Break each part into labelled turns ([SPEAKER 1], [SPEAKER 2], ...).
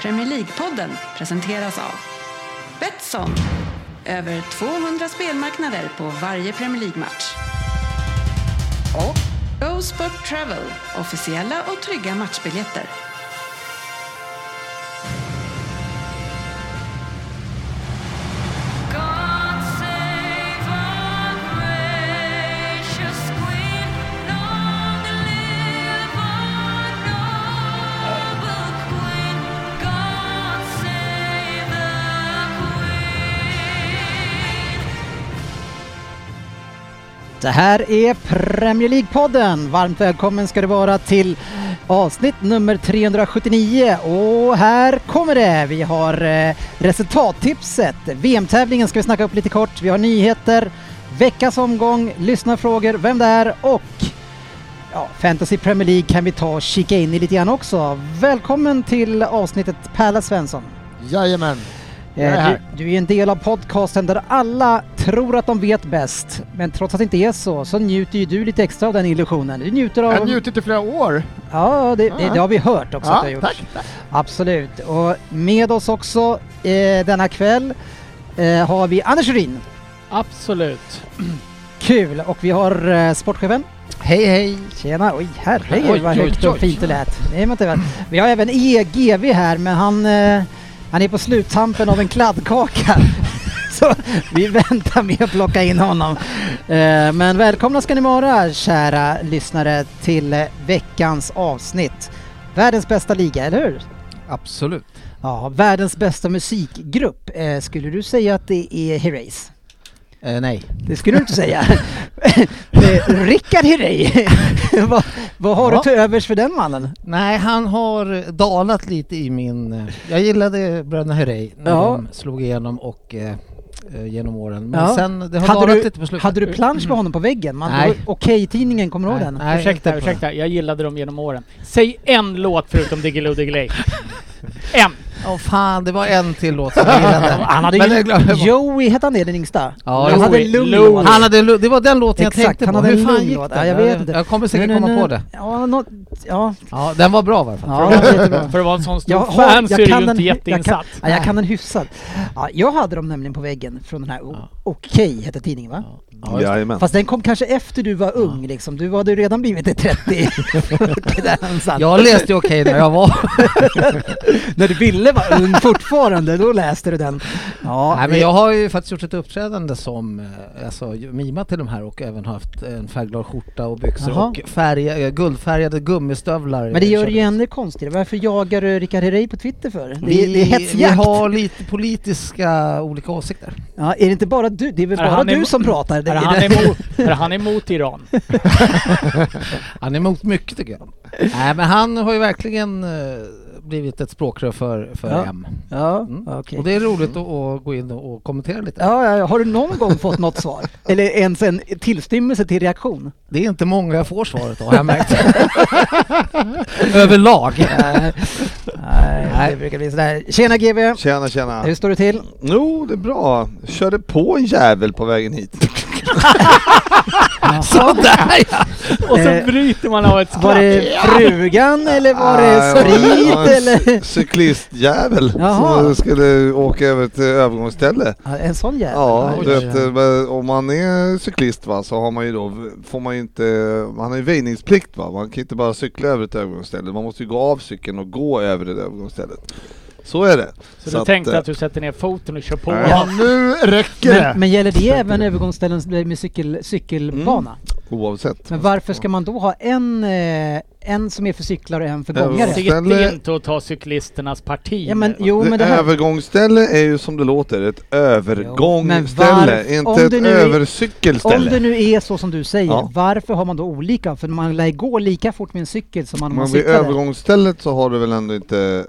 [SPEAKER 1] Premier League-podden presenteras av Betsson. Över 200 spelmarknader på varje Premier League-match. Och Go Sport Travel. Officiella och trygga matchbiljetter.
[SPEAKER 2] God save our gracious Queen. Long live our noble Queen. God save the Queen.
[SPEAKER 3] Det här är Premier League-podden. Varmt välkommen ska du vara till avsnitt nummer 379 och här kommer det. Vi har eh, resultattipset. VM-tävlingen ska vi snacka upp lite kort. Vi har nyheter, veckans omgång, lyssnarfrågor, vem det är och ja, Fantasy Premier League kan vi ta och kika in i lite grann också. Välkommen till avsnittet Pärla Svensson.
[SPEAKER 4] Jajamän. Jag är
[SPEAKER 3] Eh,
[SPEAKER 4] här.
[SPEAKER 3] Du, du är en del av podcasten där alla tror att de vet bäst. Men trots att det inte är så, så njuter ju du lite extra av den illusionen. Du njuter av...
[SPEAKER 4] Jag har njutit i flera år.
[SPEAKER 3] Ja, det, det,
[SPEAKER 4] Ja.
[SPEAKER 3] det har vi hört också att du har
[SPEAKER 4] Ja,
[SPEAKER 3] gjort.
[SPEAKER 4] tack. tack.
[SPEAKER 3] Absolut. Och med oss också eh, denna kväll eh, har vi Anders Urin.
[SPEAKER 5] Absolut.
[SPEAKER 3] Kul! Och vi har eh, sportchefen.
[SPEAKER 4] Hej hej.
[SPEAKER 3] Tjena! Oj herregud
[SPEAKER 5] Oj,
[SPEAKER 3] vad
[SPEAKER 5] oj,
[SPEAKER 3] högt och
[SPEAKER 5] oj.
[SPEAKER 3] fint det lät. Det är man inte väl. Vi har även EGV här men han, eh, han är på sluttampen av en kladdkaka. Så vi väntar med att plocka in honom. Eh, men välkomna ska ni vara kära lyssnare till eh, veckans avsnitt. Världens bästa liga, eller hur?
[SPEAKER 4] Absolut.
[SPEAKER 3] Ja, världens bästa musikgrupp. Eh, skulle du säga att det är Herreys?
[SPEAKER 4] Eh, nej.
[SPEAKER 3] Det skulle du inte säga. Eh, Rickard Herrey, vad, vad har
[SPEAKER 6] Ja.
[SPEAKER 3] du till övers för den mannen?
[SPEAKER 6] Nej, han har dalat lite i min... eh, Jag gillade Bröderna Herrey när
[SPEAKER 3] Ja.
[SPEAKER 6] de slog igenom och eh, eh, genom åren. Men
[SPEAKER 3] Ja.
[SPEAKER 6] sen, det har
[SPEAKER 3] Hade
[SPEAKER 6] dalat
[SPEAKER 3] du,
[SPEAKER 6] lite på slutet.
[SPEAKER 3] hade du plansch med honom på väggen? Man-
[SPEAKER 6] Mm. Nej.
[SPEAKER 3] Okej-tidningen, kommer du ihåg
[SPEAKER 6] Nej,
[SPEAKER 3] den?
[SPEAKER 6] nej, inte
[SPEAKER 5] ursäkta,
[SPEAKER 6] på den.
[SPEAKER 5] ursäkta. Jag gillade dem genom åren. Säg en låt förutom Diggiloo Diggiley. En!
[SPEAKER 6] Åh fan, det var en till låt som jag gillade.
[SPEAKER 3] Han hade
[SPEAKER 6] Men jag
[SPEAKER 3] ju...
[SPEAKER 6] glömde bort.
[SPEAKER 3] Joey hette han det, den yngsta?
[SPEAKER 6] Ja,
[SPEAKER 3] han hade
[SPEAKER 5] Joey,
[SPEAKER 3] Lou.
[SPEAKER 5] Lou.
[SPEAKER 3] Han,
[SPEAKER 6] han hade, lu- det var den låten
[SPEAKER 3] Exakt,
[SPEAKER 6] jag tänkte
[SPEAKER 3] han
[SPEAKER 6] på.
[SPEAKER 3] hade en
[SPEAKER 6] Hur fan
[SPEAKER 3] lugn
[SPEAKER 6] gick
[SPEAKER 3] låt.
[SPEAKER 6] den?
[SPEAKER 3] Ja, jag vet inte.
[SPEAKER 6] jag kommer säkert
[SPEAKER 3] Nu, nu,
[SPEAKER 6] komma
[SPEAKER 3] nu.
[SPEAKER 6] på det.
[SPEAKER 3] ja, nå, ja,
[SPEAKER 6] Ja, den var bra i alla fall.
[SPEAKER 3] ja, det är bra.
[SPEAKER 5] För att vara en sån stor
[SPEAKER 3] Jag har-
[SPEAKER 5] fan så
[SPEAKER 3] jag
[SPEAKER 5] är du
[SPEAKER 3] kan
[SPEAKER 5] ju
[SPEAKER 3] den-
[SPEAKER 5] inte
[SPEAKER 3] jag kan-
[SPEAKER 5] jätteinsatt.
[SPEAKER 3] ja, jag
[SPEAKER 6] Nej.
[SPEAKER 3] kan den hyfsat. Ja, jag hade dem nämligen på väggen från den här O-
[SPEAKER 6] Ja.
[SPEAKER 3] Okej hette tidningen va?
[SPEAKER 6] Ja, just det.
[SPEAKER 7] Jajamän.
[SPEAKER 3] Fast den kom kanske efter du var ung liksom. Du hade ju redan blivit i 30 40 där någonstans.
[SPEAKER 6] Jag läste ju okej när jag var...
[SPEAKER 3] När du ville vara ung fortfarande, då läste du den. Ja,
[SPEAKER 6] Nej, men jag har ju faktiskt gjort ett uppträdande som eh, alltså, ju- mimat till de här och även haft en färgglad skjorta och byxor
[SPEAKER 3] Jaha.
[SPEAKER 6] och färg, eh, guldfärgade gummistövlar.
[SPEAKER 3] Men det gör
[SPEAKER 6] Körde.
[SPEAKER 3] det ju ännu konstigare. Varför jagar du Rickard Herrey på Twitter för? Det,
[SPEAKER 6] Vi,
[SPEAKER 3] är- det är
[SPEAKER 6] vi
[SPEAKER 3] hetsjakt.
[SPEAKER 6] har lite politiska olika åsikter.
[SPEAKER 3] Ja, är det inte bara du? Det är väl
[SPEAKER 5] Är
[SPEAKER 3] bara
[SPEAKER 5] han
[SPEAKER 3] du
[SPEAKER 5] emo-
[SPEAKER 3] som pratar? Det,
[SPEAKER 5] Är han
[SPEAKER 3] det-
[SPEAKER 5] emot, är han emot Iran?
[SPEAKER 6] Han är emot mycket tycker jag. Nej men han har ju verkligen eh, blivit ett språkrör för, för
[SPEAKER 3] Ja.
[SPEAKER 6] M.
[SPEAKER 3] Ja,
[SPEAKER 6] Mm.
[SPEAKER 3] okej.
[SPEAKER 6] Och det är roligt att, att gå in och och kommentera lite.
[SPEAKER 3] Ja, ja, ja. har du någon gång fått något svar? Eller ens en tillstymmelse till reaktion?
[SPEAKER 6] Det är inte många jag får svaret av har jag märkt. Överlag.
[SPEAKER 3] Nej, Nej, det brukar bli sådär. Tjena GB!
[SPEAKER 7] Tjena tjena!
[SPEAKER 3] Hur står det till?
[SPEAKER 7] Jo, det är bra. Körde på en jävel på vägen hit.
[SPEAKER 6] Sådär ja!
[SPEAKER 5] Och
[SPEAKER 3] Eh,
[SPEAKER 5] så bryter man av ett
[SPEAKER 3] Var
[SPEAKER 5] skratt.
[SPEAKER 3] det frugan eller var
[SPEAKER 7] Ah,
[SPEAKER 3] det
[SPEAKER 7] jag
[SPEAKER 3] sprit
[SPEAKER 7] var en
[SPEAKER 3] eller?
[SPEAKER 7] cy- Cyklistjävel
[SPEAKER 3] Jaha.
[SPEAKER 7] som skulle åka över till övergångsställe.
[SPEAKER 3] Ja, En sån jävel?
[SPEAKER 7] Ja,
[SPEAKER 6] oj,
[SPEAKER 7] du
[SPEAKER 6] oj,
[SPEAKER 7] vet,
[SPEAKER 6] oj.
[SPEAKER 7] eh, men om man är cyklist va, så har man ju då, får man ju inte, man har ju väjningsplikt va. Man kan inte bara cykla över ett övergångsställe. Man måste ju gå av cykeln och gå över det där övergångsstället. Så är det.
[SPEAKER 5] Så,
[SPEAKER 7] Så
[SPEAKER 5] du
[SPEAKER 7] att,
[SPEAKER 5] tänkte
[SPEAKER 7] eh,
[SPEAKER 5] att du sätter ner foten och kör på
[SPEAKER 7] Ja.
[SPEAKER 4] Ja,
[SPEAKER 5] honom?
[SPEAKER 4] nu räcker det.
[SPEAKER 3] Men, men gäller det även övergångsställen med cykel, cykelbana?
[SPEAKER 7] Oavsett.
[SPEAKER 3] Men varför ska man då ha en, eh, en som är för cyklar och en för gångare?
[SPEAKER 7] Övergångsställe.
[SPEAKER 5] Sitt
[SPEAKER 7] ställer-
[SPEAKER 5] inte och ta cyklisternas parti.
[SPEAKER 3] Ja, men,
[SPEAKER 5] nu.
[SPEAKER 3] jo, men det här,
[SPEAKER 7] Övergångsställe är ju som det låter, ett övergångsställe,
[SPEAKER 3] varf- om
[SPEAKER 7] inte ett
[SPEAKER 3] det nu är- om
[SPEAKER 7] övercykelställe.
[SPEAKER 3] det nu är så som du säger,
[SPEAKER 7] Ja.
[SPEAKER 3] varför har man då olika? För man lär ju gå lika fort med en cykel som man om man
[SPEAKER 7] Men vid
[SPEAKER 3] cyklade.
[SPEAKER 7] övergångsstället så har du väl ändå inte,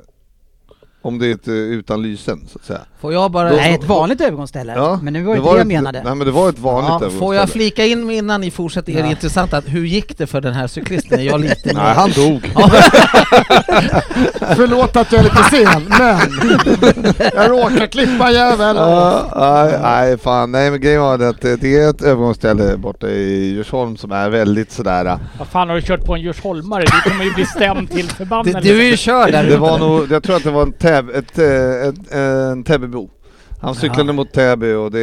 [SPEAKER 7] om det är ett, eh, utan lysen så att säga.
[SPEAKER 6] Får jag bara...
[SPEAKER 7] Då-
[SPEAKER 3] Nej, ett vanligt övergångsställe. Men nu var det inte det jag menade.
[SPEAKER 7] Nej men det var ett vanligt
[SPEAKER 6] Ja, får jag
[SPEAKER 7] övergångsställe.
[SPEAKER 6] flika in innan ni fortsätter er
[SPEAKER 3] Ja.
[SPEAKER 6] intressanta, hur gick det för den här cyklisten? Är Jag lite
[SPEAKER 7] Nej, han dog.
[SPEAKER 4] Förlåt att jag är lite sen, men jag råkar klippa jävel.
[SPEAKER 7] Ja, nej, nej, fan. Nej, men grejen var det att eh, det det är ett övergångsställe borta i Djursholm som är väldigt sådär... äh,
[SPEAKER 5] Vad fan har du kört på en djursholmare? Du kommer ju bli stämd till
[SPEAKER 6] Du,
[SPEAKER 5] förbannelse.
[SPEAKER 6] du är ju körd där
[SPEAKER 7] Det
[SPEAKER 6] ute.
[SPEAKER 7] var nog, jag tror att det var en, täb, ett, eh, ett, eh, en Täbybo. Han cyklade mot Täby och det...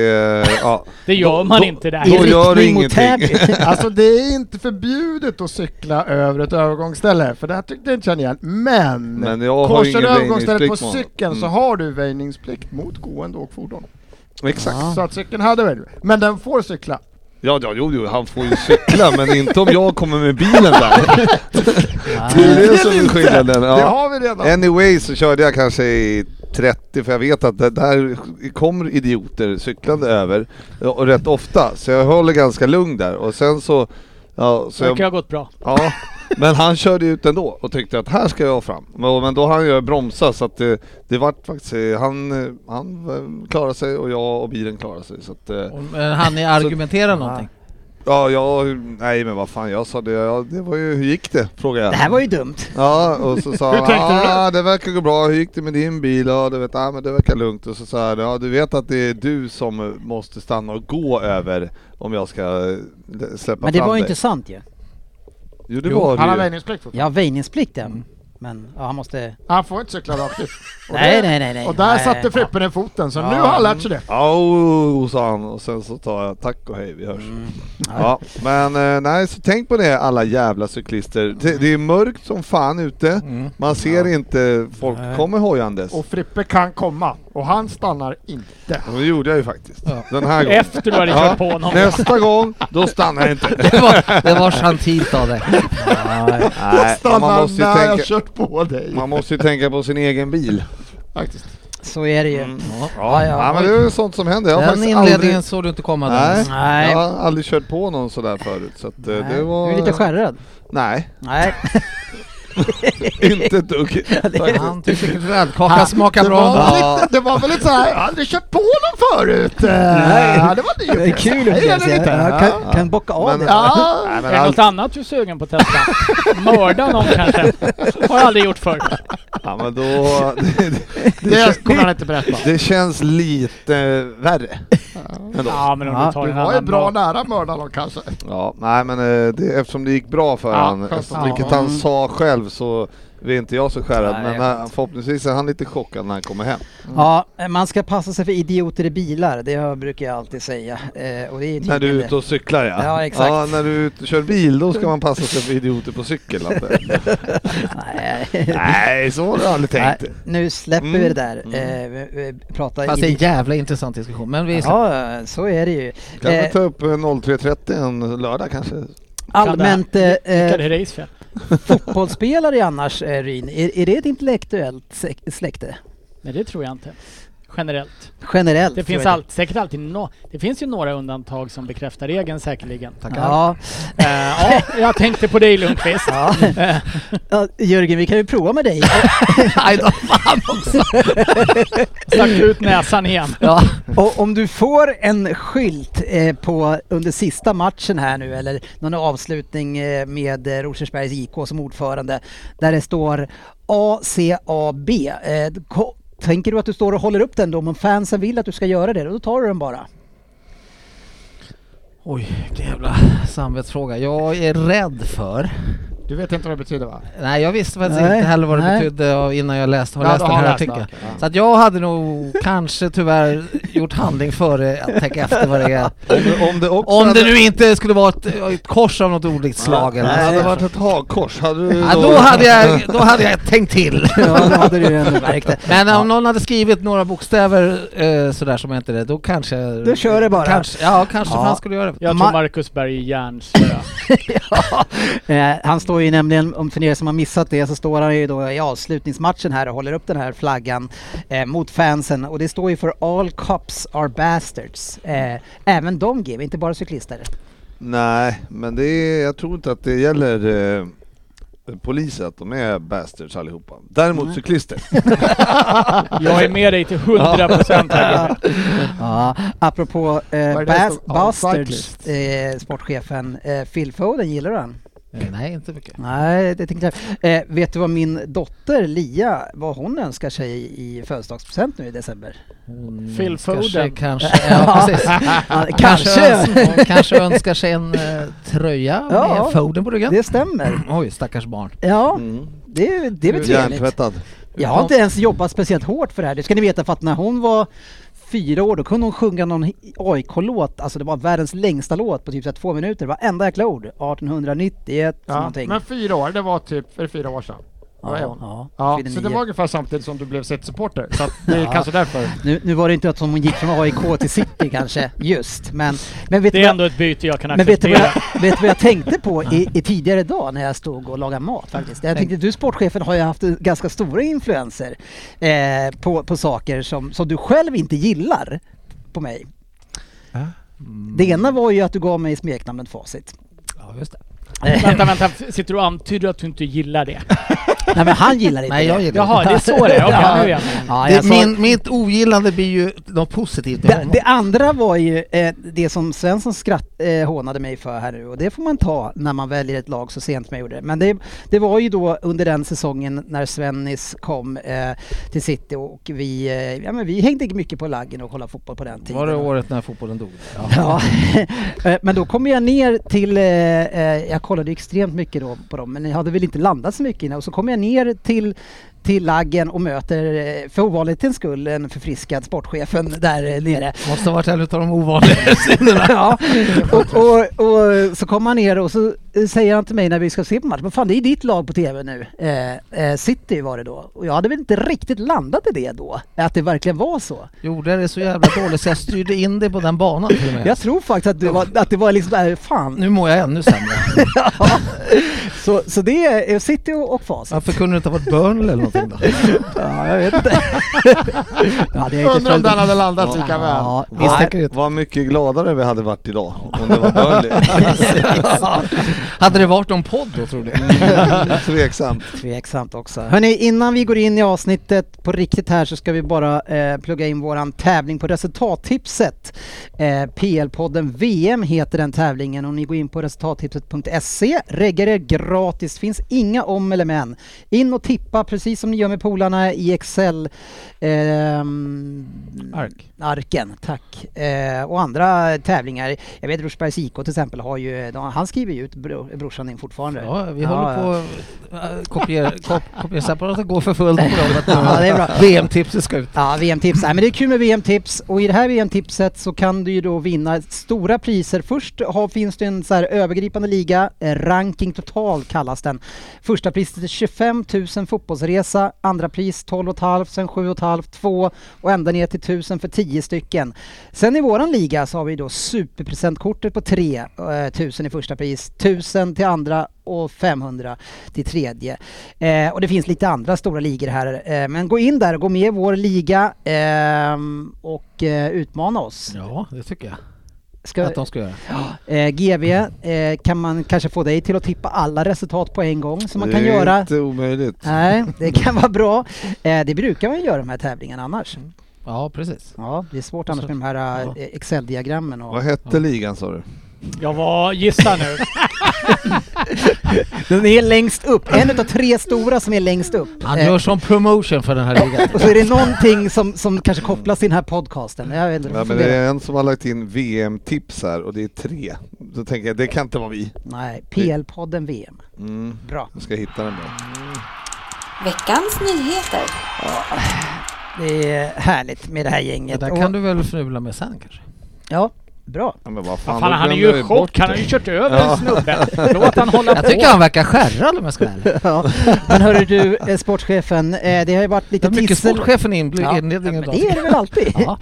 [SPEAKER 7] Ja.
[SPEAKER 5] Det gör man inte
[SPEAKER 7] Då
[SPEAKER 5] där.
[SPEAKER 3] I
[SPEAKER 7] gör det
[SPEAKER 3] riktning mot
[SPEAKER 7] ingenting.
[SPEAKER 3] Täby.
[SPEAKER 4] Alltså det är inte förbjudet att cykla över ett övergångsställe, för det här tyckte jag inte känna igen. Men,
[SPEAKER 7] Men jag har
[SPEAKER 4] korsar
[SPEAKER 7] ingen
[SPEAKER 4] du övergångsstället på
[SPEAKER 7] väjningsplikt. man.
[SPEAKER 4] cykeln så
[SPEAKER 7] Mm.
[SPEAKER 4] har du väjningsplikt mot gående och fordon.
[SPEAKER 7] Exakt.
[SPEAKER 4] Så att cykeln hade väl. Men den får cykla.
[SPEAKER 7] Ja, ja, jo, jo, han får ju cykla men inte om jag kommer med bilen där. det är det som är skillnaden.
[SPEAKER 4] Det
[SPEAKER 7] Ja.
[SPEAKER 4] har vi redan.
[SPEAKER 7] Anyway så körde jag kanske i 30 för jag vet att det där kommer idioter cyklande över ja, och rätt ofta så jag håller ganska lugn där och sen så... Ja, så
[SPEAKER 5] Det kan
[SPEAKER 7] jag,
[SPEAKER 5] ha gått bra.
[SPEAKER 7] ja, men han körde ut ändå och tyckte att här ska jag fram. Men, men då hann jag bromsa så att det, det vart faktiskt... eh, Han, eh, han eh, klarade sig och jag och bilen klarade sig så att... eh,
[SPEAKER 6] Men Han är argumentera någonting.
[SPEAKER 7] Ja, jag, nej men vad fan jag sa det, ja, det var ju, hur gick det? Frågade jag.
[SPEAKER 3] Det här var ju dumt.
[SPEAKER 7] Ja, och så sa
[SPEAKER 5] Hur
[SPEAKER 7] han,
[SPEAKER 5] tänkte du
[SPEAKER 7] ja det verkar gå bra, hur gick det med din bil? Ja, du vet, ja men det verkar lugnt. Och så sa jag, ja du vet att det är du som måste stanna och gå över om jag ska eh, släppa
[SPEAKER 3] Men det
[SPEAKER 7] fram
[SPEAKER 3] var ju
[SPEAKER 7] dig.
[SPEAKER 3] inte sant ju.
[SPEAKER 7] Jo det
[SPEAKER 6] Jo,
[SPEAKER 7] var
[SPEAKER 4] Han har
[SPEAKER 7] det ju.
[SPEAKER 4] väjningsplikt fortfarande.
[SPEAKER 3] Jag har väjningsplikten. Men ja, han måste...
[SPEAKER 4] Han får inte cykla rakt ut. Och
[SPEAKER 3] Nej,
[SPEAKER 4] det-
[SPEAKER 3] nej, nej, nej.
[SPEAKER 4] Och där
[SPEAKER 3] nej.
[SPEAKER 4] satte Frippe ner foten, så nu har han lärt sig det.
[SPEAKER 7] Au, oh, sa han och sen så tar jag tack och hej, vi hörs.
[SPEAKER 3] Mm.
[SPEAKER 7] Ja, men eh, nej, så tänk på det alla jävla cyklister. Det, det är mörkt som fan ute,
[SPEAKER 3] Mm.
[SPEAKER 7] man ser inte, folk kommer hojandes.
[SPEAKER 4] Och Frippe kan komma, och han stannar inte.
[SPEAKER 7] Och Det gjorde jag ju faktiskt. Den här gången.
[SPEAKER 5] Efter du hade
[SPEAKER 7] Ja,
[SPEAKER 5] kört på honom.
[SPEAKER 7] Nästa gång, då stannar jag inte.
[SPEAKER 6] Det var, det var gentilt av dig.
[SPEAKER 7] Nej, man,
[SPEAKER 4] Stannar
[SPEAKER 7] måste ju
[SPEAKER 4] när jag
[SPEAKER 7] tänka,
[SPEAKER 4] kört på dig.
[SPEAKER 7] man måste ju tänka på sin egen bil.
[SPEAKER 4] Faktiskt.
[SPEAKER 3] Så är det ju.
[SPEAKER 7] Mm, Ja, men det är ju sånt som händer. Jag har
[SPEAKER 6] Den
[SPEAKER 7] faktiskt
[SPEAKER 6] inledningen
[SPEAKER 7] aldrig,
[SPEAKER 6] såg du inte komma.
[SPEAKER 7] nej,
[SPEAKER 6] Dennis.
[SPEAKER 3] Nej.
[SPEAKER 7] jag har aldrig kört på någon sådär förut. Så att, eh,
[SPEAKER 3] Nej.
[SPEAKER 7] det
[SPEAKER 3] Du
[SPEAKER 7] var...
[SPEAKER 3] är lite skärrad.
[SPEAKER 7] Nej,
[SPEAKER 3] Nej.
[SPEAKER 7] inte ett dugg.
[SPEAKER 6] Han tyckte chokladkaka smakar
[SPEAKER 4] Det
[SPEAKER 6] bra.
[SPEAKER 4] var, väl lite, det var väl lite såhär, jag har aldrig kört på någon förut. Nej. Ja, det var en ny
[SPEAKER 3] Det är
[SPEAKER 4] upplevelse.
[SPEAKER 3] kul
[SPEAKER 4] Nej, det är
[SPEAKER 3] upplevelse.
[SPEAKER 4] lite.
[SPEAKER 3] Jag kan, kan bocka av
[SPEAKER 7] Men-
[SPEAKER 3] det.
[SPEAKER 4] Ja,
[SPEAKER 7] Nej,
[SPEAKER 5] Är
[SPEAKER 7] men
[SPEAKER 5] det
[SPEAKER 7] allt,
[SPEAKER 5] något annat du är sugen på att testa? Mörda någon kanske? Har jag aldrig gjort förr.
[SPEAKER 7] ja, men då, det,
[SPEAKER 4] det kommer han inte berätta.
[SPEAKER 7] det känns lite värre. Ändå.
[SPEAKER 5] Ja, men om
[SPEAKER 3] Ja,
[SPEAKER 5] du tar
[SPEAKER 4] Du
[SPEAKER 5] en
[SPEAKER 4] var ju
[SPEAKER 5] annan
[SPEAKER 4] bra
[SPEAKER 5] mat.
[SPEAKER 4] nära mörda någon kanske.
[SPEAKER 7] Ja, nej men eh, det, eftersom det gick bra för
[SPEAKER 4] Ja,
[SPEAKER 7] han,
[SPEAKER 4] skönt.
[SPEAKER 7] eftersom,
[SPEAKER 4] Ja.
[SPEAKER 7] vilket han sa själv så är inte jag så skärrad.
[SPEAKER 6] Nej,
[SPEAKER 7] men
[SPEAKER 6] jag
[SPEAKER 7] han, förhoppningsvis är han lite chockad när han kommer hem.
[SPEAKER 3] Ja, man ska passa sig för idioter i bilar. Det brukar jag alltid säga. Eh, och det är
[SPEAKER 7] När du är
[SPEAKER 3] tydligen
[SPEAKER 7] ute och cyklar ja.
[SPEAKER 3] Ja, exakt.
[SPEAKER 7] Ja, när du är ute och kör bil då ska man passa sig för idioter på cykel. eh, Lasse.
[SPEAKER 3] det. Nej.
[SPEAKER 7] nej, så har du aldrig tänkt.
[SPEAKER 3] Nej, nu släpper vi det där.
[SPEAKER 7] Mm.
[SPEAKER 3] Eh, vi, vi pratar
[SPEAKER 6] Fast det är en
[SPEAKER 3] idi-
[SPEAKER 6] jävla intressant diskussion. Men vi
[SPEAKER 3] Ja, så är det ju.
[SPEAKER 7] Kan vi
[SPEAKER 3] Eh,
[SPEAKER 7] ta upp eh, 03.30 en lördag kanske?
[SPEAKER 3] allmänt eh,
[SPEAKER 5] Vilka är
[SPEAKER 3] eh,
[SPEAKER 5] det race för?
[SPEAKER 3] fotbollsspelare annars, eh, Ryn, är, är det ett intellektuellt sek- släkte?
[SPEAKER 5] Nej, det tror jag inte. Generellt.
[SPEAKER 3] Generellt?
[SPEAKER 5] Det
[SPEAKER 3] tror
[SPEAKER 5] finns
[SPEAKER 3] jag.
[SPEAKER 5] all, säkert alltid no, Det finns ju några undantag som bekräftar regeln säkerligen.
[SPEAKER 3] Ja,
[SPEAKER 5] Eh, ja, jag tänkte på dig Lundqvist.
[SPEAKER 3] ja. ja, Jörgen, vi kan ju prova med dig.
[SPEAKER 6] Nej, då fan också!
[SPEAKER 5] Stack ut näsan igen.
[SPEAKER 3] Ja. Och om du får en skylt eh, på, under sista matchen här nu eller någon avslutning eh, med eh, Rosersbergs IK som ordförande där det står ACAB. Eh, ko- tänker du att du står och håller upp den då om fansen vill att du ska göra det? Då tar du den bara.
[SPEAKER 6] Oj, vilken jävla samvetsfråga. Jag är rädd för...
[SPEAKER 4] Du vet inte vad det betyder va?
[SPEAKER 6] Nej, jag visste faktiskt
[SPEAKER 3] Nej,
[SPEAKER 6] inte heller vad det
[SPEAKER 3] nej.
[SPEAKER 6] betydde av- innan jag läst, har
[SPEAKER 4] Ja,
[SPEAKER 6] läst
[SPEAKER 4] du
[SPEAKER 6] den
[SPEAKER 4] har
[SPEAKER 6] här
[SPEAKER 4] läst den,
[SPEAKER 6] artikeln. Så att jag hade nog kanske tyvärr gjort handling före att tänka efter vad det är.
[SPEAKER 7] Om det, om det också
[SPEAKER 6] Om
[SPEAKER 7] hade,
[SPEAKER 6] det nu inte skulle vara ett, ett kors av något olyckligt slag
[SPEAKER 7] Nej,
[SPEAKER 6] eller
[SPEAKER 7] hade det
[SPEAKER 6] något.
[SPEAKER 7] varit ett hakkors, hade du
[SPEAKER 6] Ja, då, hade jag, då hade jag tänkt till.
[SPEAKER 3] Ja, då hade du ju ändå märkt det.
[SPEAKER 6] Men om någon hade skrivit några bokstäver eh, sådär som jag inte det, då kanske...
[SPEAKER 3] Då kör det bara.
[SPEAKER 6] Kanske, ja, kanske
[SPEAKER 3] Ja.
[SPEAKER 6] fan skulle göra det.
[SPEAKER 5] Jag
[SPEAKER 3] Ma-
[SPEAKER 5] tror Marcus Berg är hjärnspö.
[SPEAKER 3] Eh, han står ju nämligen, om för er som har missat det, så står han ju då i avslutningsmatchen här och håller upp den här flaggan eh, mot fansen. Och det står ju för All Cops Are Bastards. Eh, även de GW, inte bara cyklister.
[SPEAKER 7] Nej, men det är, jag tror inte att det gäller eh, eh, poliser att de är bastards allihopa. Däremot cyklister.
[SPEAKER 5] Jag är med dig till 100% här.
[SPEAKER 3] Ja, apropå eh,
[SPEAKER 4] Vad är det
[SPEAKER 3] Bas-
[SPEAKER 4] som- ja,
[SPEAKER 3] Bastards,
[SPEAKER 4] cyclist.
[SPEAKER 3] eh, sportchefen eh, Phil Foden, gillar du han?
[SPEAKER 6] Eh, Nej, inte mycket.
[SPEAKER 3] Nej, det tänkte jag. Eh, vet du vad min dotter Lia, vad hon önskar sig i födelsedagspresent nu i december?
[SPEAKER 6] Hon
[SPEAKER 5] Phil
[SPEAKER 6] önskar
[SPEAKER 5] Foden.
[SPEAKER 6] sig Kanske, ja, precis.
[SPEAKER 3] Ja,
[SPEAKER 6] Kanske,
[SPEAKER 3] kanske. alltså.
[SPEAKER 6] hon kanske önskar sig en eh, tröja
[SPEAKER 3] Ja.
[SPEAKER 6] med Foden på ryggen.
[SPEAKER 3] Det stämmer.
[SPEAKER 6] Oj, stackars barn.
[SPEAKER 3] Ja,
[SPEAKER 7] Mm.
[SPEAKER 3] det, det är väl trevligt.
[SPEAKER 7] Hjärntvättad.
[SPEAKER 3] Jag har inte ens jobbat speciellt hårt för det här. Det ska ni veta för att när hon var fyra år då kunde hon sjunga någon hi- AIK-låt, alltså det var världens längsta låt på typ så här två minuter. Varenda jäkla ord. 1891
[SPEAKER 4] Ja,
[SPEAKER 3] någonting.
[SPEAKER 4] men fyra år, det var typ för fyra år sedan. Vad är hon?
[SPEAKER 3] ja,
[SPEAKER 4] Ja, så
[SPEAKER 3] 29.
[SPEAKER 4] det var ungefär samtidigt som du blev City-supporter, så att det är kanske därför.
[SPEAKER 3] Nu, nu var det inte att hon gick från AIK till City kanske, just. Men, men vet du
[SPEAKER 5] Det är
[SPEAKER 3] vad-
[SPEAKER 5] ändå ett byte jag kan
[SPEAKER 3] Men vet du, vad
[SPEAKER 5] acceptera.
[SPEAKER 3] jag, vet du vad jag tänkte på i, i tidigare dag när jag stod och lagade mat faktiskt? Jag tänkte, du sportchefen har ju haft ganska stora influenser eh, på, på saker som, som du själv inte gillar på mig.
[SPEAKER 6] Ah.
[SPEAKER 3] Det ena var ju att du gav mig smeknamnet Facit.
[SPEAKER 6] Ja, just det.
[SPEAKER 5] Vänta, vänta. Sitter du och antyder att du inte gillar det?
[SPEAKER 3] Nej men han gillar inte
[SPEAKER 6] Nej, jag
[SPEAKER 3] det.
[SPEAKER 6] gillar
[SPEAKER 5] Jaha, det är så det är. Okej,
[SPEAKER 3] Ja.
[SPEAKER 5] nu är jag med.
[SPEAKER 3] Ja,
[SPEAKER 6] det,
[SPEAKER 3] jag sa-
[SPEAKER 6] min, alltså, mitt ogillande blir ju något positivt med
[SPEAKER 3] det,
[SPEAKER 6] honom.
[SPEAKER 3] det andra var ju eh, det som Svensson skratt, eh, hånade mig för här nu och det får man ta när man väljer ett lag så sent som jag gjorde. det. Men det, det var ju då under den säsongen när Svennis kom eh, till City och vi, eh, ja, men vi hängde mycket på laggen och kollade fotboll på den tiden.
[SPEAKER 6] Var det året när fotbollen dog?
[SPEAKER 3] Ja, Eh, men då kom jag ner till, eh, eh, jag kollade extremt mycket då på dem, men jag hade väl inte landat så mycket innan. Och så kom jag ner till, till laggen och möter, eh, för ovanlighetens skull, en förfriskad sportchefen där eh, nere.
[SPEAKER 6] Måste ha varit en av de ovanliga synderna.
[SPEAKER 3] Ja, och, och, och så kommer han ner och så säger han till mig när vi ska se på matchen, men fan det är ditt lag på TV nu. Eh, eh, City var det då. Och jag hade väl inte riktigt landat i det då, att det verkligen var så.
[SPEAKER 6] Gjorde det så jävla dåligt så jag styrde in dig på den banan till och med.
[SPEAKER 3] Jag tror faktiskt att det var, att det var liksom där, fan.
[SPEAKER 6] Nu mår jag ännu sämre.
[SPEAKER 3] Så, så det är eh, City och, och Facit.
[SPEAKER 6] Varför kunde det inte ha varit Burnley eller någonting då?
[SPEAKER 3] Ja, jag vet inte. ja, det är
[SPEAKER 4] Undrar om den
[SPEAKER 3] inte
[SPEAKER 4] hade landat lika väl.
[SPEAKER 3] Ja,
[SPEAKER 6] Misstänker det.
[SPEAKER 7] Vad mycket gladare vi hade varit idag om det var Burnley.
[SPEAKER 6] Hade det varit någon podd då tror du?
[SPEAKER 7] Tveksamt.
[SPEAKER 3] Tveksamt också. Hörni, innan vi går in i avsnittet på riktigt här så ska vi bara eh, plugga in våran tävling på resultattipset. Eh, PL-podden VM heter den tävlingen och ni går in på resultattipset.se, reggar E. er gratis, finns inga om eller men. In och tippa precis som ni gör med polarna i Excel. ehm,
[SPEAKER 6] Ark.
[SPEAKER 3] Arken, tack. Eh, och andra tävlingar. Jag vet Rosbergs IK till exempel har ju, de, han skriver ju ut bro, brorsan in fortfarande.
[SPEAKER 6] Ja, vi
[SPEAKER 3] Ja,
[SPEAKER 6] håller
[SPEAKER 3] ja.
[SPEAKER 6] på att eh, kopiera, kop, kopiera separaten går för fullt på dem.
[SPEAKER 3] Ja, det är bra.
[SPEAKER 6] VM-tipset ska ut.
[SPEAKER 3] Ja, VM-tips. Nej, men det är kul med VM-tips och i det här VM-tipset så kan du ju då vinna stora priser. Först har, finns det en så här övergripande liga, eh, ranking total kallas den. Första priset är 25 000 fotbollsresa, andra pris 12 500, sen 7 500, 2 och ända ner till 1000 för 10 stycken. Sen i våran liga så har vi då superpresentkortet på 3 eh, 1000 i första pris, 1000 till andra och 500 till tredje. Eh, och det finns lite andra stora ligor här. Eh, men gå in där och gå med i vår liga ehm, och eh, utmana oss.
[SPEAKER 6] Ja, det tycker jag
[SPEAKER 3] Ska,
[SPEAKER 6] att de ska göra.
[SPEAKER 3] eh, GV, eh, kan man kanske få dig till att tippa alla resultat på en gång som man kan
[SPEAKER 7] det är
[SPEAKER 3] göra?
[SPEAKER 7] inte omöjligt.
[SPEAKER 3] Nej, det kan vara bra. Eh, det brukar man göra i de här tävlingarna annars.
[SPEAKER 6] Ja, precis.
[SPEAKER 3] Ja, det är svårt annars med de här eh, Excel-diagrammen. Och...
[SPEAKER 7] Vad hette ligan sa du?
[SPEAKER 5] Jag var... Gissa nu.
[SPEAKER 3] Den är längst upp, en av tre stora som är längst upp.
[SPEAKER 6] Han
[SPEAKER 3] Eh,
[SPEAKER 6] gör som promotion för den här ligan.
[SPEAKER 3] Och så är det någonting som, som kanske kopplas till den här podcasten. Jag vet inte,
[SPEAKER 7] Ja, men det är en som har lagt in VM-tips här och det är tre. Då tänker jag, det kan inte vara vi.
[SPEAKER 3] Nej, PL-podden VM.
[SPEAKER 7] Mm.
[SPEAKER 3] Bra.
[SPEAKER 7] Jag ska hitta den där.
[SPEAKER 2] Veckans nyheter.
[SPEAKER 3] Det är härligt med det här
[SPEAKER 6] Det
[SPEAKER 3] gänget.
[SPEAKER 6] där kan du väl fnula med sen kanske?
[SPEAKER 3] Ja, bra.
[SPEAKER 7] Ja, men vad fan,
[SPEAKER 5] Fan,
[SPEAKER 7] då
[SPEAKER 5] han är
[SPEAKER 7] glömde
[SPEAKER 5] ju
[SPEAKER 7] jag
[SPEAKER 5] i chock.
[SPEAKER 7] bort
[SPEAKER 5] Han
[SPEAKER 7] det.
[SPEAKER 5] har ju kört över en snubbe. Låt han hålla
[SPEAKER 6] Jag tycker
[SPEAKER 5] på.
[SPEAKER 6] han verkar skärrad om jag ska vara ärlig.
[SPEAKER 3] Ja. Men hörru du, eh, sportchefen, eh, det har ju varit
[SPEAKER 6] Det
[SPEAKER 3] lite
[SPEAKER 6] är mycket
[SPEAKER 3] tissel.
[SPEAKER 6] sportchefen i inbli-
[SPEAKER 3] Ja,
[SPEAKER 6] inledningen
[SPEAKER 3] men
[SPEAKER 6] idag.
[SPEAKER 3] det är det väl alltid.
[SPEAKER 6] Ja.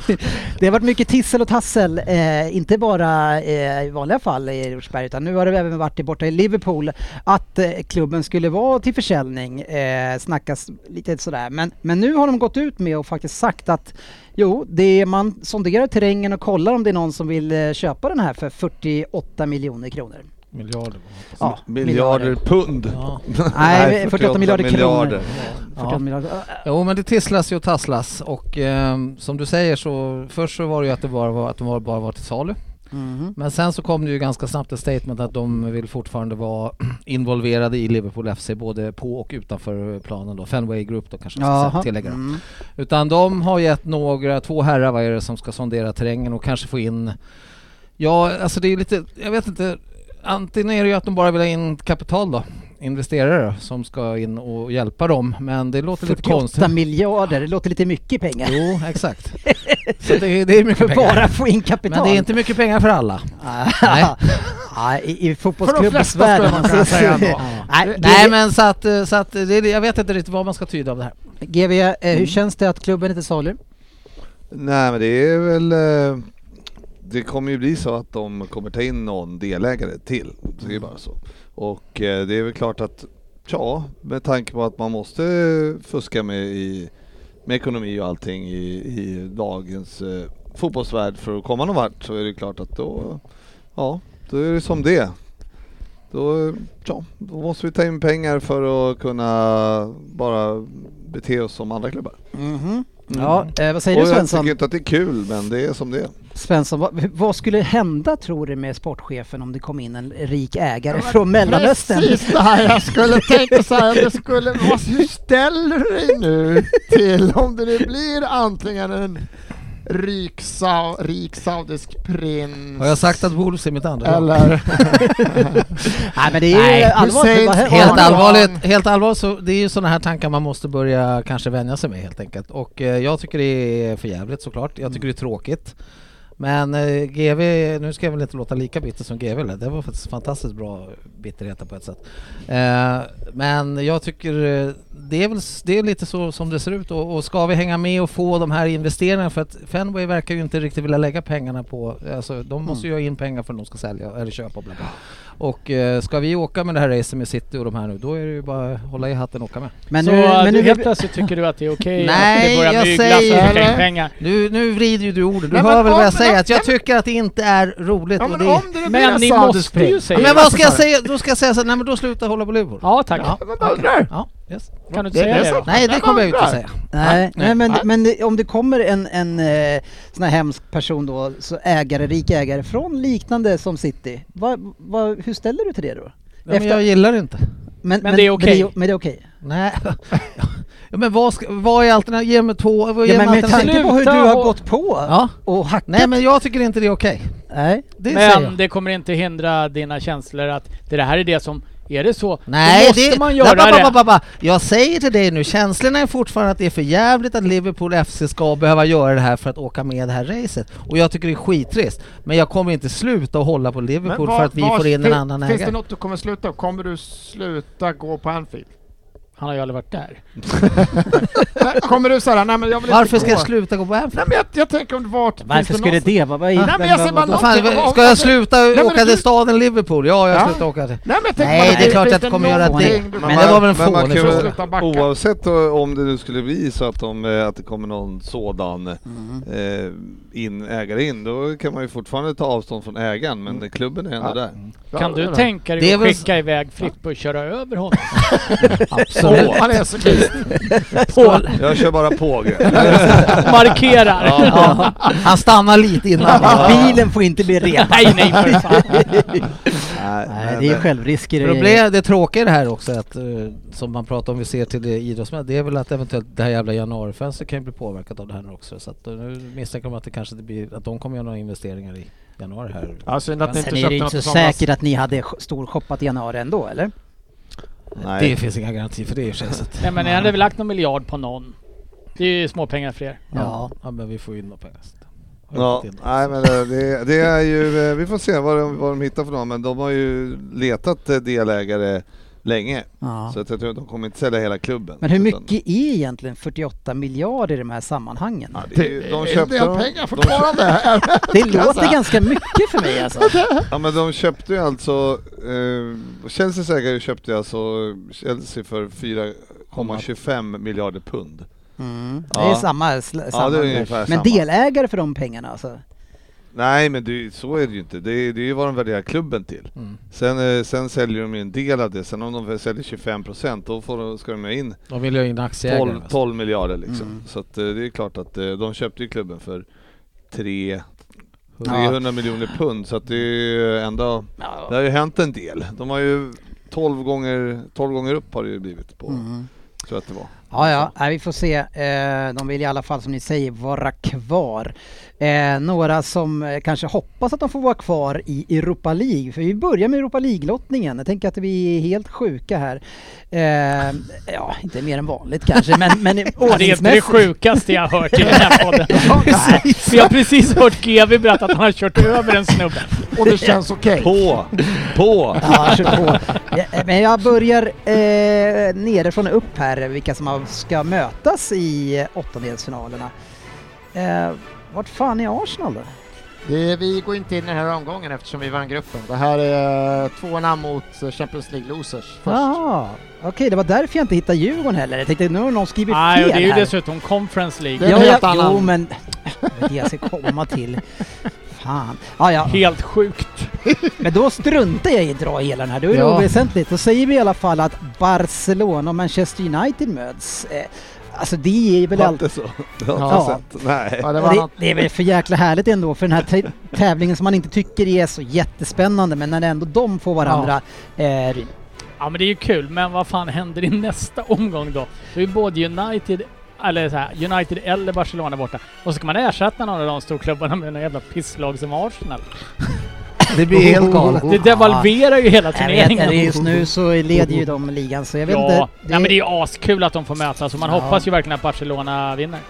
[SPEAKER 3] Det har varit mycket tissel och tassel, eh, inte bara eh, i vanliga fall i Rosersberg utan nu har det även varit det borta i Liverpool att eh, klubben skulle vara till försäljning, eh, snackas lite sådär. Men, men nu har de gått ut med och faktiskt sagt att jo, det är, man sonderar terrängen och kollar om det är någon som vill eh, köpa den här för 48 miljoner kronor.
[SPEAKER 6] Miljarder.
[SPEAKER 3] Ja,
[SPEAKER 7] Miljarder pund.
[SPEAKER 6] Ja.
[SPEAKER 3] Nej, 48, miljarder,
[SPEAKER 7] miljarder.
[SPEAKER 3] kronor. 48
[SPEAKER 6] Ja.
[SPEAKER 3] miljarder.
[SPEAKER 6] Jo men det tisslas ju och tasslas och ehm, som du säger så först så var det ju att det bara var, att de var- bara var till salu.
[SPEAKER 3] Mhm.
[SPEAKER 6] Men sen så kom det ju ganska snabbt ett statement att de vill fortfarande vara involverade i Liverpool FC både på och utanför planen då. Fenway Group då kanske man ska
[SPEAKER 3] Jaha.
[SPEAKER 6] tillägga.
[SPEAKER 3] Mm.
[SPEAKER 6] Utan de har gett några, två herrar vad är det som ska sondera terrängen och kanske få in, ja alltså det är ju lite, jag vet inte, antingen är det ju att de bara vill ha in kapital då, investerare som ska in och hjälpa dem, men det låter lite
[SPEAKER 3] 48
[SPEAKER 6] konstigt.
[SPEAKER 3] miljarder, det låter lite mycket pengar.
[SPEAKER 6] Jo, exakt. Så det, är- det är mycket
[SPEAKER 3] För
[SPEAKER 6] pengar.
[SPEAKER 3] bara få in kapital.
[SPEAKER 6] Men det är inte mycket pengar för alla.
[SPEAKER 3] Nej.
[SPEAKER 6] Nej.
[SPEAKER 3] I, i
[SPEAKER 4] För de
[SPEAKER 3] fotbollsklubbens
[SPEAKER 4] flesta
[SPEAKER 3] värld. alltså.
[SPEAKER 4] skulle man kunna säga ändå.
[SPEAKER 3] Nej,
[SPEAKER 6] Nej
[SPEAKER 3] GV,
[SPEAKER 6] men så att, eh, så att det, är det- jag vet inte riktigt vad man ska tyda av det här.
[SPEAKER 3] GV eh, hur känns det att klubben inte salu?
[SPEAKER 7] Nej men det är väl... eh, Det kommer ju bli så att de kommer ta in någon delägare till. Så det är bara så. Och eh, det är väl klart att, ja, med tanke på att man måste eh, fuska med, i, med ekonomi och allting i, i dagens eh, fotbollsvärld för att komma någon vart så är det klart att då, ja, då är det som det är. Då, ja, då måste vi ta in pengar för att kunna bara bete oss som andra klubbar.
[SPEAKER 3] Mm-hmm. Ja, eh, vad säger
[SPEAKER 7] Och
[SPEAKER 3] du
[SPEAKER 7] jag
[SPEAKER 3] Svensson?
[SPEAKER 7] tycker inte att det är kul, men det är som det är.
[SPEAKER 3] Svensson, vad, vad skulle hända tror du med sportchefen om det kom in en rik ägare från Mellanöstern?
[SPEAKER 4] Precis det här jag skulle tänka säga. Det skulle, vad, hur ställer du dig nu till om det nu blir antingen en rik, sau, rik saudisk prins
[SPEAKER 6] Har jag sagt att Wolves är mitt andra lag?
[SPEAKER 4] eller
[SPEAKER 3] Nej men det är
[SPEAKER 6] Nej,
[SPEAKER 3] allvarligt.
[SPEAKER 4] Husseins
[SPEAKER 3] Vad-
[SPEAKER 6] Helt
[SPEAKER 4] Ja,
[SPEAKER 6] allvarligt, helt allvarligt så det är ju sådana här tankar man måste börja kanske vänja sig med helt enkelt. Och eh, jag tycker det är för jävligt såklart. Jag tycker det är tråkigt. Men eh, GV, nu ska jag väl inte låta lika bitter som GV lät. Det var faktiskt fantastiskt bra bitterhet på ett sätt. Eh, men jag tycker eh, det är väl s- det är lite så som det ser ut och, och ska vi hänga med och få de här investeringarna för att Fenway verkar ju inte riktigt vilja lägga pengarna på, alltså de måste
[SPEAKER 4] Mm.
[SPEAKER 6] ju ha in pengar för att de ska sälja eller köpa. Bla bla. Och eh, ska vi åka med det här racet med City och de här nu, då är det ju bara att hålla i hatten och åka med.
[SPEAKER 3] Men
[SPEAKER 5] så
[SPEAKER 3] nu, men
[SPEAKER 5] du,
[SPEAKER 3] nu,
[SPEAKER 5] helt plötsligt tycker du att det är okej att
[SPEAKER 6] Nej,
[SPEAKER 5] det börjar
[SPEAKER 6] jag
[SPEAKER 5] myglas
[SPEAKER 6] säger-
[SPEAKER 5] och slänga
[SPEAKER 4] Eller?
[SPEAKER 5] pengar?
[SPEAKER 6] Nu, nu vrider ju du ordet, du
[SPEAKER 4] Nej, men
[SPEAKER 6] hör väl
[SPEAKER 4] om-
[SPEAKER 6] vad jag säger? Att jag
[SPEAKER 4] nej,
[SPEAKER 6] tycker att det inte är roligt.
[SPEAKER 4] Ja
[SPEAKER 6] och
[SPEAKER 4] men
[SPEAKER 6] det...
[SPEAKER 4] om det nu blir
[SPEAKER 5] Men
[SPEAKER 4] en
[SPEAKER 5] ni
[SPEAKER 4] saudisk
[SPEAKER 5] måste ju
[SPEAKER 4] prins.
[SPEAKER 5] säga...
[SPEAKER 6] men vad ska jag säga? Då ska jag säga så här, nej men då slutar jag hålla på Liverpool.
[SPEAKER 5] Ja tack.
[SPEAKER 6] Ja.
[SPEAKER 4] Men vad undrar?
[SPEAKER 6] Ja, yes.
[SPEAKER 5] Kan du inte
[SPEAKER 4] Det-
[SPEAKER 5] säga
[SPEAKER 4] det är
[SPEAKER 5] det,
[SPEAKER 4] så.
[SPEAKER 5] då?
[SPEAKER 6] Nej det kommer jag ju inte att
[SPEAKER 4] Nej.
[SPEAKER 6] säga.
[SPEAKER 3] nej, Ah, nej, men,
[SPEAKER 4] nej.
[SPEAKER 3] men det- om det kommer en, en eh, sån här hemsk person då, så ägare, rik ägare från liknande som City. Vad- vad- hur ställer du till det då?
[SPEAKER 6] Ja, men jag gillar det inte.
[SPEAKER 3] Men,
[SPEAKER 5] Men det är okej.
[SPEAKER 3] Men det är okej.
[SPEAKER 6] Nej. Ja, men vad, ska, vad är alternativet? Ge mig två... Vad,
[SPEAKER 3] Ja,
[SPEAKER 6] ge
[SPEAKER 3] men
[SPEAKER 6] mig
[SPEAKER 3] med
[SPEAKER 6] alternativ.
[SPEAKER 3] tanke på hur du
[SPEAKER 5] Sluta
[SPEAKER 3] har
[SPEAKER 5] och-
[SPEAKER 3] gått på
[SPEAKER 6] Ja.
[SPEAKER 3] och hackat.
[SPEAKER 6] Nej men jag tycker inte det är okej.
[SPEAKER 3] Nej.
[SPEAKER 6] Det säger
[SPEAKER 5] Men
[SPEAKER 6] jag.
[SPEAKER 5] det kommer inte hindra dina känslor att det här är det som... Är det så,
[SPEAKER 6] Nej,
[SPEAKER 5] då måste
[SPEAKER 6] det,
[SPEAKER 5] man göra
[SPEAKER 6] ba, ba,
[SPEAKER 5] det.
[SPEAKER 6] ba, ba, ba. Jag säger till dig nu, känslorna är fortfarande att det är för jävligt att Liverpool FC ska behöva göra det här för att åka med det här racet. Och jag tycker det är skittrist. Men jag kommer inte sluta att hålla på Liverpool för att vi får in en annan
[SPEAKER 4] Finns det
[SPEAKER 6] ägare.
[SPEAKER 4] något du kommer sluta? Kommer du sluta gå på Anfield?
[SPEAKER 5] Han har ju aldrig varit där.
[SPEAKER 4] Nej, Kommer du säga nej men jag vill
[SPEAKER 6] Varför
[SPEAKER 4] inte
[SPEAKER 6] ska
[SPEAKER 4] gå?
[SPEAKER 6] jag sluta gå på Anfield?
[SPEAKER 4] Nej men jag, jag tänker om vart...
[SPEAKER 3] Varför
[SPEAKER 4] finns
[SPEAKER 3] skulle
[SPEAKER 4] någon som-
[SPEAKER 3] det vara? Vad är-
[SPEAKER 4] Nej, men jag ser bara
[SPEAKER 3] vad-
[SPEAKER 6] Vad
[SPEAKER 3] vad-
[SPEAKER 4] något- typ
[SPEAKER 6] Fan,
[SPEAKER 4] Om- om-
[SPEAKER 6] ska jag sluta
[SPEAKER 4] men
[SPEAKER 6] åka
[SPEAKER 4] du-
[SPEAKER 6] till staden Liverpool? Ja, jag
[SPEAKER 4] Ja.
[SPEAKER 6] slutar åka till...
[SPEAKER 4] Nej men jag tänker
[SPEAKER 6] Nej,
[SPEAKER 4] bara,
[SPEAKER 6] det är klart
[SPEAKER 4] finns
[SPEAKER 6] att jag kommer göra
[SPEAKER 4] någonting
[SPEAKER 6] det.
[SPEAKER 4] du
[SPEAKER 6] Men
[SPEAKER 4] kommer-
[SPEAKER 6] det var väl en
[SPEAKER 7] men man
[SPEAKER 6] fånig
[SPEAKER 7] kan
[SPEAKER 6] fråga.
[SPEAKER 7] väl-
[SPEAKER 4] Sluta backa.
[SPEAKER 7] Oavsett eh, om det nu skulle bli så att, de, eh, att det kommer någon sådan eh, in, ägare in, då kan man ju fortfarande ta avstånd från ägaren, men klubben är ändå
[SPEAKER 4] Ja. Mm.
[SPEAKER 7] där.
[SPEAKER 5] Kan du
[SPEAKER 4] Ja,
[SPEAKER 5] tänka
[SPEAKER 6] Det
[SPEAKER 5] dig
[SPEAKER 6] är
[SPEAKER 5] att
[SPEAKER 6] väl-
[SPEAKER 5] skicka iväg Frippe och köra över honom?
[SPEAKER 6] Absolut.
[SPEAKER 4] Han är så kul.
[SPEAKER 5] På,
[SPEAKER 7] Jag kör bara påg.
[SPEAKER 5] markerar!
[SPEAKER 6] Ja, han stannar lite innan.
[SPEAKER 3] Bilen får inte bli repad.
[SPEAKER 5] Nej, nej för fan.
[SPEAKER 3] Nej, det är självrisker. i-
[SPEAKER 6] Problem, det tråkiga i det här också, är att, eh, som man pratar om, vi ser till det idrottsmän, det är väl att eventuellt det här jävla januarifönstret kan ju bli påverkat av det här nu också. Så att eh, nu misstänker man att det kanske inte blir, att de kommer göra några investeringar i januari här.
[SPEAKER 4] Ja, synd att ni inte
[SPEAKER 3] Sen Alltså, är
[SPEAKER 4] köpte
[SPEAKER 3] det
[SPEAKER 4] något
[SPEAKER 3] inte så
[SPEAKER 4] i somras.
[SPEAKER 3] säkert att ni hade sh- storshoppat i januari ändå, eller?
[SPEAKER 7] Nej.
[SPEAKER 6] Det finns inga garantier för det i och för sig. så att-
[SPEAKER 5] Nej men ni hade väl lagt någon miljard på någon? Det är ju småpengar för er.
[SPEAKER 6] Ja. ja, men vi får ju in några pengar. så att- har vi
[SPEAKER 7] Ja,
[SPEAKER 6] fått in.
[SPEAKER 7] nej men eh, det, det är ju, eh, vi får se vad de, vad de hittar för dem, men de har ju letat eh, delägare länge.
[SPEAKER 3] Ja.
[SPEAKER 7] Så att jag tror att de kommer inte sälja hela klubben.
[SPEAKER 3] Men hur
[SPEAKER 7] Utan-
[SPEAKER 3] mycket är egentligen 48 miljarder i de här sammanhangen?
[SPEAKER 7] Ja, det är ju, de köpte
[SPEAKER 4] Det är en
[SPEAKER 7] dem-
[SPEAKER 4] del Eh, pengar fortfarande.
[SPEAKER 3] Det låter ganska mycket för mig alltså.
[SPEAKER 7] Ja men de köpte ju alltså, eh, Chelseas ägare köpte ju alltså Chelsea för 4,25 miljarder pund.
[SPEAKER 3] Mm. Det
[SPEAKER 7] Ja.
[SPEAKER 3] är samma. sl- samma
[SPEAKER 7] ungefär
[SPEAKER 3] Men
[SPEAKER 7] samma.
[SPEAKER 3] delägare för de pengarna alltså?
[SPEAKER 7] Nej men det, så är det ju inte. Det, är- det är ju vad de värderar klubben till.
[SPEAKER 6] Mm.
[SPEAKER 7] Sen, eh, sen säljer de ju en del av det. Sen om de säljer 25 procent då får, de- ska de ju in
[SPEAKER 6] De vill ju ha in aktieägare.
[SPEAKER 7] 12, 12 miljarder liksom. Så att, eh, det är klart att eh, de köpte ju klubben för tre- 300 miljoner pund så att det är ju ändå, det har ju hänt en del. De har ju 12 gånger, 12 gånger upp har det ju blivit
[SPEAKER 3] Mm.
[SPEAKER 7] på, tror jag att det var.
[SPEAKER 3] Ja, ja, nej, vi får se. Eh, De vill i alla fall som ni säger vara kvar. Eh, Några som eh, kanske hoppas att de får vara kvar i Europa League. För vi börjar med Europa League-lottningen. Jag tänker att vi är helt sjuka här. Eh, Ja, inte mer än vanligt kanske, men, men
[SPEAKER 5] Det är det
[SPEAKER 3] ordningsmässigt.
[SPEAKER 5] sjukaste jag har hört i den här podden. Precis. Vi har precis hört GW berätta att han har kört över en snubbe.
[SPEAKER 4] Och det känns okej.
[SPEAKER 7] På! På!
[SPEAKER 3] Ja, kör på. Ja, Men jag börjar eh, nerifrån och upp här, vilka som har- ska mötas i eh, åttondelsfinalerna. Eh, vart fan är Arsenal då?
[SPEAKER 4] Det- Vi går inte in i den här omgången eftersom vi vann gruppen. Det här är tvåorna mot eh, Champions League Losers först.
[SPEAKER 3] Jaha, okej det var därför jag inte hittade Djurgården heller. Jag tänkte nu har någon skrivit
[SPEAKER 5] Nej, och
[SPEAKER 3] fel
[SPEAKER 5] det är ju
[SPEAKER 3] här.
[SPEAKER 5] dessutom Conference League.
[SPEAKER 4] Det är en
[SPEAKER 3] ja,
[SPEAKER 4] helt
[SPEAKER 3] ja,
[SPEAKER 4] annan.
[SPEAKER 3] Jo men, det är det jag ska komma till. Fan. Ah, ja,
[SPEAKER 5] Helt sjukt.
[SPEAKER 3] men då struntar jag i att dra hela den här, då är det
[SPEAKER 6] Ja.
[SPEAKER 3] oväsentligt. Då säger vi i alla fall att Barcelona och Manchester United möts. Eh, alltså det är väl
[SPEAKER 7] Var
[SPEAKER 3] allt.
[SPEAKER 7] inte så? Det har
[SPEAKER 3] Ja.
[SPEAKER 7] inte sett. Nej.
[SPEAKER 4] Ja, det
[SPEAKER 3] Och
[SPEAKER 4] var
[SPEAKER 3] Det,
[SPEAKER 4] något.
[SPEAKER 3] det är väl för jäkla härligt ändå för den här tä- tävlingen som man inte tycker är så jättespännande men när ändå de får varandra eh, ryn.
[SPEAKER 5] Ja men det är ju kul, men vad fan händer i nästa omgång då? Då är ju både United, eller så här, United eller Barcelona borta. Och så ska man ersätta någon av de storklubbarna med några jävla pisslag som Arsenal.
[SPEAKER 6] Det blir helt galet.
[SPEAKER 5] Det devalverar ju hela
[SPEAKER 3] Jag vet inte,
[SPEAKER 5] turneringen.
[SPEAKER 3] det är just nu så leder ju de ligan så jag vet
[SPEAKER 5] ja,
[SPEAKER 3] inte.
[SPEAKER 5] Nej, men det är ju askul att de får mötas och man
[SPEAKER 3] Ja.
[SPEAKER 5] hoppas ju verkligen att Barcelona vinner.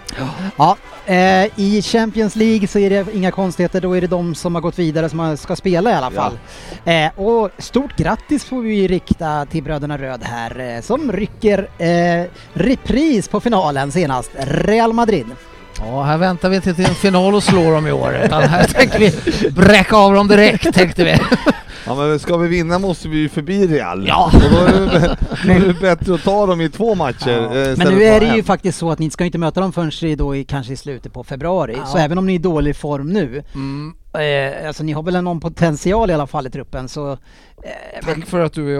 [SPEAKER 3] Ja, eh, I Champions League så är det inga konstigheter, då är det de som har gått vidare som ska spela i alla
[SPEAKER 7] Ja.
[SPEAKER 3] fall. Eh, och stort grattis får vi ju rikta till bröderna Röd här eh, som rycker eh, repris på finalen senast, Real Madrid.
[SPEAKER 6] Ja, här väntar vi inte till en final och slår dem i år. Utan här tänker vi bräcka av dem direkt, tänkte vi.
[SPEAKER 7] Ja men ska vi vinna måste vi ju förbi Real.
[SPEAKER 6] Ja.
[SPEAKER 7] Och då är det, bä- då är det bättre att ta dem i två matcher. eh, istället
[SPEAKER 3] Men nu
[SPEAKER 7] för
[SPEAKER 3] är
[SPEAKER 7] bara
[SPEAKER 3] det ju
[SPEAKER 7] en.
[SPEAKER 3] faktiskt så att ni ska inte möta dem förrän i- då i, kanske i slutet på februari, så även om ni är i dålig form nu, eh, alltså ni har väl någon potential i alla fall i truppen så eh,
[SPEAKER 6] Tack för att du är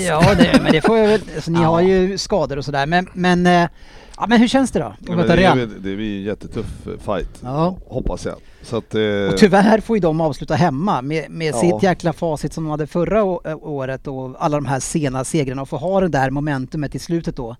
[SPEAKER 3] Ja, det, men det får jag väl. Alltså, ni har ju skador och sådär. Men, men, eh, ja, men hur känns det då? Att
[SPEAKER 7] Ja, men
[SPEAKER 3] möta
[SPEAKER 7] det, är,
[SPEAKER 3] Real?
[SPEAKER 7] ju- det blir ju en jättetuff eh, fight,
[SPEAKER 3] Ja.
[SPEAKER 7] hoppas jag. Så att,
[SPEAKER 3] Och
[SPEAKER 7] eh,
[SPEAKER 3] tyvärr får ju de avsluta hemma med, med
[SPEAKER 7] Ja.
[SPEAKER 3] sitt jäkla facit som de hade förra å- ä- året och alla de här sena segrarna och få ha det där momentumet i slutet då.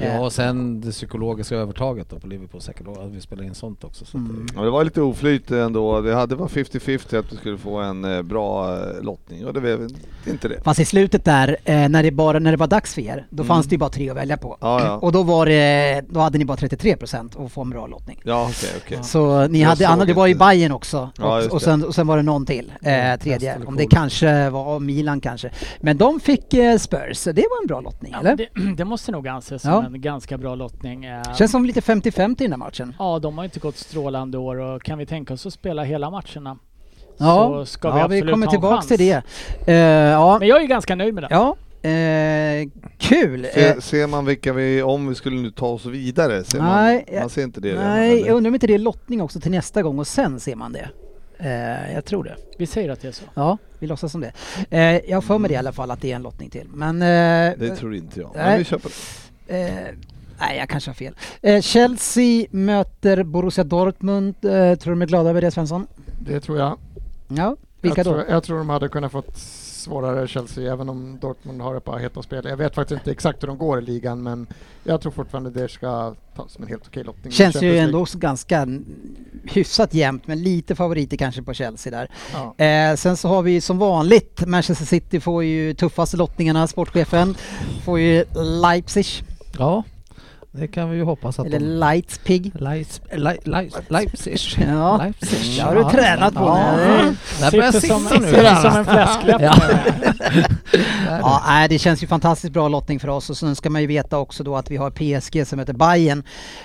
[SPEAKER 6] Ja, och sen det psykologiska övertaget då på Liverpool säkert. då, Att vi spelar in sånt också. Så att det-
[SPEAKER 7] Ja, det var lite oflyt ändå. Det hade var 50-50 att du skulle få en eh, bra eh, lottning och det blev inte det.
[SPEAKER 3] Fast i slutet där, eh, när, det bara, när det var dags för er, då fanns det ju bara tre att välja på.
[SPEAKER 7] Mm. Ja, ja.
[SPEAKER 3] Och då, var det, då hade ni bara 33 procent att få en bra lottning.
[SPEAKER 7] Ja, okej, okej.
[SPEAKER 3] Så ni
[SPEAKER 7] Jag
[SPEAKER 3] hade
[SPEAKER 7] såg
[SPEAKER 3] annat, det var ju
[SPEAKER 7] inte.
[SPEAKER 3] Bayern också
[SPEAKER 7] Ja,
[SPEAKER 3] och,
[SPEAKER 7] just
[SPEAKER 3] och,
[SPEAKER 7] det.
[SPEAKER 3] sen, och sen var det någon till, eh, tredje,
[SPEAKER 6] eller
[SPEAKER 3] om det
[SPEAKER 6] cool.
[SPEAKER 3] kanske var Milan kanske. Men de fick eh, Spurs, så det var en bra lottning eller?
[SPEAKER 5] Det, det måste nog anses
[SPEAKER 3] Ja.
[SPEAKER 5] som en ganska bra lottning. Eh,
[SPEAKER 3] Känns som lite 50-50 i den här matchen.
[SPEAKER 5] Ja, de har inte gått strålande år och kan vi tänka oss att spela hela matcherna
[SPEAKER 3] Ja,
[SPEAKER 5] så ska vi
[SPEAKER 3] ja vi
[SPEAKER 5] absolut
[SPEAKER 3] kommer
[SPEAKER 5] ha en
[SPEAKER 3] tillbaks till
[SPEAKER 5] chans.
[SPEAKER 3] det. Eh, ja,
[SPEAKER 5] Men jag är ganska nöjd med det.
[SPEAKER 3] ja eh, kul! Eh,
[SPEAKER 7] Se, ser man vilka vi, om vi skulle nu ta oss vidare, ser
[SPEAKER 3] Nej,
[SPEAKER 7] man,
[SPEAKER 3] jag-
[SPEAKER 7] man ser inte det redan,
[SPEAKER 3] Nej,
[SPEAKER 7] eller?
[SPEAKER 3] jag undrar om inte det är lottning också till nästa gång och sen ser man det. Eh, jag tror det.
[SPEAKER 5] Vi säger att det är så.
[SPEAKER 3] Ja, vi låtsas som det. Eh, jag har för mig det i alla fall att det är en lottning till. Men, eh,
[SPEAKER 7] Det tror inte jag.
[SPEAKER 3] Nej.
[SPEAKER 7] Men vi köper det.
[SPEAKER 3] Eh, nej, jag kanske har fel. Eh, Chelsea möter Borussia Dortmund. Eh, tror du de är glada över det, Svensson?
[SPEAKER 4] Det tror jag.
[SPEAKER 3] Ja, vilka
[SPEAKER 4] jag,
[SPEAKER 3] då?
[SPEAKER 4] Tror, jag tror de hade kunnat fått svårare Chelsea, även om Dortmund har ett par heta spel. Jag vet faktiskt inte exakt hur de går i ligan, men jag tror fortfarande det ska tas som en helt okej lottning.
[SPEAKER 3] Känns ju
[SPEAKER 4] Champions
[SPEAKER 3] ändå
[SPEAKER 4] League.
[SPEAKER 3] också ganska n- hyfsat jämnt, men lite favoriter kanske på Chelsea där.
[SPEAKER 4] Ja.
[SPEAKER 3] Eh, sen så har vi ju som vanligt Manchester City får ju tuffaste lottningarna, sportchefen. Får ju Leipzig,
[SPEAKER 6] Ja, det kan vi ju hoppas att
[SPEAKER 3] eller
[SPEAKER 6] de...
[SPEAKER 3] Leipzig.
[SPEAKER 6] Leipz- Le- Le- Leipzig.
[SPEAKER 3] Ja.
[SPEAKER 6] Leipzig.
[SPEAKER 3] Det har du tränat på nu.
[SPEAKER 6] Där börjar jag
[SPEAKER 5] som,
[SPEAKER 6] sitta nu.
[SPEAKER 5] sitter som en fläskläpp.
[SPEAKER 6] Ja.
[SPEAKER 3] Ja, nej, det känns ju fantastiskt bra lottning för oss och sen ska man ju veta också då att vi har PSG som heter Bayern.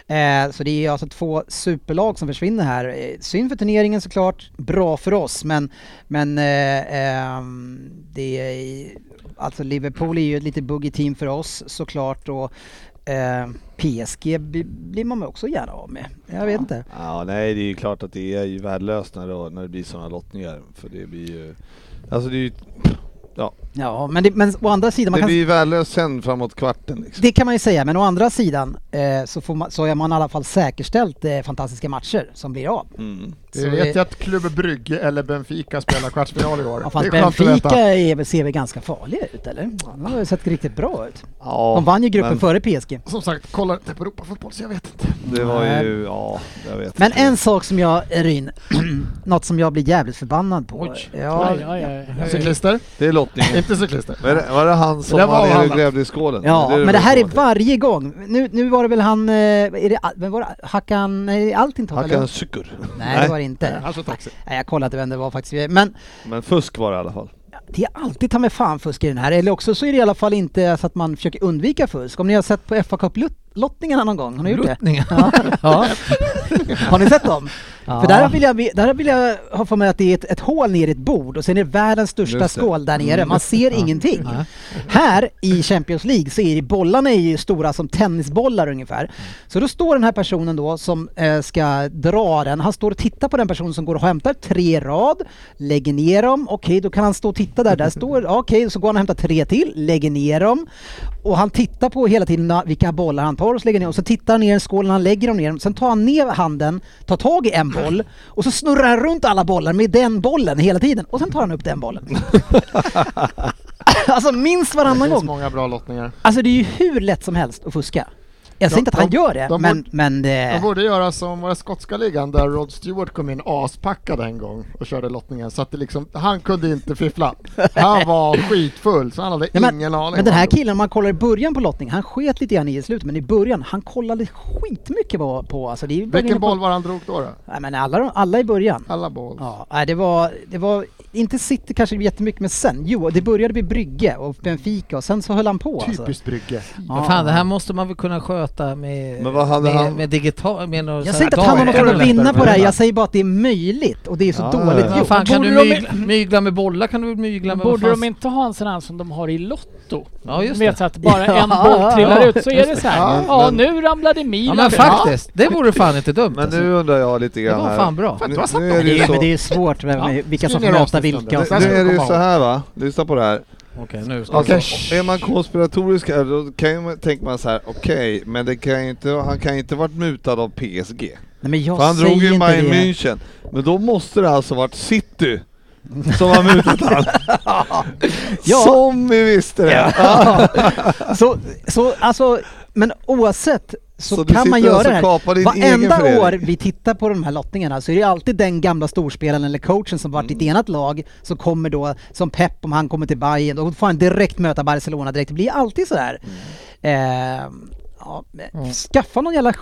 [SPEAKER 3] Eh, så det är ju alltså två superlag som försvinner här. Eh, Synd för turneringen såklart, bra för oss men, men eh, ehm, det är, alltså Liverpool är ju ett lite buggy team för oss såklart och eh, PSG bli- blir man också gärna av med. Jag vet inte.
[SPEAKER 7] Ja, nej, det är ju klart att det är ju värdelöst när det, när det blir sådana lottningar. För det blir ju... Alltså det, är ju,
[SPEAKER 3] Ja, men, det, men å andra sidan, man
[SPEAKER 7] det
[SPEAKER 3] kan,
[SPEAKER 7] blir ju värdelöst sen framåt kvarten liksom.
[SPEAKER 3] det kan man ju säga, men å andra sidan eh, så, får man, så är man i alla fall säkerställt eh, fantastiska matcher som blir av.
[SPEAKER 7] Mm.
[SPEAKER 3] Så
[SPEAKER 4] Vi
[SPEAKER 3] det-
[SPEAKER 4] vet ju att Klubb Brygge eller Benfica spelar kvartsfinal i år.
[SPEAKER 3] Ja, fast
[SPEAKER 4] det är skönt att
[SPEAKER 3] Benfica
[SPEAKER 4] veta.
[SPEAKER 3] är, väl- ser väl ganska farliga ut eller? De har ju sett riktigt bra ut.
[SPEAKER 7] Ja,
[SPEAKER 3] De vann ju gruppen
[SPEAKER 7] men
[SPEAKER 3] före PSG.
[SPEAKER 4] Som sagt, kollar inte på Europafotboll så jag vet inte.
[SPEAKER 7] Det var
[SPEAKER 3] Nej.
[SPEAKER 7] ju... Ja, jag vet
[SPEAKER 3] Men
[SPEAKER 7] inte.
[SPEAKER 3] en sak som jag, Ryn, något som jag blir jävligt förbannad på.
[SPEAKER 6] Oj.
[SPEAKER 3] Ja,
[SPEAKER 5] Oj, oj, oj.
[SPEAKER 4] Cyklister?
[SPEAKER 7] Det är lottningen.
[SPEAKER 4] inte cyklister.
[SPEAKER 7] Var det, var det han som
[SPEAKER 4] Det var
[SPEAKER 7] var nere
[SPEAKER 4] han.
[SPEAKER 7] och grävde i skålen?
[SPEAKER 3] ja
[SPEAKER 7] är
[SPEAKER 3] men det här är
[SPEAKER 7] väl som
[SPEAKER 3] varje gång. Nu, nu var det väl han, eh, är det, vem var det? Hakan, nej, Altintop?
[SPEAKER 7] Han
[SPEAKER 3] eller?
[SPEAKER 7] kan cykur.
[SPEAKER 3] Nej, det var det inte.
[SPEAKER 6] Alltså,
[SPEAKER 4] Han kör taxi.
[SPEAKER 3] Nej, jag kollade inte vem det var faktiskt. Men
[SPEAKER 7] Men fusk var det i alla fall.
[SPEAKER 3] det är alltid ta mig fan fusk i den här. Eller också så är det i alla fall inte så att man försöker undvika fusk. Om ni har sett på FA Cup-lottningarna någon gång, har ni gjort det?
[SPEAKER 6] Lottningar.
[SPEAKER 3] Ja. Har ni sett dem? För där vill jag, där vill jag ha för mig att det är ett, ett hål ner i ett bord och sen är det världens största
[SPEAKER 7] Just det.
[SPEAKER 3] skål där nere. Man ser ingenting. Här i Champions League så är det, bollarna är ju stora som tennisbollar ungefär. Så då står den här personen då som eh, ska dra den. Han står och tittar på den personen som går och hämtar tre rad, lägger ner dem. Okej, då kan han stå och titta där. Där står, ja, okej, så går han och hämtar tre till, lägger ner dem. Och han tittar på hela tiden na- vilka bollar han tar och så lägger ner Och så tittar han ner i skålen, han lägger dem ner. Sen tar han ner handen, tar tag i en boll och så snurrar han runt alla bollar med den bollen hela tiden. Och sen tar han upp den bollen. alltså minst
[SPEAKER 4] Det
[SPEAKER 3] varannan
[SPEAKER 4] finns
[SPEAKER 3] gång.
[SPEAKER 4] många bra lottningar.
[SPEAKER 3] Alltså det är ju hur lätt som helst att fuska. Jag säger
[SPEAKER 4] De-
[SPEAKER 3] inte att han
[SPEAKER 4] de-
[SPEAKER 3] gör det,
[SPEAKER 4] de
[SPEAKER 3] men...
[SPEAKER 4] borde-
[SPEAKER 3] men
[SPEAKER 4] De
[SPEAKER 3] eh,
[SPEAKER 4] borde göra som var det skotska ligan där Rod Stewart kom in aspackad en gång och körde lottningen så att det liksom, han kunde inte fiffla. Han var skitfull så han hade
[SPEAKER 3] nej, men,
[SPEAKER 4] ingen aning.
[SPEAKER 3] men den
[SPEAKER 4] vad
[SPEAKER 3] här
[SPEAKER 4] han
[SPEAKER 3] killen, om man kollar i början på lottningen, han sket lite grann i i slutet, men i början, han kollade skitmycket på... på alltså, det är ju
[SPEAKER 4] gjorde.
[SPEAKER 3] verkligen
[SPEAKER 4] Vilken
[SPEAKER 3] på-
[SPEAKER 4] boll var han drog då? då?
[SPEAKER 3] Nej, men alla, de- alla i början.
[SPEAKER 4] Alla boll.
[SPEAKER 3] Ja, nej, det var, det var inte City kanske jättemycket, men sen, jo, det började bli Brygge och Benfica och sen så höll han på.
[SPEAKER 4] Typiskt
[SPEAKER 3] Alltså.
[SPEAKER 4] Brygge.
[SPEAKER 6] Men fan, det här måste man väl kunna sköta med,
[SPEAKER 7] Men vad hade
[SPEAKER 6] med,
[SPEAKER 7] han-
[SPEAKER 6] med digital... Med någon
[SPEAKER 3] Jag
[SPEAKER 6] sån
[SPEAKER 3] säger inte
[SPEAKER 6] här
[SPEAKER 3] att han har
[SPEAKER 6] dator
[SPEAKER 3] något att
[SPEAKER 6] eller-
[SPEAKER 3] vinna på det här, jag säger bara att det är möjligt och det är så
[SPEAKER 7] Ja,
[SPEAKER 3] dåligt
[SPEAKER 7] ja.
[SPEAKER 6] Vad
[SPEAKER 3] gjort.
[SPEAKER 6] fan, kan
[SPEAKER 5] Borde
[SPEAKER 6] du
[SPEAKER 5] de-
[SPEAKER 6] mygla, mygla med bollar kan du väl mygla med...
[SPEAKER 5] Borde
[SPEAKER 6] vad fan-
[SPEAKER 5] de inte ha en sån här som de har i Lotto?
[SPEAKER 6] Ja, just
[SPEAKER 5] De vet
[SPEAKER 6] det.
[SPEAKER 5] att bara en
[SPEAKER 3] Ja,
[SPEAKER 5] boll trillar
[SPEAKER 6] ja,
[SPEAKER 5] ut så är det så här. Ja,
[SPEAKER 7] Ja, men-
[SPEAKER 5] nu ramlade Milan.
[SPEAKER 6] Ja men
[SPEAKER 5] ut.
[SPEAKER 6] faktiskt, det vore fan inte dumt
[SPEAKER 7] Men
[SPEAKER 6] alltså.
[SPEAKER 7] nu undrar jag lite
[SPEAKER 6] Det
[SPEAKER 7] grann
[SPEAKER 6] var
[SPEAKER 7] här.
[SPEAKER 6] fan bra.
[SPEAKER 7] Nu, nu är det ju
[SPEAKER 3] Nej,
[SPEAKER 7] så,
[SPEAKER 3] men det är svårt vem, vilka som
[SPEAKER 4] Skriv
[SPEAKER 3] får
[SPEAKER 4] ner
[SPEAKER 3] möta
[SPEAKER 4] avsnittet då.
[SPEAKER 3] vilka. Och så.
[SPEAKER 4] Där
[SPEAKER 7] nu
[SPEAKER 4] ska vi
[SPEAKER 7] är det ju
[SPEAKER 4] komma
[SPEAKER 7] så här va, lyssna på det här.
[SPEAKER 6] Okej, nu ska
[SPEAKER 7] Alltså,
[SPEAKER 6] vi
[SPEAKER 7] Är man konspiratorisk här, då kan ju, man- tänker man så här: okej, men det kan ju inte, han kan ju inte varit mutad av PSG.
[SPEAKER 3] Nej, men jag
[SPEAKER 7] För han
[SPEAKER 3] säger
[SPEAKER 7] drog ju
[SPEAKER 3] inte
[SPEAKER 7] Bayern
[SPEAKER 3] det.
[SPEAKER 7] München. Men då måste det alltså varit City som har mutat han.
[SPEAKER 3] Ja.
[SPEAKER 7] Som vi visste det!
[SPEAKER 3] så, så, alltså, men oavsett så,
[SPEAKER 7] Så du
[SPEAKER 3] kan man
[SPEAKER 7] sitter
[SPEAKER 3] göra
[SPEAKER 7] alltså
[SPEAKER 3] det här.
[SPEAKER 7] och kapar din egen
[SPEAKER 3] Varenda
[SPEAKER 7] förening?
[SPEAKER 3] år vi tittar på de här lottningarna så är det alltid den gamla storspelaren eller coachen som varit i ett
[SPEAKER 7] Mm.
[SPEAKER 3] enat lag som kommer då, som Pep om han kommer till Bayern, då får han direkt möta Barcelona direkt. Det blir alltid sådär.
[SPEAKER 7] Mm.
[SPEAKER 3] Eh, ja, Skaffa någon jävla sk-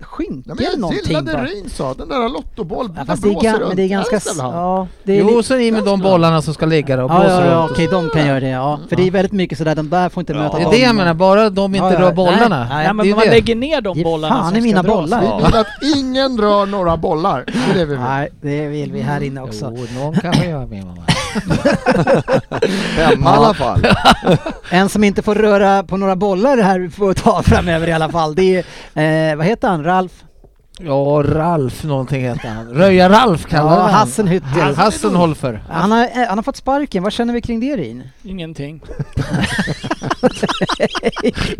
[SPEAKER 3] skynke
[SPEAKER 4] Ja, men
[SPEAKER 3] eller
[SPEAKER 4] jag
[SPEAKER 3] någonting.
[SPEAKER 4] gillade
[SPEAKER 3] bara.
[SPEAKER 4] Ryn sa, den där lottobollen,
[SPEAKER 3] Ja,
[SPEAKER 4] den
[SPEAKER 3] fast det är,
[SPEAKER 4] blåser
[SPEAKER 3] ga- men
[SPEAKER 4] runt.
[SPEAKER 3] det är
[SPEAKER 4] Där
[SPEAKER 3] ganska... s-
[SPEAKER 4] ställer han.
[SPEAKER 3] Ja, det är lite-
[SPEAKER 6] Jo, så in med de bollarna som ska ligga där och
[SPEAKER 3] Ja, ja,
[SPEAKER 6] blåsa
[SPEAKER 3] ja
[SPEAKER 6] runt.
[SPEAKER 3] okej, de kan göra det. Ja. För det är väldigt mycket sådär, de där får inte möta
[SPEAKER 6] Det är
[SPEAKER 3] dem.
[SPEAKER 6] det jag menar, bara de inte
[SPEAKER 3] Ja, ja.
[SPEAKER 6] rör bollarna.
[SPEAKER 3] Nej,
[SPEAKER 5] Nej,
[SPEAKER 6] det
[SPEAKER 5] men
[SPEAKER 6] är
[SPEAKER 5] man
[SPEAKER 6] det.
[SPEAKER 5] lägger ner de
[SPEAKER 3] Ge
[SPEAKER 5] bollarna
[SPEAKER 3] fan
[SPEAKER 5] som
[SPEAKER 3] i
[SPEAKER 5] ska
[SPEAKER 3] mina
[SPEAKER 5] dras.
[SPEAKER 3] bollar.
[SPEAKER 4] Vi vill att ingen rör några bollar. Det är det vi vill.
[SPEAKER 3] Nej, det vill vi här inne också.
[SPEAKER 6] Jo, någon kanske gör med mamma.
[SPEAKER 7] Hemma i alla fall.
[SPEAKER 3] En som inte får röra på några bollar här får ta framöver i alla fall. Det är, eh, vad heter han, Ralf?
[SPEAKER 6] Ja, Ralf någonting heter han. Röja-Ralf kallar
[SPEAKER 3] Ja,
[SPEAKER 6] han.
[SPEAKER 3] Hassenhüttel.
[SPEAKER 6] Hassenholfer.
[SPEAKER 3] Han har, eh, han har fått sparken, vad känner vi kring det Rin?
[SPEAKER 5] Ingenting.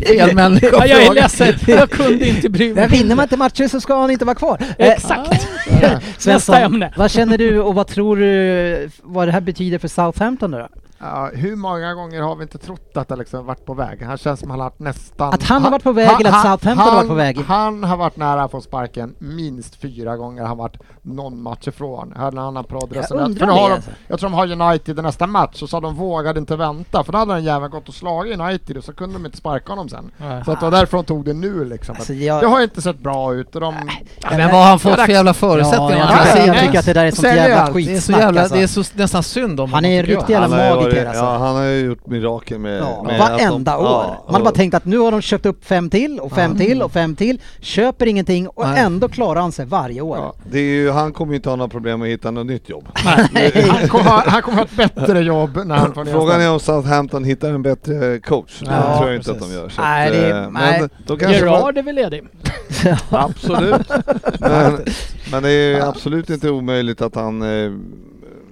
[SPEAKER 6] Fel människa
[SPEAKER 5] Ja,
[SPEAKER 6] att
[SPEAKER 5] jag är
[SPEAKER 6] fråga.
[SPEAKER 5] ledsen, jag kunde inte bry
[SPEAKER 3] Men
[SPEAKER 5] mig.
[SPEAKER 3] vinner man inte matcher så ska han inte vara kvar. Eh,
[SPEAKER 5] Exakt. Nästa ämne.
[SPEAKER 3] vad känner du och vad tror du vad det här betyder för Southampton nu då?
[SPEAKER 4] Ja, hur många gånger har vi inte trott att Alexander varit på väg? Han känns som han har varit nästan...
[SPEAKER 3] Att han har varit på väg eller att
[SPEAKER 4] han-
[SPEAKER 3] Southampton har varit på väg?
[SPEAKER 4] Han har varit nära att få sparken minst fyra gånger. Han har varit någon match ifrån. Hörde han annan prad
[SPEAKER 3] Jag
[SPEAKER 4] resonerat.
[SPEAKER 3] undrar
[SPEAKER 4] För nu har
[SPEAKER 3] det,
[SPEAKER 4] de,
[SPEAKER 3] alltså.
[SPEAKER 4] Jag tror de har United i nästa match och så de vågade inte vänta för då hade den jäveln gått och slagit United och så kunde de inte sparka honom sen. Så att det var därför de tog det nu liksom.
[SPEAKER 3] Alltså, jag-
[SPEAKER 4] Det har inte sett bra ut och de...
[SPEAKER 6] Men vad har han fått för jävla
[SPEAKER 3] Ja,
[SPEAKER 6] förutsättningar?
[SPEAKER 3] jag,
[SPEAKER 6] Han
[SPEAKER 3] tycker,
[SPEAKER 6] ser-
[SPEAKER 3] jag tycker att det där är sånt
[SPEAKER 4] Säljer
[SPEAKER 3] jävla
[SPEAKER 4] allt.
[SPEAKER 6] det är så
[SPEAKER 3] skitsnack
[SPEAKER 6] jävla,
[SPEAKER 3] alltså.
[SPEAKER 6] det är så, nästan synd om
[SPEAKER 3] Han
[SPEAKER 6] honom,
[SPEAKER 3] är en
[SPEAKER 6] tycker jag.
[SPEAKER 3] riktig jävla
[SPEAKER 7] Han har ju
[SPEAKER 3] magiker Inter alltså.
[SPEAKER 7] ja, han har ju gjort mirakel med...
[SPEAKER 3] Ja,
[SPEAKER 7] Eh, med att de-
[SPEAKER 3] varenda år.
[SPEAKER 7] ja,
[SPEAKER 3] Man har bara
[SPEAKER 7] och-
[SPEAKER 3] tänkt att nu har de köpt upp fem till och fem till och fem till. Köper ingenting och
[SPEAKER 6] Nej.
[SPEAKER 3] ändå klarar han sig varje år.
[SPEAKER 7] Ja, det är ju, han kommer ju inte ha några problem att hitta något nytt jobb.
[SPEAKER 4] Han kommer ha- han kommer ha ett bättre jobb när han får
[SPEAKER 7] Frågan är om Southampton hittar en bättre coach. Det
[SPEAKER 6] Ja,
[SPEAKER 7] tror jag inte
[SPEAKER 6] precis.
[SPEAKER 7] att de gör. Så
[SPEAKER 3] Nej,
[SPEAKER 7] att,
[SPEAKER 3] det-
[SPEAKER 7] eh,
[SPEAKER 3] nej.
[SPEAKER 7] Men då kanske man,
[SPEAKER 5] Gerard är väl ledig?
[SPEAKER 7] Absolut. men, men det är ju absolut inte omöjligt att han... eh,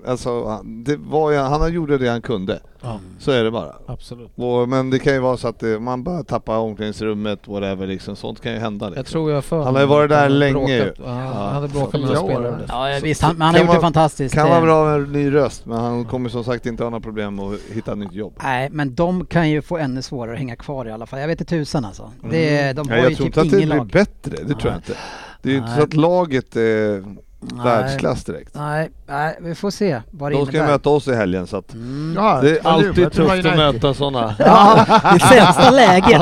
[SPEAKER 7] Alltså, han- det var ju, han gjorde det han kunde.
[SPEAKER 6] Ja.
[SPEAKER 7] Så är det bara.
[SPEAKER 6] Absolut.
[SPEAKER 7] Och, men det kan ju vara så att det, man bara tappar omklädningsrummet, whatever liksom. Sånt kan ju hända. Liksom.
[SPEAKER 6] Jag tror jag för
[SPEAKER 7] Han har ju varit där
[SPEAKER 6] Han
[SPEAKER 7] länge
[SPEAKER 6] bråkat-
[SPEAKER 7] ju.
[SPEAKER 6] ja, Han hade bråkat med
[SPEAKER 4] Ja.
[SPEAKER 6] några spelare.
[SPEAKER 3] Ja, visst, han, men han har
[SPEAKER 7] kan
[SPEAKER 3] gjort det
[SPEAKER 7] vara-
[SPEAKER 3] fantastiskt.
[SPEAKER 7] Kan vara
[SPEAKER 3] Eh,
[SPEAKER 7] bra med en ny röst, men han kommer som sagt inte ha några problem att hitta ett nytt jobb.
[SPEAKER 3] Nej, men de kan ju få ännu svårare att hänga kvar i alla fall. Jag vet inte tusan alltså. Det, de har
[SPEAKER 7] Nej, Mm. jag
[SPEAKER 3] ju
[SPEAKER 7] tror
[SPEAKER 3] typ
[SPEAKER 7] inte att
[SPEAKER 3] ingen
[SPEAKER 7] det blir
[SPEAKER 3] lag.
[SPEAKER 7] bättre, det tror jag inte. Det är ju inte så att laget eh, är världsklass direkt.
[SPEAKER 3] Nej, nej, vi får se vad det
[SPEAKER 7] De ska ju
[SPEAKER 3] innebär. Mm.
[SPEAKER 7] möta oss i helgen så att
[SPEAKER 4] Ja,
[SPEAKER 7] det är
[SPEAKER 4] nu,
[SPEAKER 7] alltid
[SPEAKER 4] det var
[SPEAKER 7] tufft att
[SPEAKER 4] United.
[SPEAKER 7] möta sådana.
[SPEAKER 3] Ja, det sämsta läget.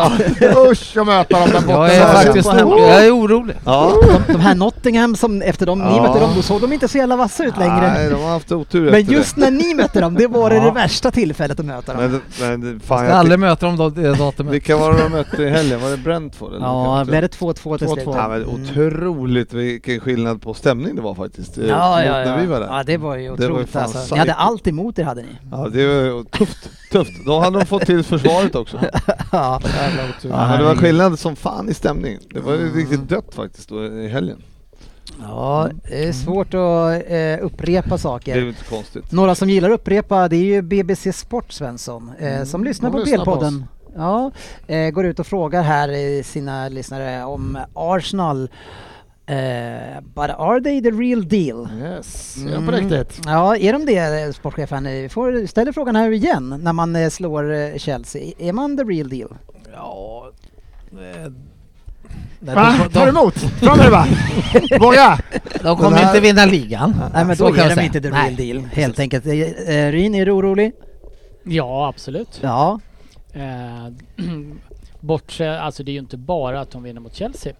[SPEAKER 4] Usch att möta dem där borta.
[SPEAKER 6] Jag är faktiskt
[SPEAKER 7] kämpa hemma.
[SPEAKER 6] jag är orolig.
[SPEAKER 7] Ja.
[SPEAKER 3] De här Nottingham som efter de, ni
[SPEAKER 7] Ja.
[SPEAKER 3] mötte dem, då såg de inte så jävla vassa ut längre.
[SPEAKER 7] Nej, de har haft otur
[SPEAKER 3] Men
[SPEAKER 7] efter
[SPEAKER 3] just när ni mötte dem, det var det,
[SPEAKER 6] Ja.
[SPEAKER 3] det värsta tillfället att möta
[SPEAKER 7] det.
[SPEAKER 3] dem.
[SPEAKER 7] Men, men
[SPEAKER 6] Jag
[SPEAKER 7] fan,
[SPEAKER 6] ska
[SPEAKER 7] jag
[SPEAKER 6] aldrig möta dem då, det
[SPEAKER 7] tyck-
[SPEAKER 6] datumet.
[SPEAKER 7] vilka var det de mötte i helgen? Var det Brentford? Eller
[SPEAKER 3] Ja,
[SPEAKER 7] vilka
[SPEAKER 3] blev
[SPEAKER 7] mötte
[SPEAKER 3] det 2-2 till slut? Mm.
[SPEAKER 4] 2-2.
[SPEAKER 7] de? Ja, men otroligt vilken skillnad på stämning det var faktiskt. eh,
[SPEAKER 3] Ja,
[SPEAKER 7] mot
[SPEAKER 3] ja, ja.
[SPEAKER 7] När vi var där.
[SPEAKER 3] ja, det var ju
[SPEAKER 7] Det var ju
[SPEAKER 3] otroligt
[SPEAKER 7] fan
[SPEAKER 3] alltså.
[SPEAKER 7] psycho.
[SPEAKER 3] Ni hade allt emot er hade ni.
[SPEAKER 7] Ja, det var tufft. tufft. Då hade de fått till försvaret också.
[SPEAKER 3] Ja.
[SPEAKER 7] Ja, men det var skillnad som fan i stämning. Det var
[SPEAKER 3] Mm.
[SPEAKER 7] ju riktigt dött faktiskt då i helgen.
[SPEAKER 3] ja, det är svårt att eh, upprepa
[SPEAKER 7] Det är ju
[SPEAKER 3] saker.
[SPEAKER 7] inte konstigt.
[SPEAKER 3] Några som gillar att upprepa, det är ju BBC Sport Svensson,
[SPEAKER 7] Mm.
[SPEAKER 3] eh, som lyssnar
[SPEAKER 4] de
[SPEAKER 3] på
[SPEAKER 4] lyssnar på
[SPEAKER 3] Spelpodden. Ja, eh, går ut och frågar här i sina lyssnare om
[SPEAKER 7] Mm.
[SPEAKER 3] Arsenal. Eh, but are they the real deal?
[SPEAKER 4] Yes, ja,
[SPEAKER 7] Mm.
[SPEAKER 4] på riktigt.
[SPEAKER 3] Mm. Ja, är de det eh, sportchefen? Vi får ställa frågan här igen när man eh, slår eh, Chelsea. Är man the real deal?
[SPEAKER 6] Ja... eh, Nej,
[SPEAKER 4] Va?
[SPEAKER 6] de,
[SPEAKER 4] Tar du
[SPEAKER 6] de,
[SPEAKER 4] emot? Fram med det bara! Våga!
[SPEAKER 6] de kommer
[SPEAKER 7] Den här-
[SPEAKER 6] inte vinna ligan.
[SPEAKER 3] Nej men
[SPEAKER 6] Så
[SPEAKER 3] då
[SPEAKER 6] kan jag
[SPEAKER 3] är de
[SPEAKER 6] säga.
[SPEAKER 3] inte the
[SPEAKER 6] Nej.
[SPEAKER 3] real deal helt enkelt. Eh, eh, Ryn, är du orolig?
[SPEAKER 5] Ja, absolut.
[SPEAKER 3] Ja.
[SPEAKER 5] Eh, bortse, alltså det är ju inte bara att de vinner mot Chelsea.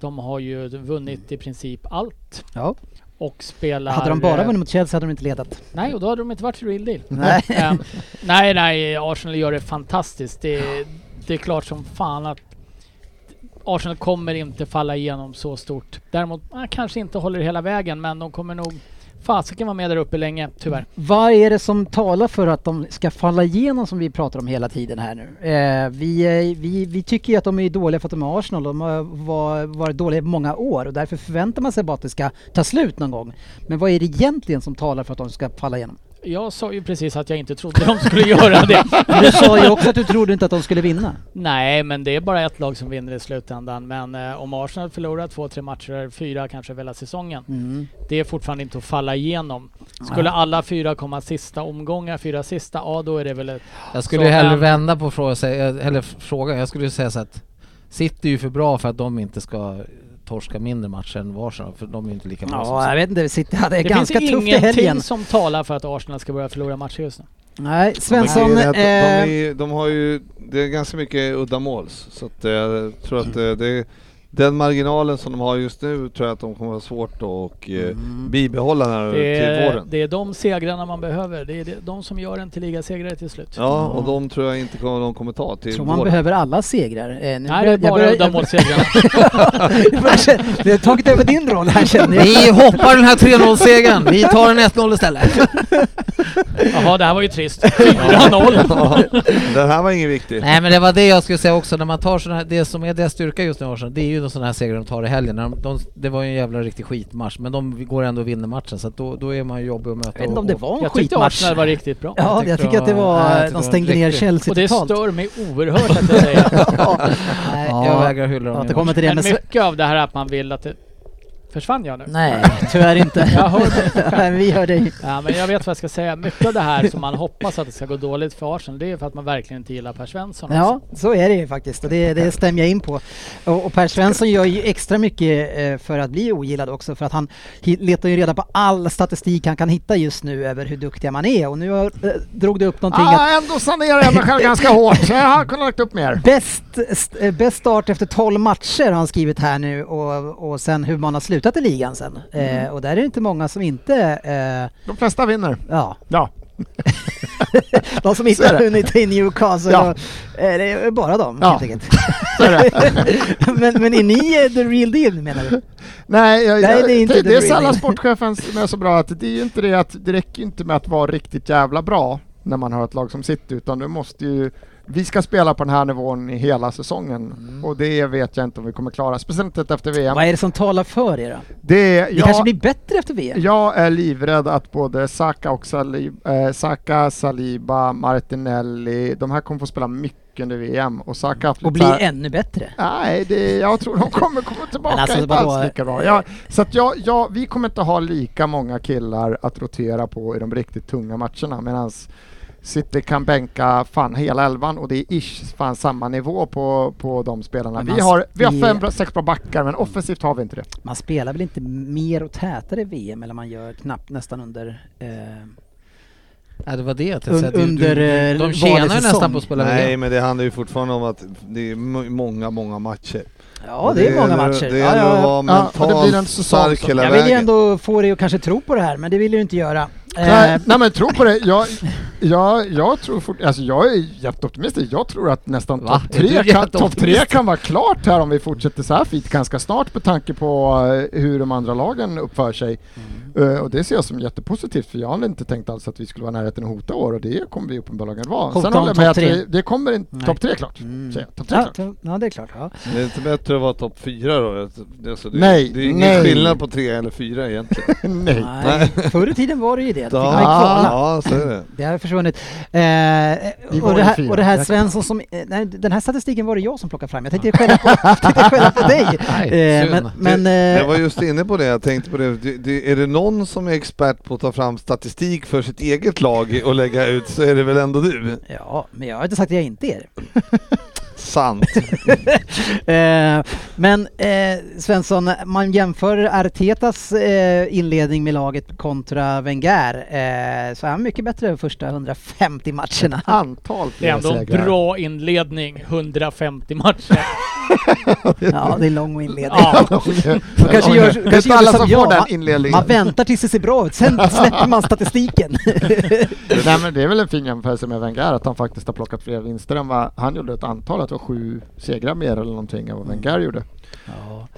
[SPEAKER 5] De har ju vunnit i princip allt
[SPEAKER 3] ja.
[SPEAKER 5] och spelar...
[SPEAKER 3] Hade de bara
[SPEAKER 5] eh,
[SPEAKER 3] vunnit mot Chelsea hade de inte ledat.
[SPEAKER 5] Nej, och då hade de inte varit real deal.
[SPEAKER 3] Nej.
[SPEAKER 5] Eh, nej, nej, Arsenal gör det fantastiskt. Det, det är klart som fan att Arsenal kommer inte falla igenom så stort. Däremot eh, kanske inte håller hela vägen, men de kommer nog fasiken vara med där uppe länge, tyvärr.
[SPEAKER 3] Vad är det som talar för att de ska falla igenom som vi pratar om hela tiden här nu? Eh, vi, eh, vi, vi tycker ju att de är dåliga för att de är Arsenal. De har var- varit dåliga i många år och därför förväntar man sig bara att det ska ta slut någon gång. Men vad är det egentligen som talar för att de ska falla igenom?
[SPEAKER 5] Jag sa ju precis att jag inte trodde de skulle göra det.
[SPEAKER 3] Du sa ju också att du trodde inte att de skulle vinna.
[SPEAKER 5] Nej, men det är bara ett lag som vinner i slutändan. Men eh, om Arsenal förlorar två, tre matcher, fyra kanske över hela säsongen. Det är fortfarande inte att falla igenom. Skulle alla fyra komma sista omgångar, fyra sista, ja då är det väl ett...
[SPEAKER 6] Jag skulle
[SPEAKER 5] Så,
[SPEAKER 6] ju hellre
[SPEAKER 5] ehm,
[SPEAKER 6] vända på frågan, eller frågan, jag skulle ju säga så att City är ju för bra för att de inte ska torska mindre matcher än Arsenal, för de är ju inte lika bra som
[SPEAKER 3] Ja, jag
[SPEAKER 6] City.
[SPEAKER 3] vet inte. City hade det
[SPEAKER 5] Det
[SPEAKER 3] ganska
[SPEAKER 5] finns
[SPEAKER 3] tufft i helgen.
[SPEAKER 5] ingenting som talar för att Arsenal ska börja förlora matcher just nu.
[SPEAKER 3] Nej,
[SPEAKER 7] Men
[SPEAKER 3] Svensson...
[SPEAKER 7] grejen är att
[SPEAKER 3] eh,
[SPEAKER 7] de, de, är, de har ju, det är ganska mycket udda mål. Så att eh, jag tror att eh, det är, den marginalen som de har just nu tror jag att de kommer ha svårt att och, eh, bibehålla när,
[SPEAKER 5] Mm. Det
[SPEAKER 7] till
[SPEAKER 5] är,
[SPEAKER 7] våren.
[SPEAKER 5] det är de segrarna man behöver. Det är det- de som gör en till ligasegrare till slut.
[SPEAKER 7] Ja, och de tror jag inte kommer, de kommer ta till
[SPEAKER 3] tror man
[SPEAKER 7] våren.
[SPEAKER 3] behöver alla segrar. Eh, nu
[SPEAKER 5] Nej,
[SPEAKER 3] börjar-
[SPEAKER 5] det är
[SPEAKER 3] jag
[SPEAKER 5] bara
[SPEAKER 3] börjar-
[SPEAKER 5] udda
[SPEAKER 3] jag
[SPEAKER 5] målsegrarna.
[SPEAKER 3] börjar- Det har tagit över din roll här känner jag.
[SPEAKER 6] Vi hoppar den här 3-0-segern, vi tar en 1-0 istället.
[SPEAKER 5] Jaha, det här var ju trist. 4-0.
[SPEAKER 7] Ja, den här var ingen viktig.
[SPEAKER 6] Nej men det var det jag skulle säga också, när man tar sådana här, det som är deras styrka just nu Arsenal, det är ju de sådana här segrar de tar i helgen. När De, de, det var ju en jävla riktig skitmatch, men de går ändå och vinner matchen så att då, då är man ju jobbig att möta.
[SPEAKER 3] Jag vet inte
[SPEAKER 6] och-
[SPEAKER 3] om det
[SPEAKER 6] och-
[SPEAKER 3] var en
[SPEAKER 5] Jag tyckte
[SPEAKER 3] skitmatch.
[SPEAKER 5] Arsenal var riktigt bra.
[SPEAKER 3] Ja, jag tycker att det
[SPEAKER 6] Nej, jag
[SPEAKER 3] var...
[SPEAKER 6] tyckte
[SPEAKER 3] De
[SPEAKER 6] det
[SPEAKER 3] stängde
[SPEAKER 6] var
[SPEAKER 3] ner
[SPEAKER 6] riktigt.
[SPEAKER 3] Chelsea
[SPEAKER 5] Och det
[SPEAKER 3] totalt.
[SPEAKER 5] stör mig oerhört att jag säger det.
[SPEAKER 3] Nej,
[SPEAKER 6] Jag vägrar hylla dem.
[SPEAKER 3] Jag återkommer till det
[SPEAKER 5] Men
[SPEAKER 3] med... Sve-
[SPEAKER 5] mycket av det här att man vill att det... Försvann jag nu?
[SPEAKER 3] Nej, tyvärr inte.
[SPEAKER 5] Jag hör
[SPEAKER 3] Nej, Vi hör dig.
[SPEAKER 5] Ja, men jag vet vad jag ska säga. Mycket av det här som man hoppas att det ska gå dåligt för Arsenal, det är för att man verkligen inte gillar Per Svensson.
[SPEAKER 3] Ja, så är det ju faktiskt och det, det stämmer jag in på. Och, och Per Svensson gör ju extra mycket eh, för att bli ogillad också för att han hi- letar ju reda på all statistik han kan hitta just nu över hur duktiga man är och nu har, eh, drog du upp någonting att
[SPEAKER 4] Ah, ändå sanerar jag mig själv ganska hårt, så jag har kunnat lagt upp mer.
[SPEAKER 3] Bäst, st- eh, bäst start efter 12 matcher har han skrivit här nu och, och sen hur man har slutat i ligan sen.
[SPEAKER 4] Mm.
[SPEAKER 3] Eh, och där är det inte många som inte... Eh,
[SPEAKER 4] De flesta vinner.
[SPEAKER 3] ja.
[SPEAKER 4] Ja.
[SPEAKER 3] De som
[SPEAKER 4] Så
[SPEAKER 3] inte
[SPEAKER 4] är
[SPEAKER 3] har
[SPEAKER 4] det.
[SPEAKER 3] hunnit till Newcastle.
[SPEAKER 4] Ja.
[SPEAKER 3] Och, eh, det är bara dem
[SPEAKER 4] Ja.
[SPEAKER 3] helt enkelt.
[SPEAKER 4] Så är det.
[SPEAKER 3] men, men är ni eh, the real deal menar du?
[SPEAKER 4] Nej, jag,
[SPEAKER 3] Nej,
[SPEAKER 4] jag-
[SPEAKER 3] det är inte
[SPEAKER 4] det,
[SPEAKER 3] the
[SPEAKER 4] det är
[SPEAKER 3] real
[SPEAKER 4] sällan
[SPEAKER 3] deal.
[SPEAKER 4] sportchefen som är så bra att det är ju inte det att det räcker ju inte med att vara riktigt jävla bra när man har ett lag som City utan du måste ju vi ska spela på den här nivån i hela säsongen
[SPEAKER 3] Mm.
[SPEAKER 4] och det vet jag inte om vi kommer klara, speciellt inte efter VM.
[SPEAKER 3] Vad är det som talar för er då?
[SPEAKER 4] Det,
[SPEAKER 3] Det
[SPEAKER 4] jag,
[SPEAKER 3] kanske blir bättre efter VM?
[SPEAKER 4] jag är livrädd att både Saka och Salib, eh, Saka, Saliba, Martinelli, de här kommer få spela mycket under VM och Saka har haft
[SPEAKER 3] Och
[SPEAKER 4] lite
[SPEAKER 3] bli
[SPEAKER 4] så här-
[SPEAKER 3] ännu bättre?
[SPEAKER 4] Nej, det, jag tror de kommer komma tillbaka
[SPEAKER 3] Men alltså,
[SPEAKER 4] inte
[SPEAKER 3] vadå?
[SPEAKER 4] alls lika bra. Ja, så att jag, jag, vi kommer inte ha lika många killar att rotera på i de riktigt tunga matcherna medan City kan bänka fan hela elvan och det är ish fan samma nivå på, på de spelarna.
[SPEAKER 3] Men alltså,
[SPEAKER 4] Vi
[SPEAKER 3] man-
[SPEAKER 4] har, vi har
[SPEAKER 3] vi-
[SPEAKER 4] fem, bra- sex bra backar men offensivt har vi inte det.
[SPEAKER 3] Man spelar väl inte mer och tätare i VM eller man gör knappt nästan under... Eh,
[SPEAKER 6] Ja, det var det jag
[SPEAKER 3] Un-
[SPEAKER 6] tänkte säga. Du-
[SPEAKER 3] under,
[SPEAKER 6] du-
[SPEAKER 3] eh,
[SPEAKER 6] De
[SPEAKER 3] vanlig
[SPEAKER 6] tjänar ju nästan
[SPEAKER 3] säsong.
[SPEAKER 6] på att spela
[SPEAKER 7] Nej,
[SPEAKER 6] VM.
[SPEAKER 7] men det handlar ju fortfarande om att det är m- många, många matcher.
[SPEAKER 3] ja, det är många
[SPEAKER 7] gäller-
[SPEAKER 3] matcher.
[SPEAKER 7] Det
[SPEAKER 3] ja,
[SPEAKER 7] gäller
[SPEAKER 3] ja,
[SPEAKER 7] att
[SPEAKER 3] ja.
[SPEAKER 7] vara
[SPEAKER 4] Ja, och det blir en
[SPEAKER 7] mentalt
[SPEAKER 4] säsong
[SPEAKER 7] stark
[SPEAKER 4] som-
[SPEAKER 7] hela
[SPEAKER 3] Jag vill ju
[SPEAKER 7] vägen.
[SPEAKER 3] ändå få dig att kanske tro på det här, men det vill du inte göra.
[SPEAKER 4] Nej,
[SPEAKER 3] Eh,
[SPEAKER 4] nej men tro på det. Jag, jag, jag tror fort, alltså jag är jätteoptimistisk. Jag tror att nästan
[SPEAKER 6] Va?
[SPEAKER 4] topp
[SPEAKER 6] Är du
[SPEAKER 4] tre, kan, top
[SPEAKER 6] jätteoptimist?
[SPEAKER 4] tre kan vara klart här om vi fortsätter så här fint ganska snart med tanke på eh, hur de andra lagen uppför sig.
[SPEAKER 3] Mm.
[SPEAKER 4] Eh, och det ser jag som jättepositivt för jag hade inte tänkt alls att vi skulle vara i närheten att hota år och det kommer vi uppenbarligen vara.
[SPEAKER 3] Hota
[SPEAKER 4] Sen
[SPEAKER 3] om
[SPEAKER 4] håller jag med
[SPEAKER 3] topp
[SPEAKER 4] att
[SPEAKER 3] tre.
[SPEAKER 4] vi, det kommer
[SPEAKER 3] Nej.
[SPEAKER 4] inte topp tre klart.
[SPEAKER 3] Mm.
[SPEAKER 4] säger jag. Topp tre
[SPEAKER 3] ja,
[SPEAKER 4] klart.
[SPEAKER 3] t- ja, det är klart. Ja.
[SPEAKER 7] Det är inte bättre att vara topp fyra då? Det- Alltså, det,
[SPEAKER 4] Nej,
[SPEAKER 7] det är ingen
[SPEAKER 4] nej.
[SPEAKER 7] skillnad på tre eller fyra egentligen.
[SPEAKER 4] Nej.
[SPEAKER 3] Nej. Förr i tiden var det ju det. Då fick man ju kvala.
[SPEAKER 7] ja, så är det.
[SPEAKER 3] Det har försvunnit. Eh,
[SPEAKER 4] var
[SPEAKER 3] och, det
[SPEAKER 4] ju
[SPEAKER 3] här,
[SPEAKER 4] fyra.
[SPEAKER 3] och det här
[SPEAKER 4] Tack.
[SPEAKER 3] Svensson som... eh, Nej, den här statistiken var det jag som plockade fram. Jag tänkte skälla på, tänkte skälla på dig.
[SPEAKER 6] Nej,
[SPEAKER 3] Eh, men
[SPEAKER 6] synd.
[SPEAKER 3] men
[SPEAKER 7] Jag
[SPEAKER 3] eh,
[SPEAKER 7] var just inne på det, jag tänkte på det. det, det är det någon som är expert på att ta fram statistik för sitt eget lag och lägga ut så är det väl ändå du?
[SPEAKER 3] ja, men jag har inte sagt att jag inte är det.
[SPEAKER 7] Sant.
[SPEAKER 3] Eh, men eh, Svensson, man jämför Artetas eh, inledning med laget kontra Wenger eh, så är han mycket bättre de första 150 matcherna.
[SPEAKER 4] Antal
[SPEAKER 5] Det är ändå en
[SPEAKER 4] segrar.
[SPEAKER 5] bra inledning, 150 matcher.
[SPEAKER 3] Ja, det är lång inledning.
[SPEAKER 5] Ja.
[SPEAKER 3] De kanske gör,
[SPEAKER 4] Det är
[SPEAKER 3] kanske
[SPEAKER 4] inte
[SPEAKER 3] gör
[SPEAKER 4] alla
[SPEAKER 3] som
[SPEAKER 4] som
[SPEAKER 3] jag.
[SPEAKER 4] får den
[SPEAKER 3] Man,
[SPEAKER 4] inledningen.
[SPEAKER 3] man väntar tills det ser bra ut, sen släpper man statistiken.
[SPEAKER 4] Nej men det är väl en fin jämförelse med Wenger att han faktiskt har plockat fler vinster än vad han gjorde ett antal, att det var sju segrar mer eller någonting än vad Wenger gjorde.
[SPEAKER 3] Ja.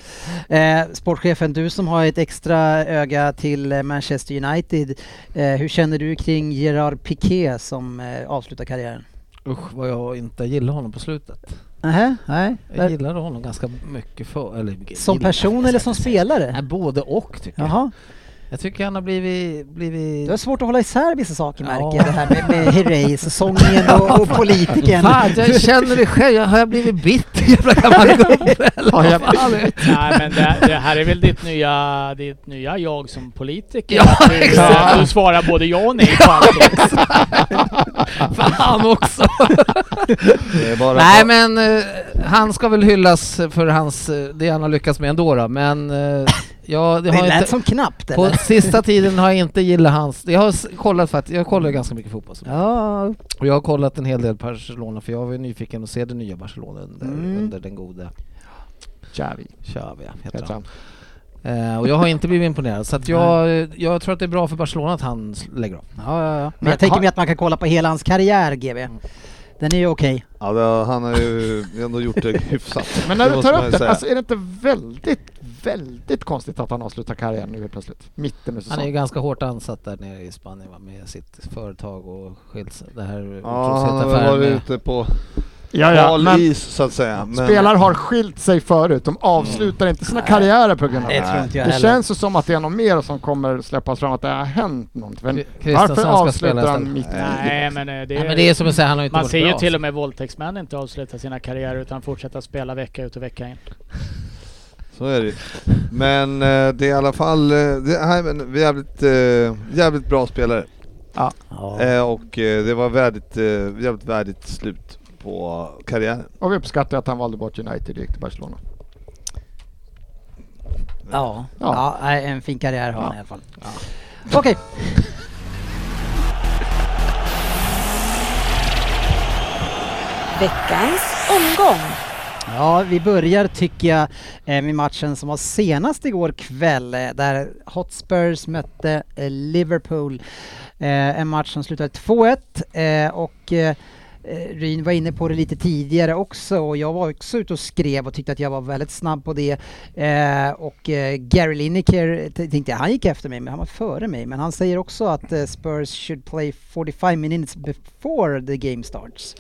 [SPEAKER 3] Eh, sportchefen, du som har ett extra öga till eh, Manchester United. Eh, hur känner du kring Gerard Piqué som eh, avslutar karriären?
[SPEAKER 6] Usch vad jag inte gillar honom på slutet.
[SPEAKER 3] Nähä, nej.
[SPEAKER 6] Jag gillade honom ganska mycket för, eller,
[SPEAKER 3] Som
[SPEAKER 6] gillar,
[SPEAKER 3] person eller som
[SPEAKER 6] Nej,
[SPEAKER 3] spelare?
[SPEAKER 6] både och tycker jag.
[SPEAKER 3] Jaha,
[SPEAKER 6] Jag tycker han har blivit... blivit
[SPEAKER 3] det var svårt att hålla isär vissa saker
[SPEAKER 6] Ja.
[SPEAKER 3] märker jag. Det här med, med Herrey-säsongen och, och politikern.
[SPEAKER 6] Fan, jag känner det själv. Jag- Har jag blivit bitter jävla gammal gubbe? eller
[SPEAKER 4] Ja, jag-
[SPEAKER 6] vad fan är det?
[SPEAKER 5] Nej men det, det här är väl ditt nya, ditt nya jag som politiker?
[SPEAKER 6] Ja,
[SPEAKER 5] Att du,
[SPEAKER 6] exakt.
[SPEAKER 5] du svarar både ja och nej på allting.
[SPEAKER 6] Fan också!
[SPEAKER 7] Det är bara
[SPEAKER 6] Nej men eh, han ska väl hyllas för hans, eh, det han har lyckats med ändå då, men eh, ja, det
[SPEAKER 3] Det
[SPEAKER 6] har
[SPEAKER 3] lät
[SPEAKER 6] inte,
[SPEAKER 3] som knappt
[SPEAKER 6] på
[SPEAKER 3] eller?
[SPEAKER 6] sista tiden har jag inte gillat hans, jag har s- kollat faktiskt, jag kollar ju ganska mycket fotboll så.
[SPEAKER 3] Ja,
[SPEAKER 6] och jag har kollat en hel del Barcelona för jag var ju nyfiken att se det nya Barcelona under,
[SPEAKER 3] Mm.
[SPEAKER 6] under den gode
[SPEAKER 4] Xavi
[SPEAKER 6] Xavi heter
[SPEAKER 4] heter
[SPEAKER 6] han.
[SPEAKER 4] han.
[SPEAKER 6] Eh, och jag har inte blivit imponerad så att jag, jag tror att det är bra för Barcelona att han s- lägger av.
[SPEAKER 3] ja, ja, ja. Men
[SPEAKER 4] Men
[SPEAKER 3] jag tänker
[SPEAKER 4] har-
[SPEAKER 3] mig att man kan kolla på hela hans karriär, GB. Den är ju okej.
[SPEAKER 7] Ja, det, han har ju ändå gjort det hyfsat.
[SPEAKER 4] Men när
[SPEAKER 7] Det
[SPEAKER 4] du
[SPEAKER 7] måste man
[SPEAKER 4] tar
[SPEAKER 7] ju
[SPEAKER 4] upp det,
[SPEAKER 7] säga.
[SPEAKER 4] alltså är det inte väldigt, väldigt konstigt att han avslutar karriären nu helt plötsligt? Mitten i
[SPEAKER 6] Han är ju
[SPEAKER 4] säsongen.
[SPEAKER 6] ganska hårt ansatt där nere i Spanien va, med sitt företag och skils... Det här
[SPEAKER 7] Ja, han har väl
[SPEAKER 6] affären
[SPEAKER 7] varit
[SPEAKER 6] med-
[SPEAKER 7] ute på
[SPEAKER 4] Ja, ja,
[SPEAKER 7] hal
[SPEAKER 4] men
[SPEAKER 7] is så att säga. Men,
[SPEAKER 4] spelare har skilt sig förut, de avslutar inte sina karriärer på grund av
[SPEAKER 3] Det
[SPEAKER 4] det.
[SPEAKER 3] tror inte jag
[SPEAKER 4] Det
[SPEAKER 3] heller.
[SPEAKER 4] känns ju som att det är någon mer som kommer släppas fram, att det har hänt någonting. Men
[SPEAKER 6] Kristensen
[SPEAKER 4] varför
[SPEAKER 6] ska spela
[SPEAKER 4] avslutar
[SPEAKER 6] istället.
[SPEAKER 4] han mitt
[SPEAKER 5] Nej men eh, det
[SPEAKER 6] Nej, men det är
[SPEAKER 5] är...
[SPEAKER 6] som att säga, han har inte
[SPEAKER 5] Man
[SPEAKER 6] varit
[SPEAKER 5] ser ju
[SPEAKER 6] bra.
[SPEAKER 5] till och med våldtäktsmän inte avsluta sina karriärer utan fortsätta spela vecka ut och vecka in.
[SPEAKER 7] Så är det ju. Men eh, det är i alla fall, eh, det, nej, men, jävligt, eh, jävligt bra spelare. Eh, och eh, det var värdigt, eh, jävligt värdigt slut på karriären.
[SPEAKER 4] Och vi uppskattar att han valde bort United och gick till Barcelona.
[SPEAKER 3] Ja,
[SPEAKER 4] Ja.
[SPEAKER 3] ja. nej, en fin karriär har han
[SPEAKER 4] Ja.
[SPEAKER 3] i alla fall. Okej.
[SPEAKER 2] Veckans omgång.
[SPEAKER 3] Ja, vi börjar tycker jag eh, med matchen som var senast igår kväll eh, där Hotspurs mötte eh, Liverpool. Eh, En match som slutade 2-1 eh, och eh, eh, Ryn var inne på det lite tidigare också och jag var också ute och skrev och tyckte att jag var väldigt snabb på det. Eh, och eh, Gary Lineker t- tänkte jag, han gick efter mig men han var före mig. Men han säger också att eh, Spurs should play 45 minutes before the game starts.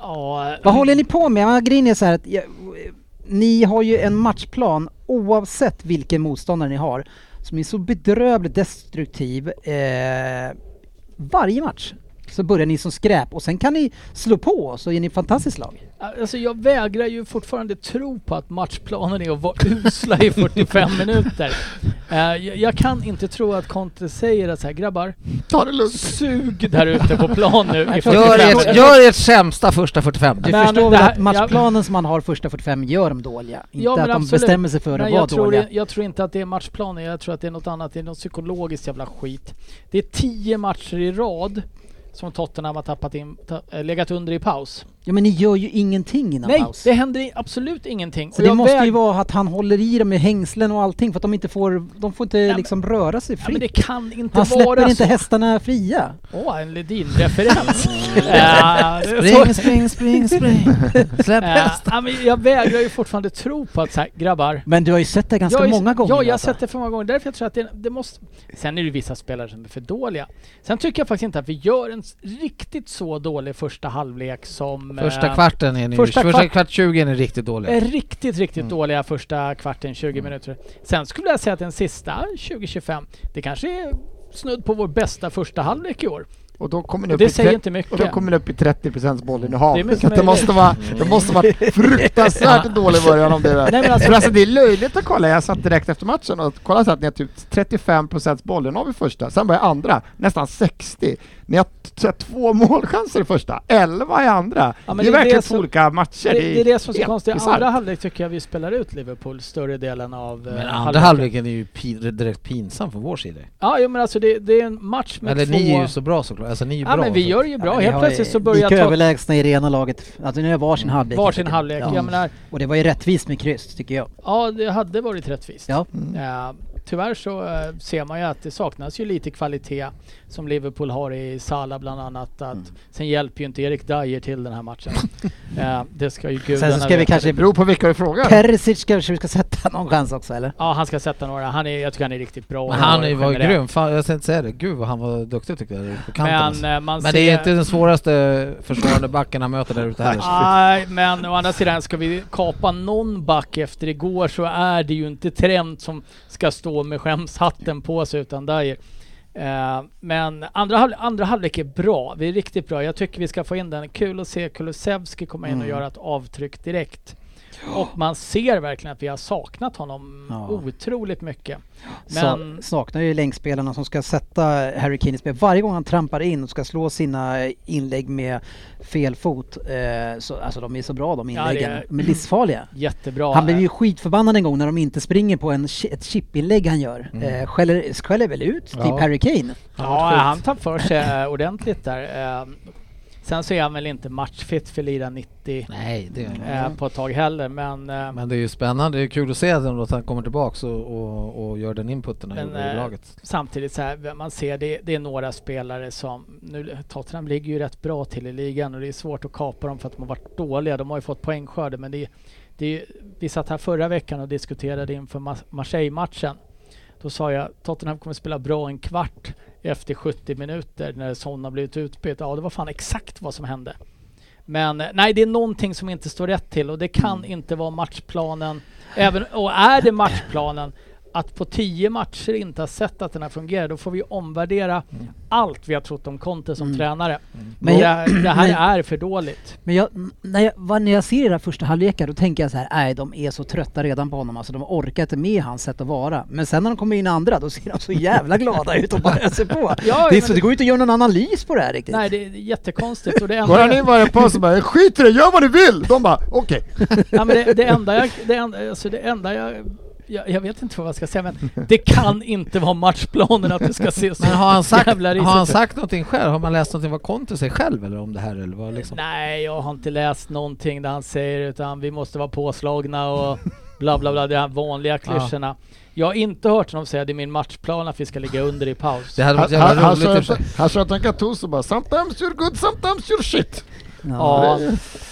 [SPEAKER 5] Ja,
[SPEAKER 3] Vad håller ni på med? Ja, Grejen är så här att jag, ni har ju en matchplan oavsett vilken motståndare ni har som är så bedrövligt destruktiv eh, varje match. Så börjar ni som skräp och sen kan ni slå på så är ni ett fantastiskt lag.
[SPEAKER 5] Alltså jag vägrar ju fortfarande tro på att matchplanen är att vara usla i 45 minuter. Eh, jag, jag kan inte tro att Conte säger att så här grabbar,
[SPEAKER 4] Ta det lugnt.
[SPEAKER 5] sug där ute på plan nu i 45
[SPEAKER 6] Gör
[SPEAKER 5] minuter.
[SPEAKER 6] ert, gör ert sämsta första 45.
[SPEAKER 3] Du
[SPEAKER 5] Men
[SPEAKER 3] förstår
[SPEAKER 5] det
[SPEAKER 3] väl
[SPEAKER 5] här-
[SPEAKER 3] att matchplanen som man har första 45 gör dem dåliga? Inte
[SPEAKER 5] Ja, men
[SPEAKER 3] att de
[SPEAKER 5] absolut.
[SPEAKER 3] bestämmer sig för att
[SPEAKER 5] Nej,
[SPEAKER 3] vara
[SPEAKER 5] jag, tror
[SPEAKER 3] dåliga.
[SPEAKER 5] det, jag tror inte att det är matchplanen, jag tror att det är något annat, det är något psykologiskt jävla skit. Det är tio matcher i rad som Tottenham har tappat in, ta, eh, legat under i paus.
[SPEAKER 3] Ja men ni gör ju ingenting innan
[SPEAKER 5] Nej,
[SPEAKER 3] paus.
[SPEAKER 5] det händer i- absolut ingenting.
[SPEAKER 3] Så
[SPEAKER 5] Och
[SPEAKER 3] det
[SPEAKER 5] jag
[SPEAKER 3] måste ju
[SPEAKER 5] väg-
[SPEAKER 3] vara att han håller i dem med hängslen och allting för att de inte får, de får inte
[SPEAKER 5] men-
[SPEAKER 3] liksom röra sig
[SPEAKER 5] ja, men
[SPEAKER 3] fritt.
[SPEAKER 5] det kan inte
[SPEAKER 3] han
[SPEAKER 5] vara
[SPEAKER 3] släpper inte
[SPEAKER 5] så.
[SPEAKER 3] hästarna fria.
[SPEAKER 5] Åh, en Ledin-referens. ja, det är så-
[SPEAKER 6] Spring, spring, spring, spring. Släpp
[SPEAKER 5] Eh,
[SPEAKER 6] hästen.
[SPEAKER 5] ja, men jag vägrar ju fortfarande tro på att så här, grabbar.
[SPEAKER 3] Men du har ju sett det ganska
[SPEAKER 5] jag är-
[SPEAKER 3] många gånger.
[SPEAKER 5] Ja, jag har
[SPEAKER 3] alltså.
[SPEAKER 5] sett det för många gånger. Därför jag tror att det, det måste... Sen är det vissa spelare som är för dåliga. Sen tycker jag faktiskt inte att vi gör en s- riktigt så dålig första halvlek som...
[SPEAKER 6] Första
[SPEAKER 5] eh,
[SPEAKER 6] kvarten är ni,
[SPEAKER 5] första
[SPEAKER 6] första,
[SPEAKER 5] kvart-
[SPEAKER 6] kvart 20 är ni riktigt dåliga.
[SPEAKER 5] är Riktigt, riktigt dåliga första kvarten, 20 minuter. Sen skulle jag säga att den sista, 20-25, det kanske är snudd på vår bästa första halvlek i år.
[SPEAKER 4] Och då kommer ni
[SPEAKER 5] Och
[SPEAKER 4] upp
[SPEAKER 5] det
[SPEAKER 4] i
[SPEAKER 5] säger
[SPEAKER 4] tre-
[SPEAKER 5] inte
[SPEAKER 4] Och då
[SPEAKER 5] mycket.
[SPEAKER 4] kommer ni upp i 30
[SPEAKER 5] Det är
[SPEAKER 4] bollinnehav.
[SPEAKER 5] mycket
[SPEAKER 4] Så att det
[SPEAKER 5] möjligt.
[SPEAKER 4] måste vara, det måste vara fruktansvärt dålig början om det där.
[SPEAKER 5] Nej, men alltså-
[SPEAKER 4] För alltså det är löjligt att kolla. Jag satt direkt efter matchen och kollade så att ni har typ 35 bollinnehav i första. Sen börjar andra, nästan 60. Ni har t- så här två målchanser i första, 11 i andra.
[SPEAKER 5] men
[SPEAKER 4] det är
[SPEAKER 5] det är
[SPEAKER 4] verkligen
[SPEAKER 5] det
[SPEAKER 4] två
[SPEAKER 5] som-
[SPEAKER 4] olika matcher.
[SPEAKER 5] Det, det är det som är så
[SPEAKER 4] helt
[SPEAKER 5] konstigt. I
[SPEAKER 4] bisarrt.
[SPEAKER 5] andra halvlek tycker jag vi spelar ut Liverpool större delen av eh,
[SPEAKER 6] Men andra
[SPEAKER 5] halvleken.
[SPEAKER 6] halvleken är ju pin, direkt pinsam från vår sida.
[SPEAKER 5] Ja, jo, men alltså det, det är en match med
[SPEAKER 6] Eller
[SPEAKER 5] två...
[SPEAKER 6] ni är ju så bra såklart. Alltså ni är ju
[SPEAKER 5] Ja
[SPEAKER 6] bra.
[SPEAKER 5] men vi
[SPEAKER 6] så-
[SPEAKER 5] gör det ju
[SPEAKER 3] Ja,
[SPEAKER 5] bra.
[SPEAKER 3] men ni
[SPEAKER 5] Helt
[SPEAKER 3] har ju
[SPEAKER 5] plötsligt så börjar
[SPEAKER 3] Lika
[SPEAKER 5] ta Mm.
[SPEAKER 3] överlägsna i det ena laget. Alltså ni har varsin halvlek.
[SPEAKER 5] varsin
[SPEAKER 3] helt
[SPEAKER 5] halvlek.
[SPEAKER 3] enkelt. Ja.
[SPEAKER 5] Jag menar,
[SPEAKER 3] Och det var ju rättvist med kryss tycker jag.
[SPEAKER 5] ja det hade varit rättvist.
[SPEAKER 3] Ja.
[SPEAKER 4] Mm.
[SPEAKER 5] Eh, tyvärr så eh, ser man ju att det saknas ju lite kvalitet som Liverpool har i Salah bland annat.
[SPEAKER 6] Mm.
[SPEAKER 5] Att Sen hjälper ju inte Erik Dyer till den här matchen. Eh, det ska ju gudarna
[SPEAKER 3] Sen så ska vi
[SPEAKER 5] veta.
[SPEAKER 3] kanske...
[SPEAKER 4] Det beror på vilka du frågar.
[SPEAKER 3] Perisic kanske vi ska sätta någon chans också eller?
[SPEAKER 5] Ja han ska sätta några. Han är, jag tycker han är riktigt bra.
[SPEAKER 6] Men han är ju- var ju
[SPEAKER 5] Generellt.
[SPEAKER 6] grym. Fan, jag ska inte säga det. Gud vad han var duktig tyckte jag. På kanten,
[SPEAKER 5] Men,
[SPEAKER 6] alltså.
[SPEAKER 5] eh, man
[SPEAKER 6] men det är
[SPEAKER 5] ser-
[SPEAKER 6] inte den svåraste försvarande backen han möter där ute heller.
[SPEAKER 5] Nej, men å andra sidan ska vi kapa någon back efter igår så är det ju inte Trent som ska stå med skämshatten på sig utan Dyer. Eh, men andra, halv, andra halvlek är bra. Vi är riktigt bra. Jag tycker vi ska få in den. Kul att se Kulusevski komma in
[SPEAKER 3] Mm.
[SPEAKER 5] och göra ett avtryck direkt. Och man ser verkligen att vi har saknat honom
[SPEAKER 3] Ja.
[SPEAKER 5] otroligt mycket.
[SPEAKER 3] Men...
[SPEAKER 5] Men-
[SPEAKER 3] saknar ju längsspelarna som ska sätta Harry Kane i spel. Varje gång han trampar in och ska slå sina inlägg med fel fot. Eh, så, alltså de är så bra de
[SPEAKER 5] Ja, det är-
[SPEAKER 3] inläggen. De är livsfarliga.
[SPEAKER 5] Jättebra.
[SPEAKER 3] Han blev ju skitförbannad en gång när de inte springer på en, chi- ett chipinlägg han gör. Eh, skäller, skäller väl ut typ Harry Kane?
[SPEAKER 5] Ja, han tar för sig eh, ordentligt där. Eh, Sen så är han väl inte matchfit för lira 90
[SPEAKER 6] Nej, det
[SPEAKER 5] eh, på ett tag heller. Men, eh,
[SPEAKER 6] Men det är ju spännande. Det är kul att se ändå att han kommer tillbaks och, och, och gör den inputen han
[SPEAKER 5] Men,
[SPEAKER 6] gjorde i
[SPEAKER 5] eh,
[SPEAKER 6] laget.
[SPEAKER 5] samtidigt så här, man ser det, det är några spelare som, nu Tottenham ligger ju rätt bra till i ligan och det är svårt att kapa dem för att de har varit dåliga. De har ju fått poängskörde men det, är- det är, ju- vi satt här förra veckan och diskuterade inför Ma- Marseille-matchen. Då sa jag Tottenham kommer spela bra en kvart efter 70 minuter när Son har blivit utbytt. Ja, det var fan exakt vad som hände. Men eh, nej, det är någonting som inte står rätt till och det kan inte vara matchplanen. Även, och är det matchplanen, att på tio matcher inte ha sett att den här fungerar, då får vi omvärdera allt vi har trott om Conte som tränare.
[SPEAKER 3] Men
[SPEAKER 5] Men
[SPEAKER 3] jag-
[SPEAKER 5] det, det här
[SPEAKER 3] men-
[SPEAKER 5] är för dåligt.
[SPEAKER 3] Men jag, när, jag, vad- när jag ser era första halvlekar då tänker jag så här, nej de är så trötta redan på honom, alltså de orkar inte med hans sätt att vara. Men sen när de kommer in andra då ser de så jävla glada ut och bara öser på. det,
[SPEAKER 5] Ja,
[SPEAKER 3] är
[SPEAKER 5] men
[SPEAKER 3] så, det går ju inte att göra någon analys på det här riktigt.
[SPEAKER 5] Nej, det är jättekonstigt. Och det
[SPEAKER 4] Går han
[SPEAKER 5] enda,
[SPEAKER 4] in varje paus och bara skit i det, gör vad du vill! De bara okej.
[SPEAKER 5] ja, men det, det enda jag, det enda, alltså det enda jag jag, jag vet inte vad jag ska säga men det kan inte vara matchplanen att det ska se så
[SPEAKER 6] Men har han sagt,
[SPEAKER 5] jävla
[SPEAKER 6] har
[SPEAKER 5] risigt
[SPEAKER 6] han
[SPEAKER 5] ut.
[SPEAKER 6] sagt någonting själv? Har man läst någonting vad Conte säger själv eller om det här eller vad liksom?
[SPEAKER 5] Nej, jag har inte läst någonting där han säger utan vi måste vara påslagna och bla bla bla, de här vanliga klyschorna. Jag har inte hört honom säga det är min matchplan att vi ska ligga under i paus.
[SPEAKER 6] Det hade
[SPEAKER 4] Han
[SPEAKER 6] varit jävla
[SPEAKER 4] han
[SPEAKER 6] roligt i och för sig.
[SPEAKER 4] kör- han kör att han kan tosa bara “Sometimes you're good, sometimes you're shit”.
[SPEAKER 5] Ja,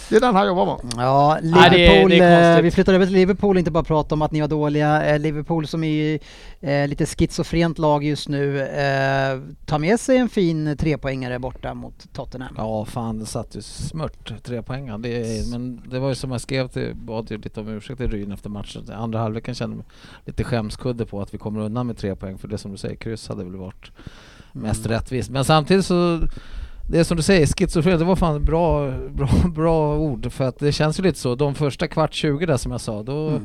[SPEAKER 4] Det är den han jobbar med.
[SPEAKER 3] Ja,
[SPEAKER 5] Nej, det är-
[SPEAKER 3] Liverpool,
[SPEAKER 5] det är konstigt.
[SPEAKER 3] eh, vi flyttar över till Liverpool, inte bara prata om att ni var dåliga. Eh, Liverpool som är ju, eh, lite schizofrent lag just nu, eh, tar med sig en fin trepoängare borta mot Tottenham.
[SPEAKER 6] Ja, fan det satt ju smört, tre poängen. Det, är- men det var ju som jag skrev till, bad ju lite om ursäkt till Ryn efter matchen. Andra halvleken kände jag mig lite skämskudde på att vi kommer undan med tre poäng för det som du säger, kryss hade väl varit mest rättvist. Men samtidigt så, det är som du säger, schizofren, det var fan bra, bra, bra ord för att det känns ju lite så. De första kvart 20 där som jag sa, då,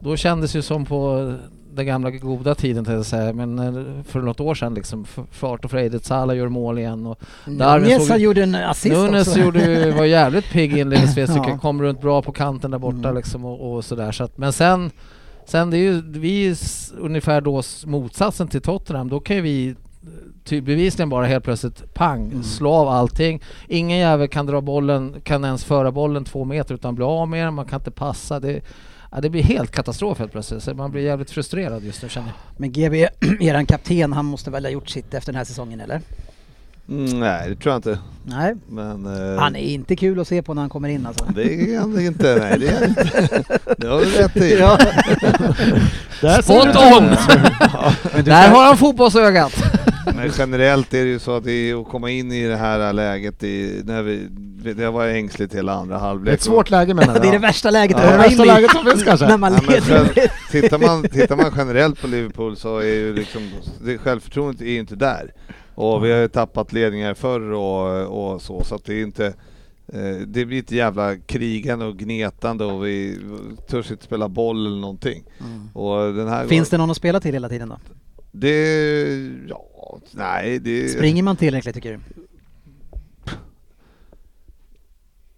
[SPEAKER 6] då kändes ju som på den gamla goda tiden tänkte jag säga, men eh, för något år sedan liksom. F- Fart och frejdigt, Salah gör mål igen och Darwin
[SPEAKER 3] Nunez
[SPEAKER 6] såg-
[SPEAKER 3] gjorde en assist
[SPEAKER 6] Nunes
[SPEAKER 3] också.
[SPEAKER 6] gjorde ju, var jävligt pigg inledningsvis, tycker
[SPEAKER 3] Ja.
[SPEAKER 6] jag, kom runt bra på kanten där borta
[SPEAKER 3] Mm.
[SPEAKER 6] liksom och, och sådär. Så att, men sen, sen det är ju, vi är ju s- ungefär då s- motsatsen till Tottenham, då kan ju vi ty- bevisligen bara helt plötsligt pang, slå av allting. Ingen jävel kan dra bollen, kan ens föra bollen två meter utan bli av med den, man kan inte passa. Det, ja, det blir helt katastrof helt plötsligt, så man blir jävligt frustrerad just nu känner jag.
[SPEAKER 3] Men GB, eran kapten, han måste väl ha gjort sitt efter den här säsongen eller?
[SPEAKER 7] Mm, nej, det tror jag inte.
[SPEAKER 3] Nej,
[SPEAKER 7] Men... eh,
[SPEAKER 3] han är inte kul att se på när han kommer in alltså.
[SPEAKER 7] Det är han inte, nej det är han inte. Det har du rätt i.
[SPEAKER 3] Ja.
[SPEAKER 6] Spot on! Där har han fotbollsögat!
[SPEAKER 7] Men generellt är det ju så att det är att komma in i det här läget, i, när vi, det har varit ängsligt hela andra
[SPEAKER 4] Det är ett
[SPEAKER 7] halvlek.
[SPEAKER 4] svårt läge menar
[SPEAKER 3] Det är det
[SPEAKER 4] jag.
[SPEAKER 3] värsta läget
[SPEAKER 4] Det är det
[SPEAKER 3] att
[SPEAKER 4] värsta
[SPEAKER 3] komma in i.
[SPEAKER 4] läget som finns
[SPEAKER 3] När
[SPEAKER 4] kanske.
[SPEAKER 3] man
[SPEAKER 7] Nej, men
[SPEAKER 3] leder.
[SPEAKER 7] själv, tittar, man, tittar man generellt på Liverpool så är ju liksom, det, självförtroendet är ju inte där. Och vi har ju tappat ledningar förr och, och så, så att det är inte eh, det blir ett jävla krigande och gnetande och vi törs inte spela boll eller någonting. Och den här
[SPEAKER 3] Finns det någon att spela till hela tiden då?
[SPEAKER 7] Det... Ja, nej det...
[SPEAKER 3] Springer man tillräckligt tycker du?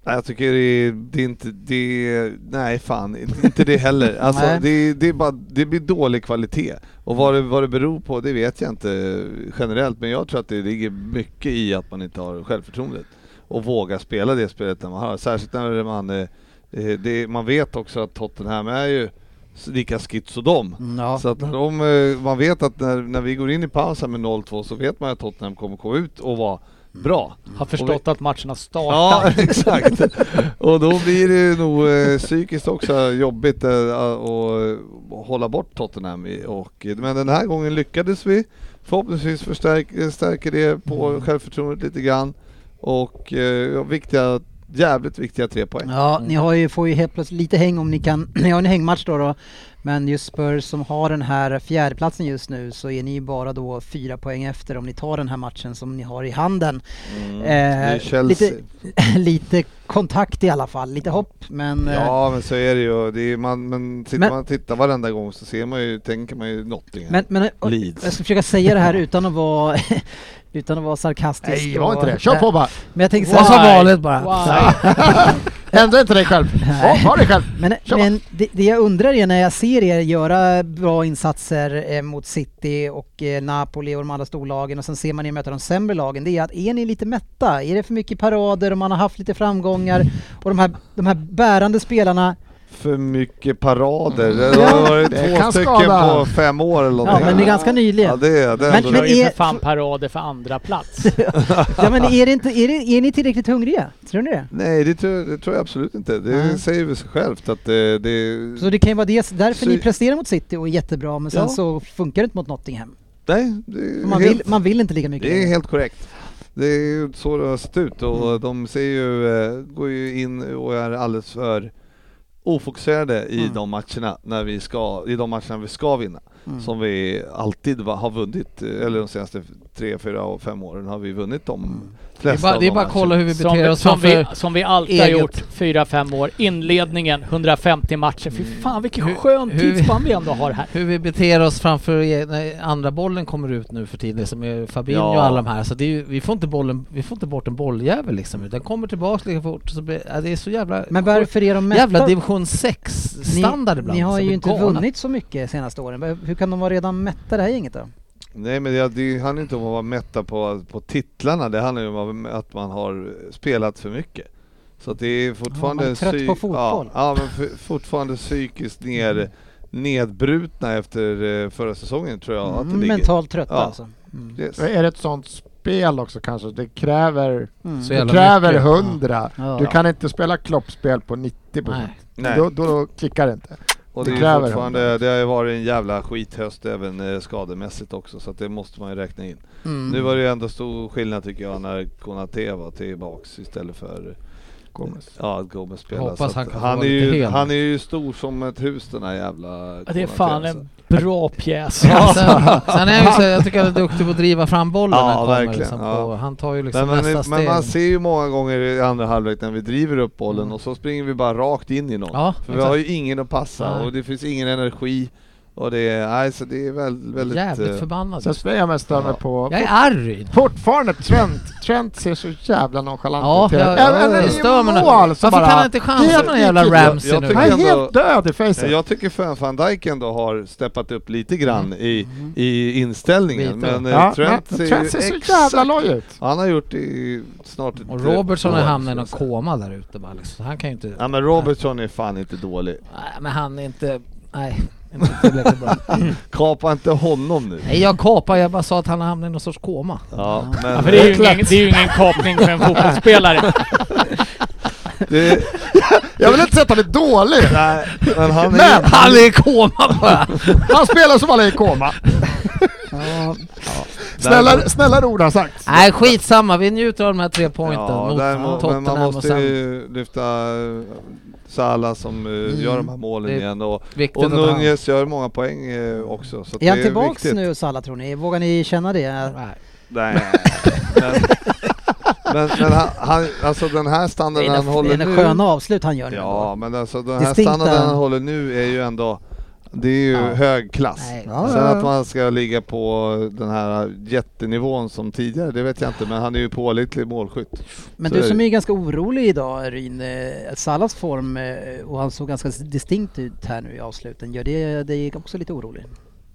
[SPEAKER 7] Nej, jag tycker det är, det är inte det, nej fan, inte det heller. Alltså
[SPEAKER 3] Nej.
[SPEAKER 7] det, det, är bara, det blir dålig kvalitet. Och vad det, vad det beror på, det vet jag inte generellt, men jag tror att det ligger mycket i att man inte har självförtroendet. Och vågar spela det spelet när man har, särskilt när man, eh, eh, det, man vet också att Tottenham är ju lika schizodom.
[SPEAKER 3] Mm, Ja.
[SPEAKER 7] Så att när de, eh, man vet att när, när vi går in i pausen med 0-2 så vet man att Tottenham kommer komma ut och vara
[SPEAKER 3] Mm.
[SPEAKER 7] bra.
[SPEAKER 5] har förstått att matchen har startat.
[SPEAKER 7] Ja, exakt. Och då blir det ju nog eh, psykiskt också jobbigt eh, att att hålla bort Tottenham. i- Och, men den här gången lyckades vi. Förhoppningsvis förstärker stärker det på
[SPEAKER 3] Mm.
[SPEAKER 7] självförtroendet lite grann. Och eh, viktiga, jävligt viktiga tre poäng.
[SPEAKER 3] Ja, ni har ju, får ju helt plötsligt lite häng om ni kan, ni har en hängmatch då, då men just Spurs som har den här fjärdeplatsen just nu så är ni ju bara då fyra poäng efter om ni tar den här matchen som ni har i handen.
[SPEAKER 7] Mm.
[SPEAKER 3] Eh,
[SPEAKER 7] det är Chelsea.
[SPEAKER 3] lite, lite kontakt i alla fall, lite hopp men eh,
[SPEAKER 7] Ja men så är det ju. Det är, man, men sitter
[SPEAKER 3] Men-
[SPEAKER 7] man och tittar varenda gång så ser man ju, tänker man ju Nottingham.
[SPEAKER 3] Men, men och,
[SPEAKER 7] Leeds.
[SPEAKER 3] jag ska försöka säga det här utan att vara, utan att vara sarkastisk.
[SPEAKER 4] Nej, var
[SPEAKER 3] och-
[SPEAKER 4] inte det. Kör på bara.
[SPEAKER 3] Men jag tänker så
[SPEAKER 6] Vad
[SPEAKER 3] här,
[SPEAKER 6] sa valet bara?
[SPEAKER 5] Why?
[SPEAKER 4] Ändra inte dig själv. Ja, var dig själv.
[SPEAKER 3] Men,
[SPEAKER 4] Kör
[SPEAKER 3] men det, det jag undrar är när jag ser er göra bra insatser eh, mot City och eh, Napoli och de andra storlagen och sen ser man er möta de sämre lagen. Det är att är ni lite mätta? Är det för mycket parader och man har haft lite framgångar och de här, de här bärande spelarna
[SPEAKER 7] För mycket
[SPEAKER 3] Mm.
[SPEAKER 7] parader. Det har varit
[SPEAKER 4] det
[SPEAKER 7] två
[SPEAKER 4] kan
[SPEAKER 7] stycken
[SPEAKER 4] skada.
[SPEAKER 7] på fem år eller
[SPEAKER 3] Ja,
[SPEAKER 7] någonting.
[SPEAKER 3] men det är ganska
[SPEAKER 7] Ja,
[SPEAKER 3] nyligen.
[SPEAKER 7] det är det. är
[SPEAKER 3] Men-
[SPEAKER 7] ändå-
[SPEAKER 5] Men är ju
[SPEAKER 3] är-
[SPEAKER 5] för fan parader för andra plats.
[SPEAKER 3] Ja, men är, det inte, är, det, är ni tillräckligt hungriga? Tror ni det?
[SPEAKER 7] Nej, det tror, det tror jag absolut inte. Det
[SPEAKER 3] Nej.
[SPEAKER 7] säger väl sig självt att det... det
[SPEAKER 3] Så det kan ju vara det, därför
[SPEAKER 7] Så-
[SPEAKER 3] ni presterar mot City och är jättebra men sen
[SPEAKER 7] Ja.
[SPEAKER 3] så funkar det inte mot Nottingham.
[SPEAKER 7] nej, det är,
[SPEAKER 3] Man
[SPEAKER 7] helt,
[SPEAKER 3] vill, man vill inte lika mycket.
[SPEAKER 7] det är
[SPEAKER 3] längre.
[SPEAKER 7] helt korrekt. Det är ju så det har sett ut och de ser ju, eh, går ju in och är alldeles för ofokuserade i de matcherna när vi ska, i de matcherna vi ska vinna. som vi alltid va, har vunnit, eh, eller de senaste tre, fyra och fem åren har vi vunnit de
[SPEAKER 6] Det är
[SPEAKER 7] flesta
[SPEAKER 6] bara,
[SPEAKER 7] av
[SPEAKER 6] det är
[SPEAKER 7] de
[SPEAKER 6] bara att
[SPEAKER 7] matcherna.
[SPEAKER 6] kolla hur vi beter
[SPEAKER 5] Som,
[SPEAKER 6] oss
[SPEAKER 5] som, vi,
[SPEAKER 6] framför...
[SPEAKER 5] som vi alltid har
[SPEAKER 6] eget.
[SPEAKER 5] gjort 4-5 år. Inledningen 150 matcher. Fy fan vilken
[SPEAKER 6] Hur-
[SPEAKER 5] skön
[SPEAKER 6] hur vi-
[SPEAKER 5] tidsspann vi ändå har här.
[SPEAKER 6] Hur vi beter oss framför e- när andra bollen kommer ut nu för tiden, som är Fabinho
[SPEAKER 7] Ja.
[SPEAKER 6] och alla de här. Så det är ju, vi, får inte bollen, vi får inte bort en bolljävel liksom. Den kommer tillbaka lika fort. Så blir, ja, det är så jävla...
[SPEAKER 3] Men varför är de mätta?
[SPEAKER 6] Jävla division 6-standard
[SPEAKER 3] ni,
[SPEAKER 6] ibland.
[SPEAKER 3] ni har
[SPEAKER 6] som är
[SPEAKER 3] ju inte
[SPEAKER 6] galna.
[SPEAKER 3] vunnit så mycket senaste åren. Hur kan de vara redan mätta det här gänget då?
[SPEAKER 7] Nej men det, det handlar ju inte om att vara mätta på, på titlarna, det handlar ju om att man har spelat för mycket. Så att det är fortfarande...
[SPEAKER 3] man är trött
[SPEAKER 7] psy-
[SPEAKER 3] på fotboll. Mm.
[SPEAKER 7] Ja, ja men f- fortfarande psykiskt ner, nedbrutna efter eh, förra säsongen tror jag att det ligger.
[SPEAKER 3] Mm, Mentalt trötta
[SPEAKER 7] Ja.
[SPEAKER 3] alltså. Mm.
[SPEAKER 7] Yes.
[SPEAKER 4] Är det ett sånt spel också kanske? Det kräver,
[SPEAKER 3] Mm.
[SPEAKER 6] Så
[SPEAKER 4] det
[SPEAKER 6] jävla
[SPEAKER 4] kräver
[SPEAKER 6] mycket.
[SPEAKER 4] 100.
[SPEAKER 3] Ja.
[SPEAKER 4] Du kan inte spela kloppspel på 90
[SPEAKER 6] Nej.
[SPEAKER 7] Nej.
[SPEAKER 4] Då, då klickar det inte.
[SPEAKER 7] Och
[SPEAKER 4] Det
[SPEAKER 7] det, är
[SPEAKER 4] kräver
[SPEAKER 7] ju fortfarande, det har ju varit en jävla skithöst även eh, skademässigt också så att det måste man ju räkna in. Nu var det ju ändå stor skillnad tycker jag när Konate var tillbaks istället för
[SPEAKER 4] Gomes.
[SPEAKER 7] ja, att Gomes spelade.
[SPEAKER 6] Hoppas
[SPEAKER 7] Så att
[SPEAKER 6] han kan få
[SPEAKER 7] han, är
[SPEAKER 6] vara lite
[SPEAKER 7] ju,
[SPEAKER 6] hel.
[SPEAKER 7] han är ju stor som ett hus den här jävla
[SPEAKER 5] Ja, Det är
[SPEAKER 7] Konate,
[SPEAKER 5] fan
[SPEAKER 7] alltså.
[SPEAKER 6] liksom
[SPEAKER 5] en bra pjäs.
[SPEAKER 6] Ja, sen, sen är jag ju så, jag tycker han är duktig på att driva fram bollen
[SPEAKER 7] Ja,
[SPEAKER 6] när han kommer,
[SPEAKER 7] verkligen,
[SPEAKER 6] liksom, på,
[SPEAKER 7] ja.
[SPEAKER 6] Han tar ju liksom
[SPEAKER 7] Men, men,
[SPEAKER 6] nästa
[SPEAKER 7] men
[SPEAKER 6] steg. Mm.
[SPEAKER 7] man ser ju många gånger i andra halvlek när vi driver upp bollen och så springer vi bara rakt in i någon.
[SPEAKER 6] Ja,
[SPEAKER 7] För vi
[SPEAKER 6] exakt.
[SPEAKER 7] har ju ingen att passa
[SPEAKER 6] Nej.
[SPEAKER 7] och det finns ingen energi. Och det är, nej, så det är väldigt, väldigt eh,
[SPEAKER 6] Jävligt förbannad.
[SPEAKER 4] Sen spelar jag mest stör mig
[SPEAKER 7] Ja.
[SPEAKER 4] på...
[SPEAKER 6] Jag är arg.
[SPEAKER 4] Fortfarande Trent. Trent ser så jävla nonchalant
[SPEAKER 6] Ja,
[SPEAKER 4] ut. hela-
[SPEAKER 6] jag-
[SPEAKER 4] Även
[SPEAKER 6] jag
[SPEAKER 4] i
[SPEAKER 6] stör mig när-
[SPEAKER 4] mål så
[SPEAKER 6] Varför
[SPEAKER 4] bara-
[SPEAKER 6] kan han inte chansa
[SPEAKER 4] Helt
[SPEAKER 6] på den jävla
[SPEAKER 4] riktigt.
[SPEAKER 6] Ramsey
[SPEAKER 7] jag
[SPEAKER 6] nu?
[SPEAKER 7] tycker-
[SPEAKER 4] Han är
[SPEAKER 7] ändå-
[SPEAKER 4] helt död i
[SPEAKER 7] Ja,
[SPEAKER 4] facet.
[SPEAKER 7] Jag tycker fan van Dijk ändå har steppat upp lite grann i, i inställningen.
[SPEAKER 6] Mm. Lite.
[SPEAKER 7] Men eh,
[SPEAKER 4] Ja,
[SPEAKER 7] Trent
[SPEAKER 4] men
[SPEAKER 7] ser ju
[SPEAKER 4] Trent ser så
[SPEAKER 7] exakt...
[SPEAKER 4] jävla loj ut.
[SPEAKER 7] Han har gjort det i snart ett
[SPEAKER 6] Och Robertson har
[SPEAKER 7] år,
[SPEAKER 6] hamnat i någon
[SPEAKER 7] så att säga.
[SPEAKER 6] koma där ute bara liksom. Så han kan ju inte...
[SPEAKER 7] Ja men Robertson är fan inte dålig.
[SPEAKER 6] Nej, men han är inte... Nej, inte tillräckligt bra.
[SPEAKER 7] Kapa inte honom nu.
[SPEAKER 6] Nej, jag kapar. Jag bara sa att han hamnade i någon sorts koma.
[SPEAKER 7] Ja,
[SPEAKER 5] Ja,
[SPEAKER 7] men
[SPEAKER 5] för det är ju
[SPEAKER 4] Klart.
[SPEAKER 5] ingen, det är ju ingen kapning för en fotbollsspelare.
[SPEAKER 7] det,
[SPEAKER 4] Jag vill inte säga att han är dålig.
[SPEAKER 7] nej, men han är
[SPEAKER 4] Men han,
[SPEAKER 6] är i koma bara!
[SPEAKER 4] han spelar som han är i koma.
[SPEAKER 3] Ja.
[SPEAKER 4] Snälla, snällare ord har sagts.
[SPEAKER 6] Nej, skitsamma. Vi njuter av de här tre pointen
[SPEAKER 7] Ja,
[SPEAKER 6] mot
[SPEAKER 7] däremot, men
[SPEAKER 6] Tottenham
[SPEAKER 7] man
[SPEAKER 6] och
[SPEAKER 7] måste
[SPEAKER 6] sen...
[SPEAKER 7] ju lyfta eh, Salah som eh, gör de här målen
[SPEAKER 6] Det är
[SPEAKER 7] igen och,
[SPEAKER 6] Viktigt
[SPEAKER 7] och
[SPEAKER 6] att han...
[SPEAKER 7] Nunez gör många poäng eh, också. Så att
[SPEAKER 3] Är han
[SPEAKER 7] det
[SPEAKER 3] tillbaks
[SPEAKER 7] viktigt.
[SPEAKER 3] nu Salah tror ni? Vågar ni känna det?
[SPEAKER 6] Nej.
[SPEAKER 7] Nej. men men, men han, han, alltså den här
[SPEAKER 3] Det är
[SPEAKER 7] standarden han
[SPEAKER 3] en- det är
[SPEAKER 7] håller
[SPEAKER 3] en
[SPEAKER 7] nu.
[SPEAKER 3] sköna avslut han gör nu.
[SPEAKER 7] Ja, men alltså den här
[SPEAKER 3] Distinkta.
[SPEAKER 7] standarden han håller nu är ju ändå, det är ju
[SPEAKER 3] Ja.
[SPEAKER 7] hög klass.
[SPEAKER 6] Nej.
[SPEAKER 3] Ja,
[SPEAKER 7] Sen
[SPEAKER 3] ja,
[SPEAKER 7] att
[SPEAKER 3] ja.
[SPEAKER 7] man ska ligga på den här jättenivån som tidigare, det vet jag inte, men han är ju pålitlig målskytt.
[SPEAKER 3] Men
[SPEAKER 7] Så
[SPEAKER 3] du
[SPEAKER 7] är
[SPEAKER 3] som
[SPEAKER 7] det.
[SPEAKER 3] är ganska orolig idag Ryn, eh, Salas form eh, och han såg ganska distinkt ut här nu i avsluten. Gör det dig också lite orolig?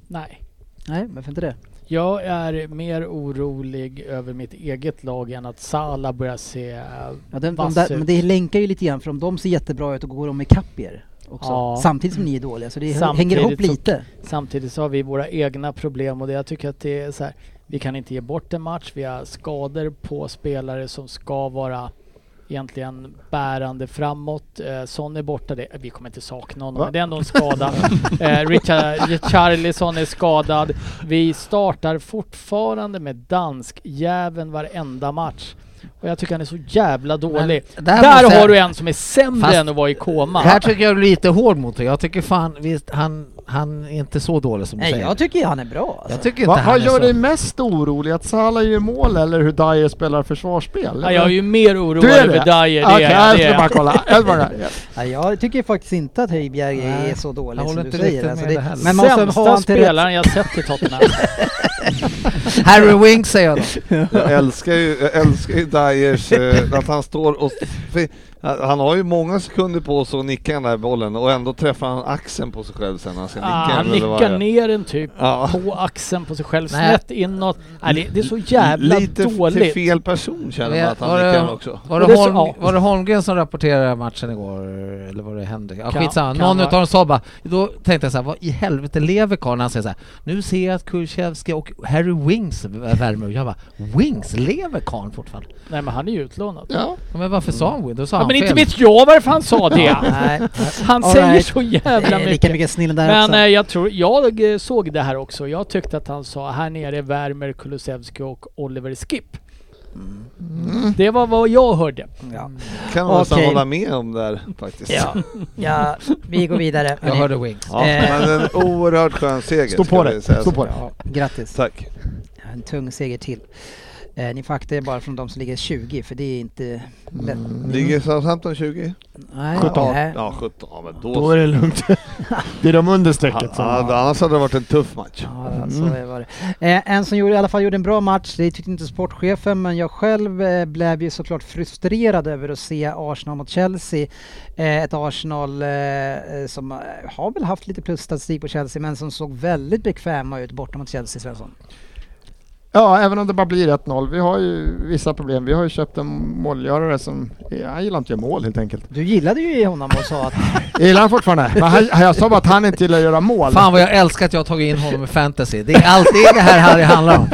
[SPEAKER 5] Nej.
[SPEAKER 3] Nej, varför inte det?
[SPEAKER 5] Jag är mer orolig över mitt eget lag än att Salah börjar se... eh,
[SPEAKER 3] Ja, den, de
[SPEAKER 5] Vass
[SPEAKER 3] där,
[SPEAKER 5] ut.
[SPEAKER 3] men det länkar ju lite grann för om de ser jättebra ut och går de ikapp er också.
[SPEAKER 5] Ja.
[SPEAKER 3] Samtidigt som ni är dåliga så det
[SPEAKER 5] Samtidigt
[SPEAKER 3] hänger ihop
[SPEAKER 5] så-
[SPEAKER 3] lite.
[SPEAKER 5] Samtidigt så har vi våra egna problem och det, jag tycker att det är så här. Vi kan inte ge bort en match, vi har skador på spelare som ska vara egentligen bärande framåt. Eh, Son är borta, det, vi kommer inte sakna honom,
[SPEAKER 4] Va?
[SPEAKER 5] men det är ändå en skada. eh, Richard, Richarlison är skadad. Vi startar fortfarande med dansk jäveln varenda match. Och jag tycker han är så jävla dålig.
[SPEAKER 6] Men
[SPEAKER 5] Där,
[SPEAKER 6] måste jag-
[SPEAKER 5] har du en som är sämre
[SPEAKER 6] Fast-
[SPEAKER 5] än att vara i koma.
[SPEAKER 6] Här tycker jag du är lite hård mot dig. Jag tycker fan, visst, han, han är inte så dålig som du
[SPEAKER 3] Nej,
[SPEAKER 6] säger.
[SPEAKER 3] jag tycker ju han är bra.
[SPEAKER 6] jag
[SPEAKER 3] Alltså.
[SPEAKER 6] tycker inte
[SPEAKER 4] Va,
[SPEAKER 6] han
[SPEAKER 4] vad
[SPEAKER 6] är
[SPEAKER 4] gör
[SPEAKER 6] så...
[SPEAKER 4] dig mest orolig? Att Salah gör mål eller hur Dyer spelar försvarsspel?
[SPEAKER 5] Ja, jag är ju mer oroad
[SPEAKER 4] Du är det?
[SPEAKER 5] över Dyer, det
[SPEAKER 4] Okej,
[SPEAKER 5] är jag.
[SPEAKER 4] jag
[SPEAKER 5] Det är
[SPEAKER 4] skulle bara
[SPEAKER 5] jag.
[SPEAKER 4] kolla. Jag skulle bara kolla.
[SPEAKER 3] Nej, jag tycker faktiskt inte att Höjbjerg är
[SPEAKER 6] Nej,
[SPEAKER 3] så dålig
[SPEAKER 6] jag håller
[SPEAKER 3] som du
[SPEAKER 6] inte
[SPEAKER 3] säger.
[SPEAKER 6] riktigt
[SPEAKER 3] Alltså
[SPEAKER 6] med
[SPEAKER 3] det,
[SPEAKER 6] det heller.
[SPEAKER 3] men man måste ha
[SPEAKER 5] Sämsta
[SPEAKER 3] han till rätt...
[SPEAKER 5] spelaren jag sett i Tottenham.
[SPEAKER 6] Harry Wink säger jag då.
[SPEAKER 7] Jag älskar ju, jag älskar ju Dyers, eh, att han står och... för Han har ju många sekunder på sig att nicka den där bollen och ändå träffar han axeln på sig själv sen när han ska nicka.
[SPEAKER 5] Ah, han
[SPEAKER 7] eller vad det
[SPEAKER 5] nickar
[SPEAKER 7] är.
[SPEAKER 5] ner en typ
[SPEAKER 7] Ja.
[SPEAKER 5] på axeln på sig själv,
[SPEAKER 6] Nej.
[SPEAKER 5] snett inåt. Nej, det, det är så jävla
[SPEAKER 7] Lite f- till
[SPEAKER 5] dåligt.
[SPEAKER 7] fel person känner man att han
[SPEAKER 6] Var det-
[SPEAKER 7] nickar den också.
[SPEAKER 6] Var
[SPEAKER 5] Och det
[SPEAKER 6] det,
[SPEAKER 5] är så-
[SPEAKER 6] Holm,
[SPEAKER 5] ja.
[SPEAKER 6] var det Holmgren som rapporterade matchen igår? Eller var det Henrik? Ja,
[SPEAKER 5] Kan-
[SPEAKER 6] skitsamma.
[SPEAKER 5] kan
[SPEAKER 6] Någon
[SPEAKER 5] vara.
[SPEAKER 6] utav dem sa bara... Då tänkte jag så här, vad i helvete lever karln? Han säger så här, nu ser jag att Kulusevski och Harry Wings värmer. Jag bara, Wings? Lever karln fortfarande?
[SPEAKER 5] Nej men han är ju utlånad.
[SPEAKER 4] Ja.
[SPEAKER 6] Ja, men varför sa han Wings? Då sa
[SPEAKER 5] Ja,
[SPEAKER 6] han
[SPEAKER 5] men inte
[SPEAKER 6] fel.
[SPEAKER 5] vet jag varför han sa det.
[SPEAKER 6] Nej.
[SPEAKER 5] Han
[SPEAKER 3] All
[SPEAKER 5] säger
[SPEAKER 3] right.
[SPEAKER 5] så
[SPEAKER 3] Det
[SPEAKER 5] jävla
[SPEAKER 3] är lika
[SPEAKER 5] mycket.
[SPEAKER 3] mycket snillen där
[SPEAKER 5] Men
[SPEAKER 3] också.
[SPEAKER 5] eh, jag tror, jag eh, såg det här också. Jag tyckte att han sa här nere värmer Kulusevski och Oliver Skip.
[SPEAKER 7] Mm.
[SPEAKER 5] Det var vad jag hörde.
[SPEAKER 3] Ja.
[SPEAKER 7] Kan man nästan
[SPEAKER 3] Okej.
[SPEAKER 7] hålla med om där faktiskt.
[SPEAKER 3] Ja. ja, vi går vidare.
[SPEAKER 6] Jag
[SPEAKER 3] hörni.
[SPEAKER 6] hörde Wings.
[SPEAKER 7] Ja,
[SPEAKER 3] Eh.
[SPEAKER 7] men en oerhört skön seger.
[SPEAKER 4] Stå
[SPEAKER 7] ska
[SPEAKER 4] på
[SPEAKER 7] vi
[SPEAKER 4] dig,
[SPEAKER 7] säga
[SPEAKER 4] stå
[SPEAKER 7] så.
[SPEAKER 4] på dig.
[SPEAKER 3] Ja, grattis.
[SPEAKER 7] Tack.
[SPEAKER 3] En tung seger till. Eh, ni får akta er bara från de som ligger 20 för det är inte lätt. Mm.
[SPEAKER 7] Ligger Southampton 20?
[SPEAKER 3] Nej,
[SPEAKER 4] 17.
[SPEAKER 3] nej.
[SPEAKER 7] Ja, 17. Ja, men då,
[SPEAKER 4] Då är det lugnt. det är de under strecket som...
[SPEAKER 7] Ja, annars hade det varit en tuff match.
[SPEAKER 3] Ja, så var det. Eh, en som gjorde, i alla fall gjorde en bra match, det tyckte inte sportchefen, men jag själv eh, blev ju såklart frustrerad över att se Arsenal mot Chelsea. Eh, ett Arsenal eh, eh, som eh, har väl haft lite plusstatistik på Chelsea, men som såg väldigt bekväma ut borta mot Chelsea, Svensson.
[SPEAKER 4] Ja, även om det bara blir 1-0. Vi har ju vissa problem. Vi har ju köpt en målgörare som... Ja, Han gillar inte att göra mål helt enkelt.
[SPEAKER 3] Du gillade ju honom och sa att
[SPEAKER 4] Jag gillar han fortfarande. Men han, jag sa bara att han inte gillar att göra mål.
[SPEAKER 6] Fan vad jag älskar att jag har tagit in honom i fantasy. Det är alltid det här Harry handlar om.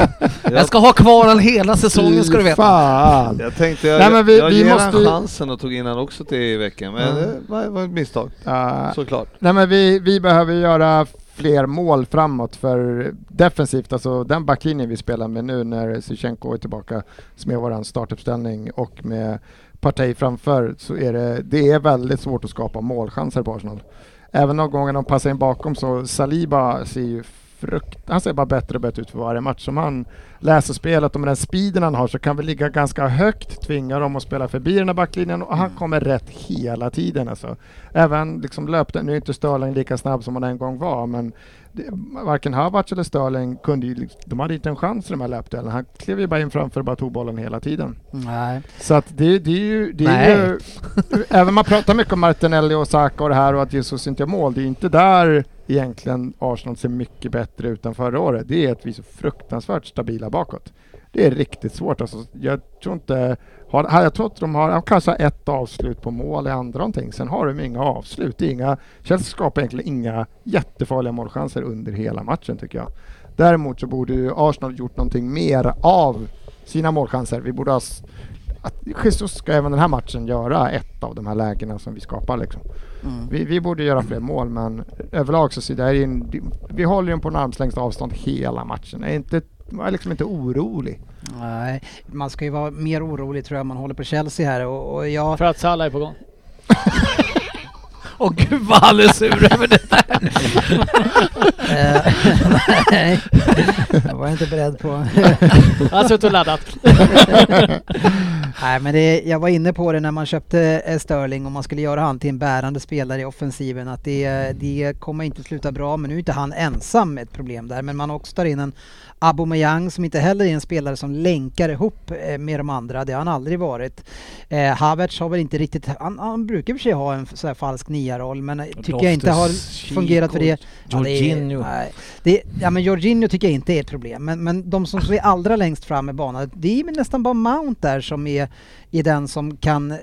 [SPEAKER 6] Jag ska ha kvar honom hela säsongen ska du
[SPEAKER 4] Fy
[SPEAKER 6] veta.
[SPEAKER 4] Fan.
[SPEAKER 7] Jag tänkte, jag,
[SPEAKER 4] Nej, men vi-
[SPEAKER 7] jag
[SPEAKER 4] vi
[SPEAKER 7] ger
[SPEAKER 4] måste
[SPEAKER 7] han
[SPEAKER 4] ju-
[SPEAKER 7] chansen och tog in han också till i veckan, men
[SPEAKER 4] Mm.
[SPEAKER 7] det var, var ett misstag.
[SPEAKER 4] Ja,
[SPEAKER 7] Såklart.
[SPEAKER 4] nej men vi, vi behöver göra fler mål framåt för defensivt, alltså den backlinjen vi spelar med nu när Sychenko är tillbaka som är våran startuppställning och med Partey framför så är det, det är väldigt svårt att skapa målchanser på Arsenal. Även de gånger de passar in bakom så Saliba ser ju frukt, han ser bara bättre och bättre ut för varje match. Som han läser spelet och med den speeden han har så kan vi ligga ganska högt, tvinga dem att spela förbi den här backlinjen och han kommer rätt hela tiden alltså. Även liksom löpte, nu är inte Sterling lika snabb som han en gång var men det, varken Havertz eller Sterling kunde ju, liksom- de hade inte en chans i de här löpduellerna. Han klev ju bara in framför och bara tog bollen hela tiden.
[SPEAKER 3] nej.
[SPEAKER 4] Så att det, det är ju... Det
[SPEAKER 6] Nej.
[SPEAKER 4] är ju även man pratar mycket om Martinelli och Saka och det här och att Jesus inte gör mål. Det är inte där egentligen Arsenal ser mycket bättre ut än förra året. Det är att vi är så fruktansvärt stabila bakåt. Det är riktigt svårt alltså. Jag tror inte... Har, här, jag tror att de har... De kanske har ett avslut på mål i andra någonting. Sen har de inga avslut. Det är inga, Chelsea skapar egentligen inga jättefarliga målchanser under hela matchen tycker jag. Däremot så borde ju Arsenal gjort någonting mer av sina målchanser. Vi borde ha s- att Jesus ska även den här matchen göra ett av de här lägena som vi skapar. Liksom. Vi, vi borde göra fler mål men överlag så ser det här ju en, vi håller ju på en armslängds avstånd hela matchen. Jag är, inte, jag är liksom inte orolig.
[SPEAKER 3] nej. Man ska ju vara mer orolig tror jag, man håller på Chelsea här och, och jag...
[SPEAKER 5] För att Salah är på gång.
[SPEAKER 6] Åh gud vad han är sur över det där nu.
[SPEAKER 3] eh, nej, jag var inte beredd på...
[SPEAKER 5] Han har suttit och laddat.
[SPEAKER 3] Nej, men det, jag var inne på det när man köpte eh, Sterling och man skulle göra han till en bärande spelare i offensiven att det, eh, det kommer inte sluta bra. Men nu är inte han ensam ett problem där. Men man har också tar in en Aubameyang som inte heller är en spelare som länkar ihop eh, med de andra. Det har han aldrig varit. Eh, Havertz har väl inte riktigt, han, han brukar i och för sig ha en så här falsk nia-roll men eh, tycker jag inte har
[SPEAKER 6] Loftus,
[SPEAKER 3] fungerat för det.
[SPEAKER 6] Chico,
[SPEAKER 3] Ja,
[SPEAKER 6] Jorginho.
[SPEAKER 3] det är, nej, det, ja men Jorginho tycker jag inte är ett problem. Men, men de som är allra längst fram i banan, det är väl nästan bara Mount där som är, är den som kan eh,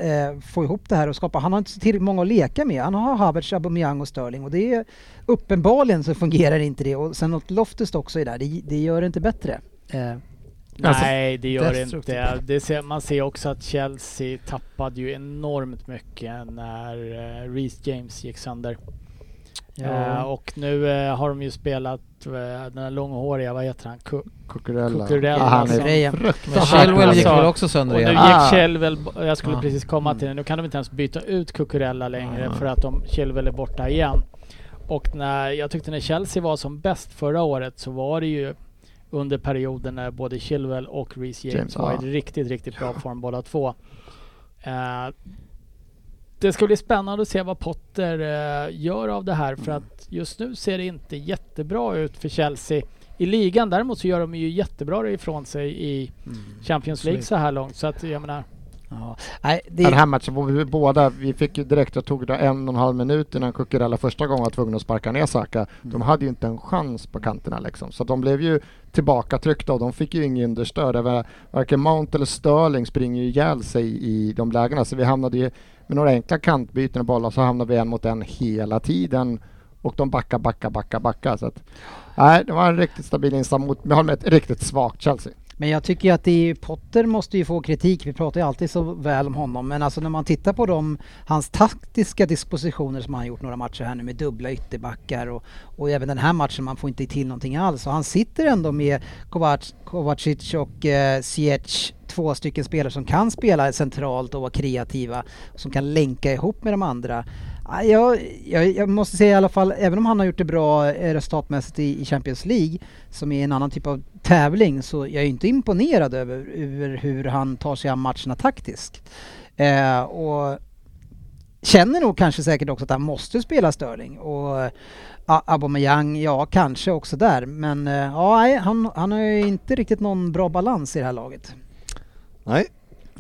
[SPEAKER 3] få ihop det här och skapa. Han har inte så tillräckligt många att leka med. Han har Havertz, Aubameyang och Sterling och det är uppenbarligen så fungerar inte det. Och sen att Loftus också är där, det, det gör det inte bättre. Eh,
[SPEAKER 4] Alltså,
[SPEAKER 5] Nej, det gör det inte.
[SPEAKER 6] destruktivt.
[SPEAKER 5] Det ser, man ser också att Chelsea tappade ju enormt mycket när uh, Reece James gick sönder. Eh, och nu eh, har de ju spelat eh, den här långhåriga, vad heter han? Ku-
[SPEAKER 4] Kukurella.
[SPEAKER 5] Kukurella
[SPEAKER 4] Ah, han är
[SPEAKER 5] som-
[SPEAKER 3] Correa.
[SPEAKER 6] Men
[SPEAKER 4] fruktansvärt
[SPEAKER 6] Chilwell gick
[SPEAKER 5] Alltså,
[SPEAKER 6] väl också sönder
[SPEAKER 5] Och nu
[SPEAKER 6] igen?
[SPEAKER 4] Ah.
[SPEAKER 5] gick Chilwell, bo- jag skulle
[SPEAKER 6] Ah.
[SPEAKER 5] precis komma till det, nu kan de inte ens byta ut Cucurella längre för att de, Chilwell är borta igen. Och när, jag tyckte när Chelsea var som bäst förra året så var det ju under perioden när både Chilwell och Reece James,
[SPEAKER 4] James,
[SPEAKER 5] var i
[SPEAKER 4] ah.
[SPEAKER 5] riktigt, riktigt bra form båda två. Eh, det ska bli spännande att se vad Potter eh, gör av det här
[SPEAKER 6] Mm.
[SPEAKER 5] för att just nu ser det inte jättebra ut för Chelsea i ligan. Däremot så gör de ju jättebra ifrån sig i
[SPEAKER 6] Mm.
[SPEAKER 5] Champions League så här långt. Så att jag menar,
[SPEAKER 3] Ja. Nej, det,
[SPEAKER 4] Den här matchen var vi båda, vi fick ju direkt, jag tog det en och en halv minut innan Kukurella första gången var tvungen att sparka ner Saka. De hade ju inte en chans på kanterna liksom. Så de blev ju tillbakatryckta och de fick ju ingen understöd. Även- Varken Mount eller Sterling springer ju ihjäl sig i de lägena. Så vi hamnade ju med några enkla kantbyten och bollar så hamnade vi en mot en hela tiden. Och de backar, backar, backar, backar. Så att, nej, det var en riktigt stabil insats mot, men jag håller med, ett riktigt svagt Chelsea.
[SPEAKER 3] Men jag tycker ju att det är, Potter måste ju få kritik. Vi pratar ju alltid så väl om honom. Men alltså när man tittar på de, hans taktiska dispositioner som han gjort några matcher här nu med dubbla ytterbackar och, och även den här matchen, man får inte till någonting alls. Och han sitter ändå med Kovac, Kovacic och eh, Ziyech två stycken spelare som kan spela centralt och vara kreativa, som kan länka ihop med de andra. Ah, Jag, jag, jag måste säga i alla fall, även om han har gjort det bra eh, resultatmässigt i, i Champions League, som är en annan typ av tävling, så jag är inte imponerad över, över hur han tar sig an matcherna taktiskt. Eh, och känner nog kanske säkert också att han måste spela Sterling och eh, A- Aubameyang, ja kanske också där, men eh, ja, nej, han, han har ju inte riktigt någon bra balans i det här laget.
[SPEAKER 7] Nej.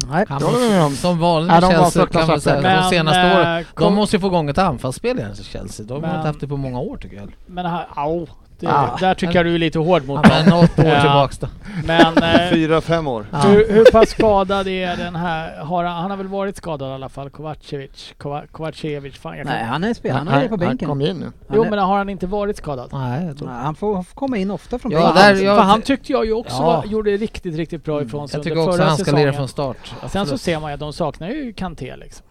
[SPEAKER 3] Nej.
[SPEAKER 6] Han
[SPEAKER 4] Det håller jag med om.
[SPEAKER 6] måste, som vanligt
[SPEAKER 4] Nej,
[SPEAKER 6] med
[SPEAKER 4] de var
[SPEAKER 6] Chelsea kan man
[SPEAKER 4] fruktansvärt
[SPEAKER 6] säga,
[SPEAKER 5] bra.
[SPEAKER 6] de senaste
[SPEAKER 5] Men,
[SPEAKER 6] åren.
[SPEAKER 5] eh,
[SPEAKER 6] De
[SPEAKER 5] kom-
[SPEAKER 6] måste ju få igång ett anfallsspel i Chelsea. De har
[SPEAKER 5] Men-
[SPEAKER 6] inte haft det på många år tycker jag.
[SPEAKER 5] Men här, au, det,
[SPEAKER 3] Ah.
[SPEAKER 5] där tycker jag du är lite hård mot
[SPEAKER 6] Ja,
[SPEAKER 5] dem.
[SPEAKER 6] Men åtta år
[SPEAKER 5] Ja.
[SPEAKER 6] tillbaks då.
[SPEAKER 5] Men eh,
[SPEAKER 7] Fyra, fem år.
[SPEAKER 6] Ja.
[SPEAKER 5] hur, hur pass skadad är den här? Har han, han har väl varit skadad i alla fall, Kovacevic? Kova, Kovacevic? Fan, jag kan,
[SPEAKER 3] Nej, han är spelare. Han är på bänken.
[SPEAKER 4] kom in nu.
[SPEAKER 3] Han
[SPEAKER 5] jo,
[SPEAKER 3] är-
[SPEAKER 5] men har han inte varit skadad?
[SPEAKER 6] Nej, jag tror
[SPEAKER 3] Nej, han får komma in ofta från
[SPEAKER 6] Ja,
[SPEAKER 3] bänken.
[SPEAKER 6] där- jag-
[SPEAKER 5] För han tyckte jag ju också
[SPEAKER 6] Ja.
[SPEAKER 5] var, gjorde riktigt, riktigt
[SPEAKER 3] Mm,
[SPEAKER 5] bra ifrån sig
[SPEAKER 6] Jag tycker
[SPEAKER 5] under
[SPEAKER 6] också
[SPEAKER 5] förra
[SPEAKER 6] han ska lira
[SPEAKER 5] säsongen.
[SPEAKER 6] från start.
[SPEAKER 5] Sen så
[SPEAKER 6] Absolut.
[SPEAKER 5] ser man ju att de saknar ju Kanté liksom.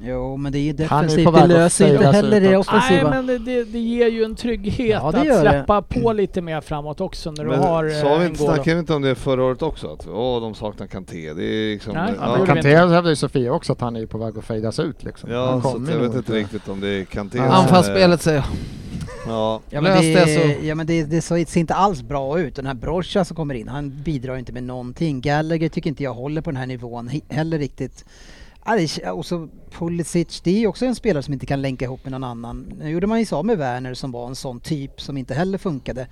[SPEAKER 3] Jo, men det är ju
[SPEAKER 4] Han är
[SPEAKER 3] defensivt.
[SPEAKER 4] på
[SPEAKER 3] det
[SPEAKER 4] väg att
[SPEAKER 3] löser ju inte
[SPEAKER 4] fejdas
[SPEAKER 3] heller det
[SPEAKER 4] utåt.
[SPEAKER 5] Nej
[SPEAKER 3] offensiva.
[SPEAKER 5] men det, det, det ger ju en trygghet
[SPEAKER 3] Ja, det
[SPEAKER 5] att
[SPEAKER 3] gör det. Mm.
[SPEAKER 5] släppa på lite mer framåt också när du
[SPEAKER 7] Men
[SPEAKER 5] har
[SPEAKER 7] sa vi
[SPEAKER 5] eh,
[SPEAKER 7] inte,
[SPEAKER 5] N'Golo.
[SPEAKER 7] snackade vi inte om det förra året också? Att åh, de saknar Kanté. Det är liksom...
[SPEAKER 5] Nej,
[SPEAKER 4] Ja,
[SPEAKER 5] gjorde
[SPEAKER 4] men
[SPEAKER 5] vi
[SPEAKER 7] ja,
[SPEAKER 4] Kanté
[SPEAKER 5] inte.
[SPEAKER 4] hävdar ju Sofia också att han är på väg att fejdas ut liksom.
[SPEAKER 7] ja
[SPEAKER 4] han
[SPEAKER 7] så att
[SPEAKER 4] kommer
[SPEAKER 7] jag
[SPEAKER 4] nog
[SPEAKER 7] vet inte riktigt om det är Kanté
[SPEAKER 4] Ja.
[SPEAKER 7] som är-
[SPEAKER 6] Anfallsspelet säger jag.
[SPEAKER 7] Ja.
[SPEAKER 3] Ja men,
[SPEAKER 6] Lös
[SPEAKER 3] det,
[SPEAKER 6] det så-
[SPEAKER 3] ja men det, det ser inte alls bra ut. Den här Brocha som kommer in, han bidrar ju inte med någonting. Gallagher tycker inte jag håller på den här nivån he- heller riktigt. Ja, det k- Och så Pulisic, det är ju också en spelare som inte kan länka ihop med någon annan. Nu gjorde man ju så med Werner som var en sån typ som inte heller funkade.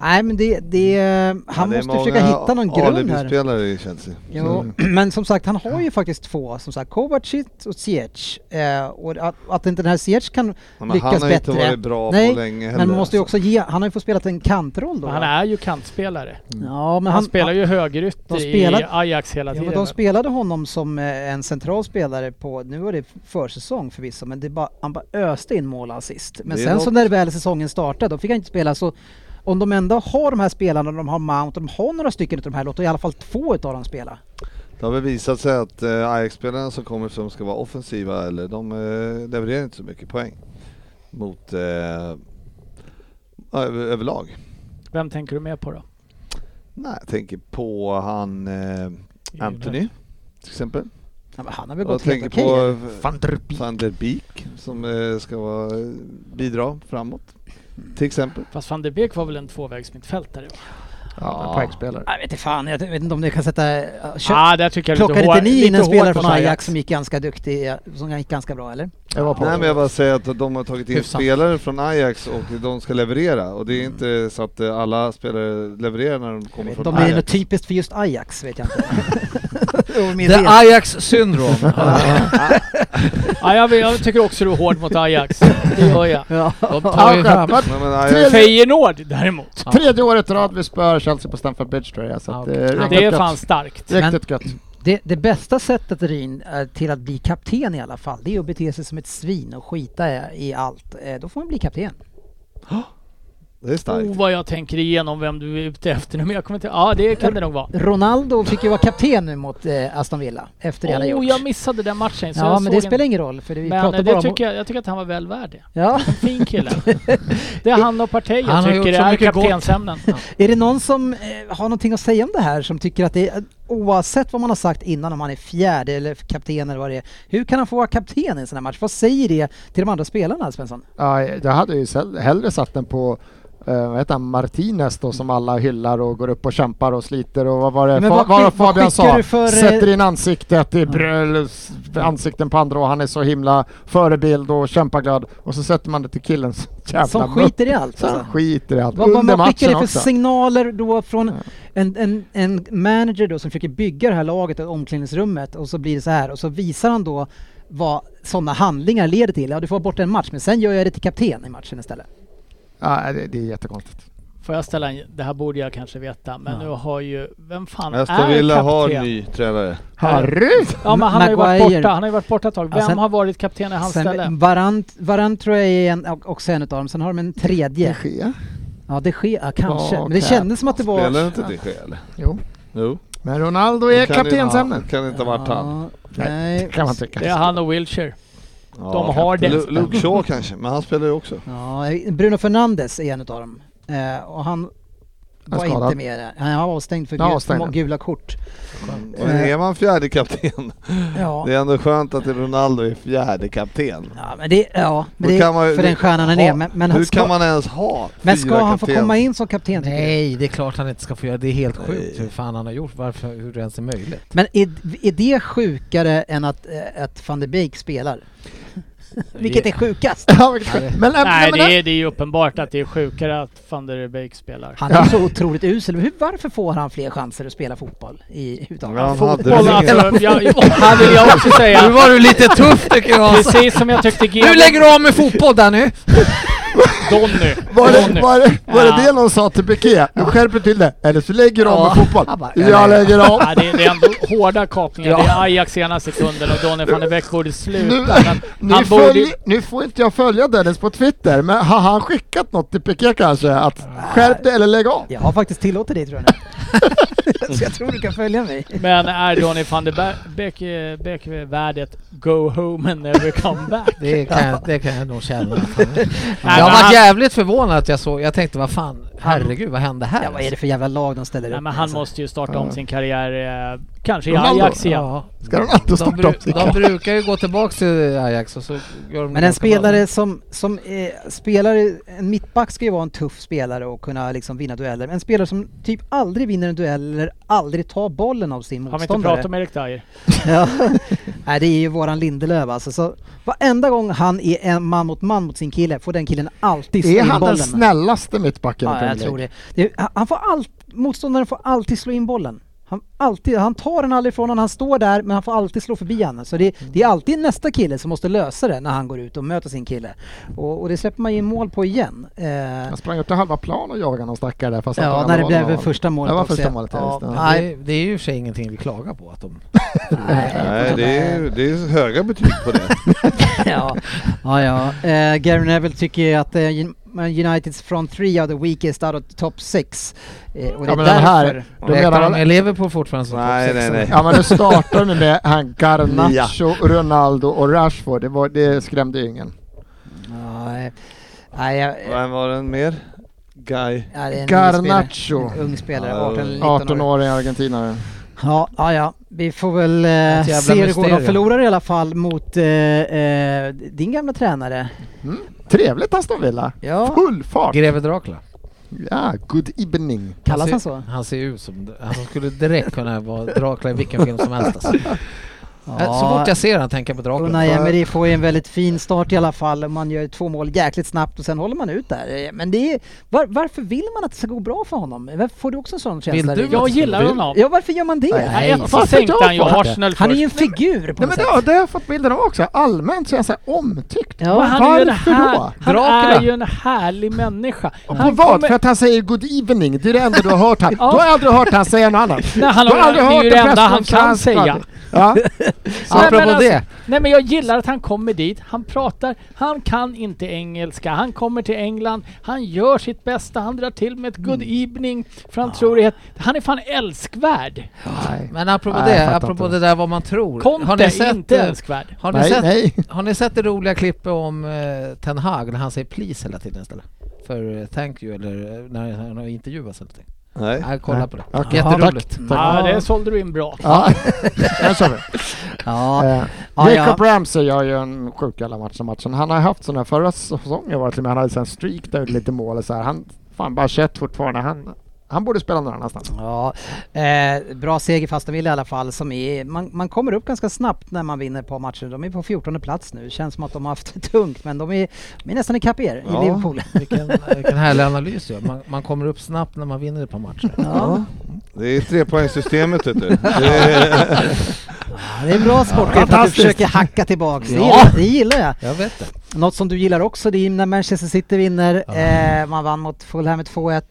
[SPEAKER 3] Nej men det, det han
[SPEAKER 7] Mm. Ja, det är
[SPEAKER 3] måste försöka
[SPEAKER 7] många
[SPEAKER 3] hitta någon grund här.
[SPEAKER 7] alibispelare i Chelsea.
[SPEAKER 3] Jo, men som sagt han har ju faktiskt två, som sagt Kovacic och Ziyech. Eh, och att, att inte den här Ziyech kan
[SPEAKER 7] Ja, men
[SPEAKER 3] lyckas
[SPEAKER 7] han har ju inte
[SPEAKER 3] bättre.
[SPEAKER 7] varit bra
[SPEAKER 3] Nej,
[SPEAKER 7] på länge heller.
[SPEAKER 3] men man måste ju
[SPEAKER 7] alltså.
[SPEAKER 3] också ge, han har ju fått spela en kantroll då.
[SPEAKER 5] Men han
[SPEAKER 3] va?
[SPEAKER 5] är ju kantspelare.
[SPEAKER 3] ja, men
[SPEAKER 5] Han,
[SPEAKER 3] han,
[SPEAKER 5] spelar ju högerytter
[SPEAKER 3] de spelar-
[SPEAKER 5] i Ajax hela
[SPEAKER 3] Ja,
[SPEAKER 5] tiden.
[SPEAKER 3] men de spelade honom som eh, en central spelare på, nu var det försäsong förvisso, men det bara, han bara öste in mål och assist. Men
[SPEAKER 7] Det är
[SPEAKER 3] sen så
[SPEAKER 7] något.
[SPEAKER 3] när väl säsongen startade, då fick han inte spela så om de ändå har de här spelarna, de har Mount, de har några stycken utav de här, låt i alla fall två utav dem spela.
[SPEAKER 7] Det har väl visat sig att eh, Ajax-spelarna som kommer som ska vara offensiva, eller de eh, levererar inte så mycket poäng mot eh, över, överlag.
[SPEAKER 5] Vem tänker du mer på då?
[SPEAKER 7] Nej, jag tänker på han eh, Anthony till exempel.
[SPEAKER 3] Ja, men han har väl
[SPEAKER 7] jag
[SPEAKER 3] gått helt
[SPEAKER 7] tänker
[SPEAKER 3] okej?
[SPEAKER 7] på
[SPEAKER 3] eller?
[SPEAKER 7] eh, van der Beek som eh, ska vara, eh, bidra framåt till exempel.
[SPEAKER 5] Fast van der Beek var väl en tvåvägsmittfältare? va?
[SPEAKER 4] Ja,
[SPEAKER 7] Ja.
[SPEAKER 4] men poängspelare.
[SPEAKER 3] Jag vet inte fan, jag vet inte om det kan sätta... eh, Kö-
[SPEAKER 5] ah, där tycker jag lite
[SPEAKER 3] plockade
[SPEAKER 5] hår-
[SPEAKER 3] inte ni in
[SPEAKER 5] lite
[SPEAKER 3] en
[SPEAKER 5] hårt
[SPEAKER 3] spelare
[SPEAKER 5] mot
[SPEAKER 3] från Ajax som gick ganska duktig, eh, som gick ganska bra eller?
[SPEAKER 4] Jag var på.
[SPEAKER 7] Nej men jag bara säger att de har tagit in
[SPEAKER 6] Hyfsat.
[SPEAKER 7] spelare från Ajax och de ska leverera och det är inte så att eh, alla spelare levererar när de
[SPEAKER 3] Jag
[SPEAKER 7] kommer
[SPEAKER 3] vet
[SPEAKER 7] från
[SPEAKER 3] inte om det är något
[SPEAKER 7] Ajax.
[SPEAKER 3] typiskt för just Ajax, vet jag inte. Jo, min
[SPEAKER 6] The
[SPEAKER 3] del.
[SPEAKER 6] Ajax syndrome. Ja.
[SPEAKER 5] Ja, jag, vill- jag tycker också du är hård mot Ajax. Det gör jag.
[SPEAKER 3] ja.
[SPEAKER 6] De tar ju fram...
[SPEAKER 7] Nej, men Ajax,
[SPEAKER 5] Feyenoord däremot.
[SPEAKER 4] Tredje året i rad vi spör Chelsea på Stamford Bridge tror jag. Så
[SPEAKER 6] Ja,
[SPEAKER 4] att,
[SPEAKER 6] okej.
[SPEAKER 4] eh,
[SPEAKER 6] Ja,
[SPEAKER 4] riktigt
[SPEAKER 5] Det är
[SPEAKER 4] gött.
[SPEAKER 5] fan starkt.
[SPEAKER 4] Riktigt gött.
[SPEAKER 3] det, det bästa sättet Rin, eh, till att bli kapten i alla fall, det är att bete sig som ett svin och skita i- i allt. Eh, Då får man bli kapten.
[SPEAKER 7] det är starkt.
[SPEAKER 5] Oh, vad jag tänker igenom vem du är ute efter nu, men jag kommer inte... Ja, det kan det nog vara.
[SPEAKER 3] Ronaldo fick ju vara kapten nu mot eh, Aston Villa, efter det han har
[SPEAKER 5] Oh,
[SPEAKER 3] gjort.
[SPEAKER 5] jag missade den matchen. Så
[SPEAKER 3] ja,
[SPEAKER 5] jag
[SPEAKER 3] men
[SPEAKER 5] såg
[SPEAKER 3] det
[SPEAKER 5] en-
[SPEAKER 3] spelar ingen roll, för vi
[SPEAKER 5] Men
[SPEAKER 3] pratar
[SPEAKER 5] eh,
[SPEAKER 3] bara
[SPEAKER 5] det
[SPEAKER 3] om...
[SPEAKER 5] tycker jag, jag tycker att han var väl värd det.
[SPEAKER 3] Ja.
[SPEAKER 5] Fin kille. Det är han och Partey
[SPEAKER 6] Han
[SPEAKER 5] jag
[SPEAKER 6] har gjort
[SPEAKER 5] tycker
[SPEAKER 6] så
[SPEAKER 5] är
[SPEAKER 6] mycket gott.
[SPEAKER 5] kaptensämnen.
[SPEAKER 3] Är det någon som eh, har någonting att säga om det här som tycker att det är, oavsett vad man har sagt innan om han är fjärde eller kapten eller vad det är, hur kan han få vara kapten i en sån här match? Vad säger det till de andra spelarna Svensson?
[SPEAKER 4] Ja, jag hade ju sell- hellre satt den på eh, vad heter han, Martinez då som alla hyllar och går upp och kämpar och sliter och vad var det
[SPEAKER 3] Men
[SPEAKER 4] fa-
[SPEAKER 3] vad
[SPEAKER 4] vad
[SPEAKER 3] skick-
[SPEAKER 4] var
[SPEAKER 3] vad
[SPEAKER 4] Fabian
[SPEAKER 3] skickar
[SPEAKER 4] sa?
[SPEAKER 3] du för, eh,
[SPEAKER 4] Sätter in ansiktet
[SPEAKER 6] Mm.
[SPEAKER 4] i bröl, s- ansikten på andra och han är så himla förebild och kämpaglad och så sätter man det till killen som jävla
[SPEAKER 3] Som
[SPEAKER 4] mutt.
[SPEAKER 3] skiter i allt?
[SPEAKER 4] Som
[SPEAKER 3] Alltså.
[SPEAKER 4] skiter i allt.
[SPEAKER 3] Vad, vad
[SPEAKER 4] Under
[SPEAKER 3] man skickar
[SPEAKER 4] matchen
[SPEAKER 3] det för
[SPEAKER 4] också.
[SPEAKER 3] signaler då från en, en, en manager då som försöker bygga det här laget och omklädningsrummet och så blir det så här och så visar han då vad sådana handlingar leder till. Ja, du får vara borta en match, men sen gör jag det till kapten i matchen istället.
[SPEAKER 4] ja, det, det är jättekonstigt.
[SPEAKER 5] Får jag ställa en... Det här borde jag kanske veta, men nu har ju... Vem fan
[SPEAKER 7] Aston
[SPEAKER 5] är
[SPEAKER 7] Villa har
[SPEAKER 5] kapten?
[SPEAKER 7] ny tränare.
[SPEAKER 4] Harry!
[SPEAKER 5] Ja, men han har ju varit
[SPEAKER 3] Maguire.
[SPEAKER 5] borta. Han har ju varit borta ett tag. Vem
[SPEAKER 3] Ja, sen-
[SPEAKER 5] har varit kapten i hans ställe?
[SPEAKER 3] Sen, varant, varant tror jag är en, och- också en utav dem, sen har de en tredje.
[SPEAKER 4] Ske.
[SPEAKER 3] Ja, det sker, ja, kanske.
[SPEAKER 4] Ja,
[SPEAKER 3] Men det
[SPEAKER 4] okej.
[SPEAKER 3] kändes som att det var...
[SPEAKER 7] Spelar inte det själv?
[SPEAKER 4] Jo.
[SPEAKER 7] Jo.
[SPEAKER 4] Men Ronaldo är
[SPEAKER 7] Kan det-
[SPEAKER 4] kaptensämnet.
[SPEAKER 7] Kan det inte ha varit han?
[SPEAKER 3] Ja, nej.
[SPEAKER 4] Kan man
[SPEAKER 5] Det är
[SPEAKER 4] tycka.
[SPEAKER 5] han och Wilshire.
[SPEAKER 7] Ja.
[SPEAKER 5] De har
[SPEAKER 7] Lu-
[SPEAKER 5] det.
[SPEAKER 7] Luke Shaw kanske, men han spelar ju också.
[SPEAKER 3] Ja, Bruno Fernandes är en av dem. Eh, och han
[SPEAKER 4] Han
[SPEAKER 3] var
[SPEAKER 4] är skadad.
[SPEAKER 3] inte med där. Han var avstängd för
[SPEAKER 4] Ja,
[SPEAKER 3] gula,
[SPEAKER 4] avstängd.
[SPEAKER 3] för gula kort.
[SPEAKER 7] Och är man fjärde kapten
[SPEAKER 3] Ja,
[SPEAKER 7] Det är ändå skönt att Ronaldo är fjärde kapten.
[SPEAKER 3] ja men det, ja, men
[SPEAKER 7] Då
[SPEAKER 3] det
[SPEAKER 7] kan man
[SPEAKER 3] är
[SPEAKER 7] ju-
[SPEAKER 3] för den stjärnan han
[SPEAKER 7] Ja,
[SPEAKER 3] är. Men, men,
[SPEAKER 7] Hur
[SPEAKER 3] han ska,
[SPEAKER 7] kan man ens ha
[SPEAKER 3] men
[SPEAKER 7] fyra
[SPEAKER 3] ska han få
[SPEAKER 7] kapten?
[SPEAKER 3] komma in som kapten? tycker du?
[SPEAKER 6] Nej, det är klart han inte ska få göra. Det är helt sjukt hur fan han har gjort. Varför, hur det ens är möjligt.
[SPEAKER 3] Men är, är det sjukare än att, eh, att van de Beek spelar? Vilket är sjukast?
[SPEAKER 4] Ja, vilket skönt. men, äh,
[SPEAKER 5] Nej,
[SPEAKER 4] men,
[SPEAKER 5] det är, det är ju uppenbart att det är sjukare att van der Beek spelar.
[SPEAKER 3] Han är så otroligt usel. Hur, varför får han fler chanser att spela fotboll i utav?
[SPEAKER 7] Ja, han hade
[SPEAKER 5] Boll,
[SPEAKER 7] väl ingen-
[SPEAKER 5] alltså, jag, här vill jag också
[SPEAKER 6] Nu
[SPEAKER 5] säga.
[SPEAKER 6] var du lite tuff tycker jag!
[SPEAKER 5] Precis som jag tyckte GB...
[SPEAKER 6] Nu lägger du av med fotboll där nu!
[SPEAKER 5] Donny.
[SPEAKER 4] Var
[SPEAKER 5] Donny.
[SPEAKER 4] det, var, det, var det
[SPEAKER 5] Ja.
[SPEAKER 4] det någon sa till Piqué? Du skärper till det, eller så lägger du av
[SPEAKER 3] Ja.
[SPEAKER 4] med fotboll.
[SPEAKER 3] Han bara,
[SPEAKER 4] Jag lägger av.
[SPEAKER 5] Ja, det, är- det är ändå hårda kapningar. Det är Ajax ena sekunden och Donny van der Beek borde
[SPEAKER 4] Nu,
[SPEAKER 5] sluta. Men
[SPEAKER 4] nu,
[SPEAKER 5] han borde
[SPEAKER 4] följ,
[SPEAKER 5] ju-
[SPEAKER 4] nu får inte jag följa Dennis på Twitter, men har han skickat något till Piqué kanske? Att skärp dig eller lägg av?
[SPEAKER 3] Jag har faktiskt tillåtit det tror jag nu. Så jag tror du kan följa mig.
[SPEAKER 5] Men är Donny van der Be- Beek, eh, Beek värd ett Go home and never come back?
[SPEAKER 6] Det kan, jag- det kan jag nog känna. att han är.
[SPEAKER 5] Nej,
[SPEAKER 6] Jag
[SPEAKER 5] men han-
[SPEAKER 6] var jävligt förvånad att jag såg, jag tänkte vad fan, herregud vad hände här?
[SPEAKER 3] Ja, vad är det för jävla lag de ställer
[SPEAKER 5] Nej,
[SPEAKER 3] upp
[SPEAKER 5] men
[SPEAKER 3] med,
[SPEAKER 5] han
[SPEAKER 3] alltså?
[SPEAKER 5] måste ju starta om sin karriär, eh, kanske i
[SPEAKER 4] Ronaldo?
[SPEAKER 5] Ajax igen.
[SPEAKER 6] Ja.
[SPEAKER 4] Ska Ronaldo
[SPEAKER 6] De,
[SPEAKER 4] starta om
[SPEAKER 6] bru-
[SPEAKER 4] sig?
[SPEAKER 6] de brukar ju gå tillbaks till Ajax och så gör de
[SPEAKER 3] Men en spelare som, som eh, spelare, en mittback ska ju vara en tuff spelare och kunna liksom vinna dueller. En spelare som typ aldrig vinner en duell eller aldrig tar bollen av sin
[SPEAKER 5] Har vi inte
[SPEAKER 3] motståndare.
[SPEAKER 5] pratat om Erik Dyer?
[SPEAKER 3] Ja. Nej, det är ju våran Lindelöf alltså. Så varenda gång han är en man mot man mot sin kille får den killen alltid slå
[SPEAKER 4] Är
[SPEAKER 3] in
[SPEAKER 4] han
[SPEAKER 3] bollen.
[SPEAKER 4] den snällaste mittbacken i
[SPEAKER 3] Ja,
[SPEAKER 4] Premier
[SPEAKER 3] jag tror
[SPEAKER 4] League?
[SPEAKER 3] det. det är- han- han får allt, motståndaren får alltid slå in bollen. Han, alltid, han tar den aldrig ifrån honom, han står där men han får alltid slå förbi honom. Så det, det är alltid nästa kille som måste lösa det när han går ut och möter sin kille. Och, och det släpper man ju in mål på igen. Eh,
[SPEAKER 4] Han sprang upp till halva plan och jagade någon stackare där fast han tog
[SPEAKER 3] ja,
[SPEAKER 4] andra
[SPEAKER 3] när det
[SPEAKER 4] bollen
[SPEAKER 3] blev väl
[SPEAKER 4] av.
[SPEAKER 3] första målet
[SPEAKER 4] Det var
[SPEAKER 3] också,
[SPEAKER 4] första målet, ja, just det.
[SPEAKER 6] Nej.
[SPEAKER 3] Nej,
[SPEAKER 6] Det, det är ju i och för sig ingenting vi klagar på att de...
[SPEAKER 7] Nej, det är, det är höga betyg på det.
[SPEAKER 3] ja. ja, ja. Eh, Gary Neville tycker ju att eh, Un- Uniteds front three are the weakest out of top six. Eh, och det
[SPEAKER 4] Ja,
[SPEAKER 3] är
[SPEAKER 4] men den
[SPEAKER 3] därför.
[SPEAKER 4] här, då menar
[SPEAKER 6] Räknar de
[SPEAKER 4] han,
[SPEAKER 6] med Liverpool fortfarande som
[SPEAKER 7] Nej,
[SPEAKER 6] topp sex?
[SPEAKER 7] nej, nej.
[SPEAKER 4] ja men nu startar nu med han Garnacho, Ronaldo och Rashford. Det, var, det skrämde ju ingen.
[SPEAKER 3] Nej, eh, nej, jag-
[SPEAKER 7] Vem var den mer? Guy.
[SPEAKER 3] Ja, det är en
[SPEAKER 4] Garnacho.
[SPEAKER 3] ung spelare. En Ung spelare,
[SPEAKER 7] Ja,
[SPEAKER 3] 18-19
[SPEAKER 4] 18
[SPEAKER 3] år.
[SPEAKER 4] år i Argentina.
[SPEAKER 3] Ja, ja, ja, vi får väl
[SPEAKER 6] Ett
[SPEAKER 3] eh,
[SPEAKER 6] jävla
[SPEAKER 3] se hur det går.
[SPEAKER 6] mysterium.
[SPEAKER 3] De förlorar i alla fall mot eh, eh, din gamla tränare.
[SPEAKER 4] Trevligt Aston Villa.
[SPEAKER 3] Ja,
[SPEAKER 4] Full fart!
[SPEAKER 6] Greve Dracula.
[SPEAKER 4] Ja, good evening.
[SPEAKER 3] kallas han
[SPEAKER 6] ser-
[SPEAKER 3] så?
[SPEAKER 6] Han ser ut som... Han skulle direkt kunna vara Dracula i vilken film som helst alltså.
[SPEAKER 3] Ja.
[SPEAKER 6] Eh, Så fort jag ser han tänker jag på Dracula.
[SPEAKER 3] Unai Emery får ju en väldigt fin start i alla fall. Man gör två mål jäkligt snabbt och sen håller man ut där. Eh, Men det är, var, varför vill man att det ska gå bra för honom? Varför får du också en sån känsla?
[SPEAKER 6] du
[SPEAKER 3] Rickard?
[SPEAKER 5] Jag gillar honom.
[SPEAKER 3] Ja, varför gör man det?
[SPEAKER 5] Nej, ett så
[SPEAKER 4] varför
[SPEAKER 5] sänkte
[SPEAKER 4] jag
[SPEAKER 5] han ju
[SPEAKER 4] får
[SPEAKER 6] det?
[SPEAKER 5] Arsenal
[SPEAKER 3] Han är ju
[SPEAKER 5] först.
[SPEAKER 3] en figur på
[SPEAKER 4] Nej
[SPEAKER 3] något sätt.
[SPEAKER 4] men det, det har jag fått bilden av också. Allmänt så är jag så här omtyckt.
[SPEAKER 3] Ja.
[SPEAKER 5] Men han är ju en
[SPEAKER 4] Varför
[SPEAKER 5] här-
[SPEAKER 4] då?
[SPEAKER 5] Han
[SPEAKER 6] Dracula.
[SPEAKER 5] är ju en härlig människa.
[SPEAKER 4] Och På
[SPEAKER 5] Han
[SPEAKER 4] vad?
[SPEAKER 5] kommer-
[SPEAKER 4] För att han säger good evening, det är det enda du har hört han.
[SPEAKER 5] Ja.
[SPEAKER 4] Du har aldrig hört han säga något annat.
[SPEAKER 5] Nej, han
[SPEAKER 4] Du har
[SPEAKER 5] har, det
[SPEAKER 4] aldrig
[SPEAKER 5] är
[SPEAKER 4] hört
[SPEAKER 5] ju det
[SPEAKER 4] en
[SPEAKER 5] enda han
[SPEAKER 4] presskonferens
[SPEAKER 5] kan säga.
[SPEAKER 4] prata. Ja.
[SPEAKER 5] Nej, men
[SPEAKER 6] Apropå
[SPEAKER 5] alltså-
[SPEAKER 6] det.
[SPEAKER 5] Nej men jag gillar att han kommer dit, han pratar, han kan inte engelska, han kommer till England, han gör sitt bästa, han drar till med ett good evening, för han tror det Han är fan älskvärd!
[SPEAKER 4] Nej.
[SPEAKER 6] Men apropå
[SPEAKER 4] Nej, jag
[SPEAKER 6] det,
[SPEAKER 4] fattar
[SPEAKER 6] apropå
[SPEAKER 4] inte.
[SPEAKER 6] det där vad man tror. har
[SPEAKER 5] Conte
[SPEAKER 6] ni
[SPEAKER 5] är
[SPEAKER 6] sett,
[SPEAKER 5] inte
[SPEAKER 6] eh,
[SPEAKER 5] älskvärd.
[SPEAKER 6] Har ni,
[SPEAKER 4] Nej,
[SPEAKER 6] sett,
[SPEAKER 4] nej.
[SPEAKER 6] har ni sett det roliga klippet om eh, Ten Hag när han säger please hela tiden istället? För eh, thank you eller eh, när han har intervjuats eller någonting.
[SPEAKER 7] Nej.
[SPEAKER 6] Nej, kolla
[SPEAKER 4] Nej.
[SPEAKER 6] på det.
[SPEAKER 4] Okej.
[SPEAKER 6] Jätteroligt.
[SPEAKER 4] Tack.
[SPEAKER 5] Ja,
[SPEAKER 4] Tack.
[SPEAKER 5] det sålde du in bra.
[SPEAKER 4] Ja, där kör vi.
[SPEAKER 3] Ja,
[SPEAKER 4] Eh,
[SPEAKER 3] Ja,
[SPEAKER 4] Jacob Ramsey gör ju en sjuk jävla match i matchen. Han har haft sådana förra säsongen var det till och med. Han hade en streak där lite mål och så här. Han, fan bara 21 fortfarande. Han, han borde spela någon annanstans.
[SPEAKER 3] Ja, eh, bra seger för Aston Villa i alla fall. Som är, man, man kommer upp ganska snabbt när man vinner på matcher. De är på 14 plats nu. Känns som att de har haft det tungt men de är, de är nästan ikapp er
[SPEAKER 7] Ja.
[SPEAKER 3] i Liverpool.
[SPEAKER 6] Vilken, eh, vilken härlig analys du gör. man, man kommer upp snabbt när man vinner ett par matcher.
[SPEAKER 3] Ja.
[SPEAKER 7] Det är trepoängssystemet vet du. Det är,
[SPEAKER 3] det är bra sportchef att du
[SPEAKER 4] Fantastiskt.
[SPEAKER 3] försöker hacka tillbaka. Det,
[SPEAKER 6] Ja.
[SPEAKER 3] gillar, det gillar jag.
[SPEAKER 6] Jag vet det.
[SPEAKER 3] Något som du gillar också det är när Manchester City vinner. Eh, man vann mot Fulham med 2-1.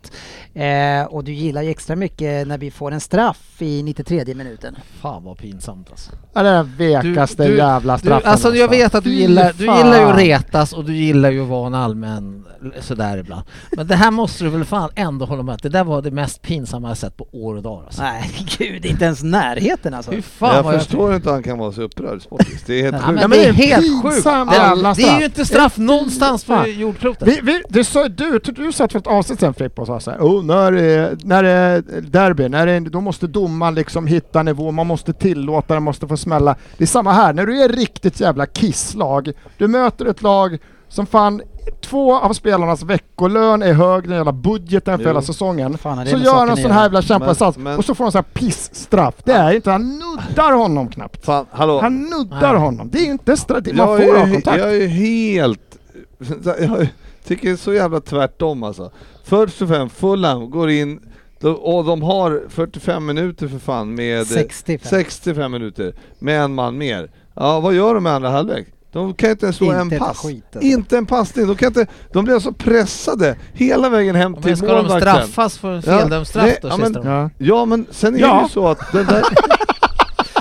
[SPEAKER 3] Eh, och du gillar ju extra mycket när vi får en straff i 93 minuten.
[SPEAKER 6] Fan vad pinsamt alltså.
[SPEAKER 4] Ja, det är den vekaste
[SPEAKER 6] Du- du-
[SPEAKER 4] jävla
[SPEAKER 6] Du,
[SPEAKER 4] straffen.
[SPEAKER 6] alltså jag vet att du
[SPEAKER 4] Fy
[SPEAKER 6] gillar, du
[SPEAKER 4] fan.
[SPEAKER 6] gillar ju att retas och du gillar ju att vara en allmän sådär ibland. Men det här måste du väl fan ändå hålla med att det där var det mest pinsamma jag sett på år och dag alltså.
[SPEAKER 3] Nej, gud, inte ens närheten alltså.
[SPEAKER 6] Fy fan
[SPEAKER 7] jag
[SPEAKER 6] vad
[SPEAKER 7] förstår inte att han kan vara så upprörd sportiskt. Det är helt
[SPEAKER 6] Ja,
[SPEAKER 7] sjukt.
[SPEAKER 6] men
[SPEAKER 4] men
[SPEAKER 6] det är
[SPEAKER 4] det är
[SPEAKER 6] helt sjukt!
[SPEAKER 4] pinsamt
[SPEAKER 6] Det,
[SPEAKER 4] alla
[SPEAKER 6] det är
[SPEAKER 4] straff.
[SPEAKER 6] ju inte straff någonstans på
[SPEAKER 4] Fan.
[SPEAKER 6] jordklotet.
[SPEAKER 4] Vi, vi, du, sa, du, du, du satt för ett avsnitt sen Frippe och sa såhär, oh, när, det- när det är derby, när det, är- då måste domaren liksom hitta nivå, man måste tillåta, den måste få smälla. Det är samma här, när du är riktigt jävla kisslag, du möter ett lag som fan, två av spelarnas veckolön är högre än hela budgeten för
[SPEAKER 7] Jo.
[SPEAKER 4] hela säsongen.
[SPEAKER 3] Fan, är det
[SPEAKER 4] Så
[SPEAKER 3] med
[SPEAKER 4] gör
[SPEAKER 3] saken
[SPEAKER 4] en
[SPEAKER 3] att
[SPEAKER 4] sån
[SPEAKER 3] göra?
[SPEAKER 4] här jävla kämpainsats
[SPEAKER 7] Men- men-
[SPEAKER 4] och så får de så här pissstraff. Det är inte, han nuddar honom knappt.
[SPEAKER 7] Fan, hallå.
[SPEAKER 4] Han nuddar
[SPEAKER 6] Nej.
[SPEAKER 4] honom. Det är inte straff, man
[SPEAKER 7] jag,
[SPEAKER 4] får
[SPEAKER 7] är,
[SPEAKER 4] ögonkontakt.
[SPEAKER 7] jag är helt... Jag tycker det är så jävla tvärtom alltså. Först och främst, Fulham går in de- och de har 45 minuter för fan med...
[SPEAKER 3] 65.
[SPEAKER 7] 65 minuter med en man mer. Ja, vad gör de med andra halvlek? De kan inte ens slå
[SPEAKER 3] Inte
[SPEAKER 7] en
[SPEAKER 3] ett
[SPEAKER 7] pass.
[SPEAKER 3] skit, alltså.
[SPEAKER 7] Inte en passning. De, kan inte, de blir så pressade hela vägen hem
[SPEAKER 6] Men
[SPEAKER 7] till
[SPEAKER 6] ska de
[SPEAKER 7] målvakten.
[SPEAKER 6] straffas för en
[SPEAKER 7] Ja.
[SPEAKER 6] feldömd straff
[SPEAKER 7] Nej,
[SPEAKER 6] då
[SPEAKER 7] ja,
[SPEAKER 6] sista
[SPEAKER 7] men-
[SPEAKER 6] de?
[SPEAKER 4] Ja.
[SPEAKER 7] Ja men sen är det
[SPEAKER 4] Ja.
[SPEAKER 7] ju så att den där...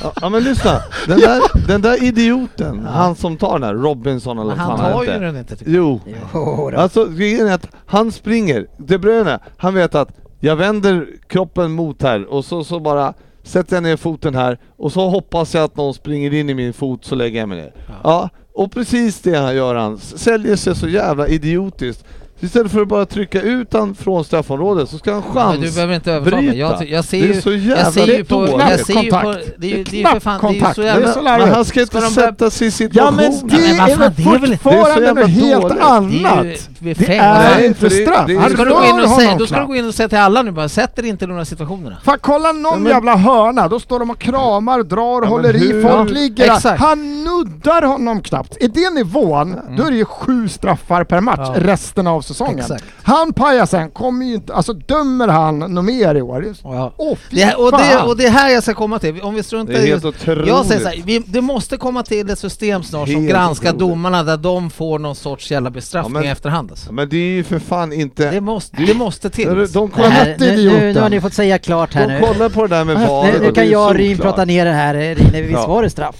[SPEAKER 7] Ja, Ja men lyssna, den där, den där idioten, han som tar den här, Robinson eller
[SPEAKER 6] Men
[SPEAKER 7] vad
[SPEAKER 6] han
[SPEAKER 7] fan
[SPEAKER 6] tar ju
[SPEAKER 7] hette.
[SPEAKER 6] den inte tycker jag.
[SPEAKER 7] Jo.
[SPEAKER 3] Jodå.
[SPEAKER 7] Alltså grejen är att han springer, De Bruyne, han vet att jag vänder kroppen mot här och så, så bara sätter jag ner foten här och så hoppas jag att någon springer in i min fot så lägger jag mig ner. Ja, och precis det han gör han, S- säljer sig så jävla idiotiskt. Istället för att bara trycka ut han från straffområdet så ska han chans.
[SPEAKER 6] Men du behöver inte övertala mig. Jag, ty- jag ser
[SPEAKER 7] Det är
[SPEAKER 6] ju...
[SPEAKER 7] så
[SPEAKER 6] Jag
[SPEAKER 7] jävla
[SPEAKER 6] ser ju på...
[SPEAKER 7] dåligt.
[SPEAKER 6] Jag ser ju på...
[SPEAKER 4] Kontakt.
[SPEAKER 6] Det är ju det är ju för
[SPEAKER 4] Knappt
[SPEAKER 6] fan... Det är ju
[SPEAKER 4] kontakt.
[SPEAKER 6] så
[SPEAKER 4] Det är
[SPEAKER 6] jävla...
[SPEAKER 4] så
[SPEAKER 7] Men
[SPEAKER 4] larvigt.
[SPEAKER 7] han ska
[SPEAKER 6] Ska
[SPEAKER 7] inte
[SPEAKER 6] de börja-
[SPEAKER 7] sätta sig i
[SPEAKER 4] Ja men det
[SPEAKER 7] situationen.
[SPEAKER 6] Nej, men vad
[SPEAKER 4] är väl
[SPEAKER 6] fan, det är väl-
[SPEAKER 7] det
[SPEAKER 4] fortfarande
[SPEAKER 7] är så jävla
[SPEAKER 4] något helt
[SPEAKER 7] dåligt.
[SPEAKER 4] annat?
[SPEAKER 6] Det är ju
[SPEAKER 4] Det
[SPEAKER 6] befängt.
[SPEAKER 4] är
[SPEAKER 7] Nej, för
[SPEAKER 4] inte
[SPEAKER 7] det-
[SPEAKER 4] straff!
[SPEAKER 7] det är-
[SPEAKER 4] Han
[SPEAKER 6] Då ska, du gå in
[SPEAKER 4] rör
[SPEAKER 6] och säga,
[SPEAKER 4] honom
[SPEAKER 6] då ska du
[SPEAKER 4] knappt.
[SPEAKER 6] gå in och säga till alla nu bara, sätt er inte i de här situationerna.
[SPEAKER 4] Fan kolla någon
[SPEAKER 7] Ja, men-
[SPEAKER 4] jävla hörna, då står de och kramar, drar,
[SPEAKER 7] men
[SPEAKER 4] håller i,
[SPEAKER 7] hur-
[SPEAKER 4] folk
[SPEAKER 7] Ja,
[SPEAKER 4] ligger där.
[SPEAKER 6] exakt. Mm.
[SPEAKER 4] Han nuddar honom knappt. I den nivån, då är det ju sju straffar per match
[SPEAKER 6] Ja.
[SPEAKER 4] resten av säsongen.
[SPEAKER 6] Exakt.
[SPEAKER 4] Han pajar sen, kommer ju inte, alltså dömer han något mer i år?
[SPEAKER 6] Ja.
[SPEAKER 4] Åh fy
[SPEAKER 6] Det, och, det,
[SPEAKER 4] fan!
[SPEAKER 6] och det är här jag ska komma till, om vi struntar
[SPEAKER 7] Det är
[SPEAKER 6] i-
[SPEAKER 7] helt otroligt.
[SPEAKER 6] Jag säger så här, vi, det måste komma till ett system snart som
[SPEAKER 7] Helt
[SPEAKER 6] granskar
[SPEAKER 7] otroligt.
[SPEAKER 6] domarna där de får någon sorts jävla bestraffning
[SPEAKER 7] Ja, men-
[SPEAKER 6] i efterhand alltså.
[SPEAKER 7] Men det är ju för fan inte...
[SPEAKER 6] det, måste, det måste till.
[SPEAKER 7] de,
[SPEAKER 6] alltså.
[SPEAKER 7] de,
[SPEAKER 4] Vad
[SPEAKER 7] kollar,
[SPEAKER 4] hette
[SPEAKER 3] Nej, nu, nu, nu har
[SPEAKER 4] idioten?
[SPEAKER 3] ni fått säga klart här
[SPEAKER 7] de
[SPEAKER 3] nu.
[SPEAKER 7] kollar på det där med
[SPEAKER 3] Nu,
[SPEAKER 7] VAR
[SPEAKER 3] nu
[SPEAKER 7] och det
[SPEAKER 3] kan
[SPEAKER 7] är
[SPEAKER 3] jag och Ryn
[SPEAKER 7] solklart.
[SPEAKER 3] prata ner det här. Ryn, visst
[SPEAKER 7] Ja.
[SPEAKER 3] var det straff?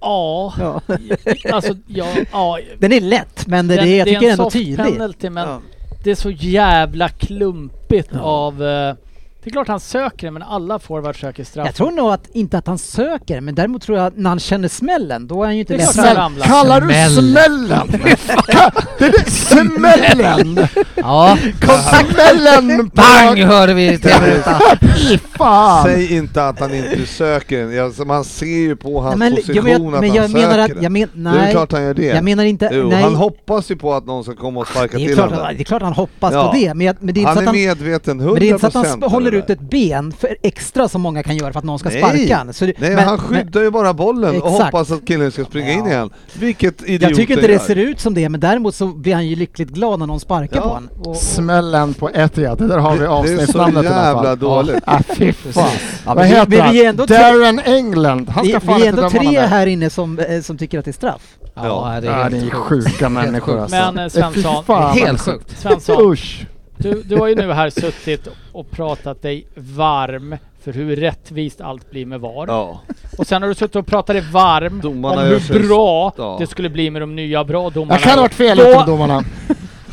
[SPEAKER 5] Ja,
[SPEAKER 3] Ja.
[SPEAKER 5] alltså ja, ja.
[SPEAKER 3] Den är lätt, men det, det, jag tycker
[SPEAKER 5] en
[SPEAKER 3] ändå
[SPEAKER 5] soft
[SPEAKER 3] tydlig.
[SPEAKER 5] penalty, men
[SPEAKER 3] Ja.
[SPEAKER 5] det är så jävla klumpigt av... eh, Det är klart han söker det, men alla forwards söker straff.
[SPEAKER 3] Jag tror nog att, inte att han söker, men däremot tror jag att när han känner smällen, då är han ju inte
[SPEAKER 5] Det är
[SPEAKER 3] ledsen.
[SPEAKER 5] klart.
[SPEAKER 4] Smäll,
[SPEAKER 5] ramlar.
[SPEAKER 4] kallar du
[SPEAKER 6] Smäll.
[SPEAKER 4] smällen? Ka- det är det, smällen!
[SPEAKER 6] ja.
[SPEAKER 4] Smällen!
[SPEAKER 6] Pang hörde vi i tv-rutan.
[SPEAKER 4] Fy fan!
[SPEAKER 7] Säg inte att han inte söker den. Alltså, man ser ju på hans
[SPEAKER 3] men,
[SPEAKER 7] position
[SPEAKER 3] ja, men jag,
[SPEAKER 7] att
[SPEAKER 3] men
[SPEAKER 7] han
[SPEAKER 3] jag
[SPEAKER 7] söker
[SPEAKER 3] menar att,
[SPEAKER 7] den.
[SPEAKER 3] jag men, nej.
[SPEAKER 7] Det är klart han gör det.
[SPEAKER 3] Jag menar inte,
[SPEAKER 7] jo,
[SPEAKER 3] nej.
[SPEAKER 7] Han hoppas ju på att någon ska komma och sparka
[SPEAKER 3] det, är
[SPEAKER 7] till
[SPEAKER 3] klart,
[SPEAKER 7] honom.
[SPEAKER 3] han- det är klart han hoppas
[SPEAKER 7] Ja.
[SPEAKER 3] på det, men, jag, men det är inte
[SPEAKER 7] Han
[SPEAKER 3] så
[SPEAKER 7] är
[SPEAKER 3] att han, men
[SPEAKER 7] medveten 100%
[SPEAKER 3] det är inte så att han sp- håller
[SPEAKER 7] det
[SPEAKER 3] ut
[SPEAKER 7] där.
[SPEAKER 3] ett ben för extra som många kan göra för att någon ska
[SPEAKER 7] Nej.
[SPEAKER 3] sparka han. Så det-
[SPEAKER 7] Nej,
[SPEAKER 3] men-
[SPEAKER 7] han
[SPEAKER 3] men-
[SPEAKER 7] skyddar ju bara bollen och
[SPEAKER 3] Exakt.
[SPEAKER 7] hoppas att killen ska springa in
[SPEAKER 3] Ja.
[SPEAKER 7] igen. Vilket idioten
[SPEAKER 3] Jag tycker inte det
[SPEAKER 7] gör.
[SPEAKER 3] ser ut som det, men däremot så blir han ju lyckligt glad när någon sparkar
[SPEAKER 7] Ja.
[SPEAKER 3] på honom. Och, och,
[SPEAKER 4] Smällen på Etria, det där har vi avsnittsnamnet
[SPEAKER 7] Det är så jävla dåligt.
[SPEAKER 4] Ja, ah, fy fan.
[SPEAKER 3] Ja,
[SPEAKER 4] Vad
[SPEAKER 3] men vi-
[SPEAKER 4] heter
[SPEAKER 3] men vi är
[SPEAKER 4] han?
[SPEAKER 3] ändå tre-
[SPEAKER 4] Darren England. Han
[SPEAKER 3] vi,
[SPEAKER 4] ska fan
[SPEAKER 3] vi är
[SPEAKER 4] inte
[SPEAKER 3] ändå
[SPEAKER 4] döma
[SPEAKER 3] tre
[SPEAKER 4] honom.
[SPEAKER 3] här inne som, eh, som tycker att det är straff.
[SPEAKER 7] Ja.
[SPEAKER 6] det
[SPEAKER 4] Ja,
[SPEAKER 6] är
[SPEAKER 4] det är
[SPEAKER 6] helt sjukt.
[SPEAKER 4] sjuka människor alltså.
[SPEAKER 5] Men eh,
[SPEAKER 4] Fy
[SPEAKER 5] Svensson,
[SPEAKER 4] fan.
[SPEAKER 6] Helt sjukt.
[SPEAKER 5] Svensson
[SPEAKER 4] Usch.
[SPEAKER 5] du, du har ju nu här suttit och pratat dig varm för hur rättvist allt blir med VAR.
[SPEAKER 7] Ja.
[SPEAKER 5] Och sen har du suttit och pratat dig varm
[SPEAKER 7] Domarna
[SPEAKER 5] om
[SPEAKER 7] gör sig-
[SPEAKER 5] hur bra
[SPEAKER 7] Ja.
[SPEAKER 5] det skulle bli med de nya bra domarna.
[SPEAKER 4] Jag kan ha varit fel
[SPEAKER 5] Då-
[SPEAKER 4] ute med domarna.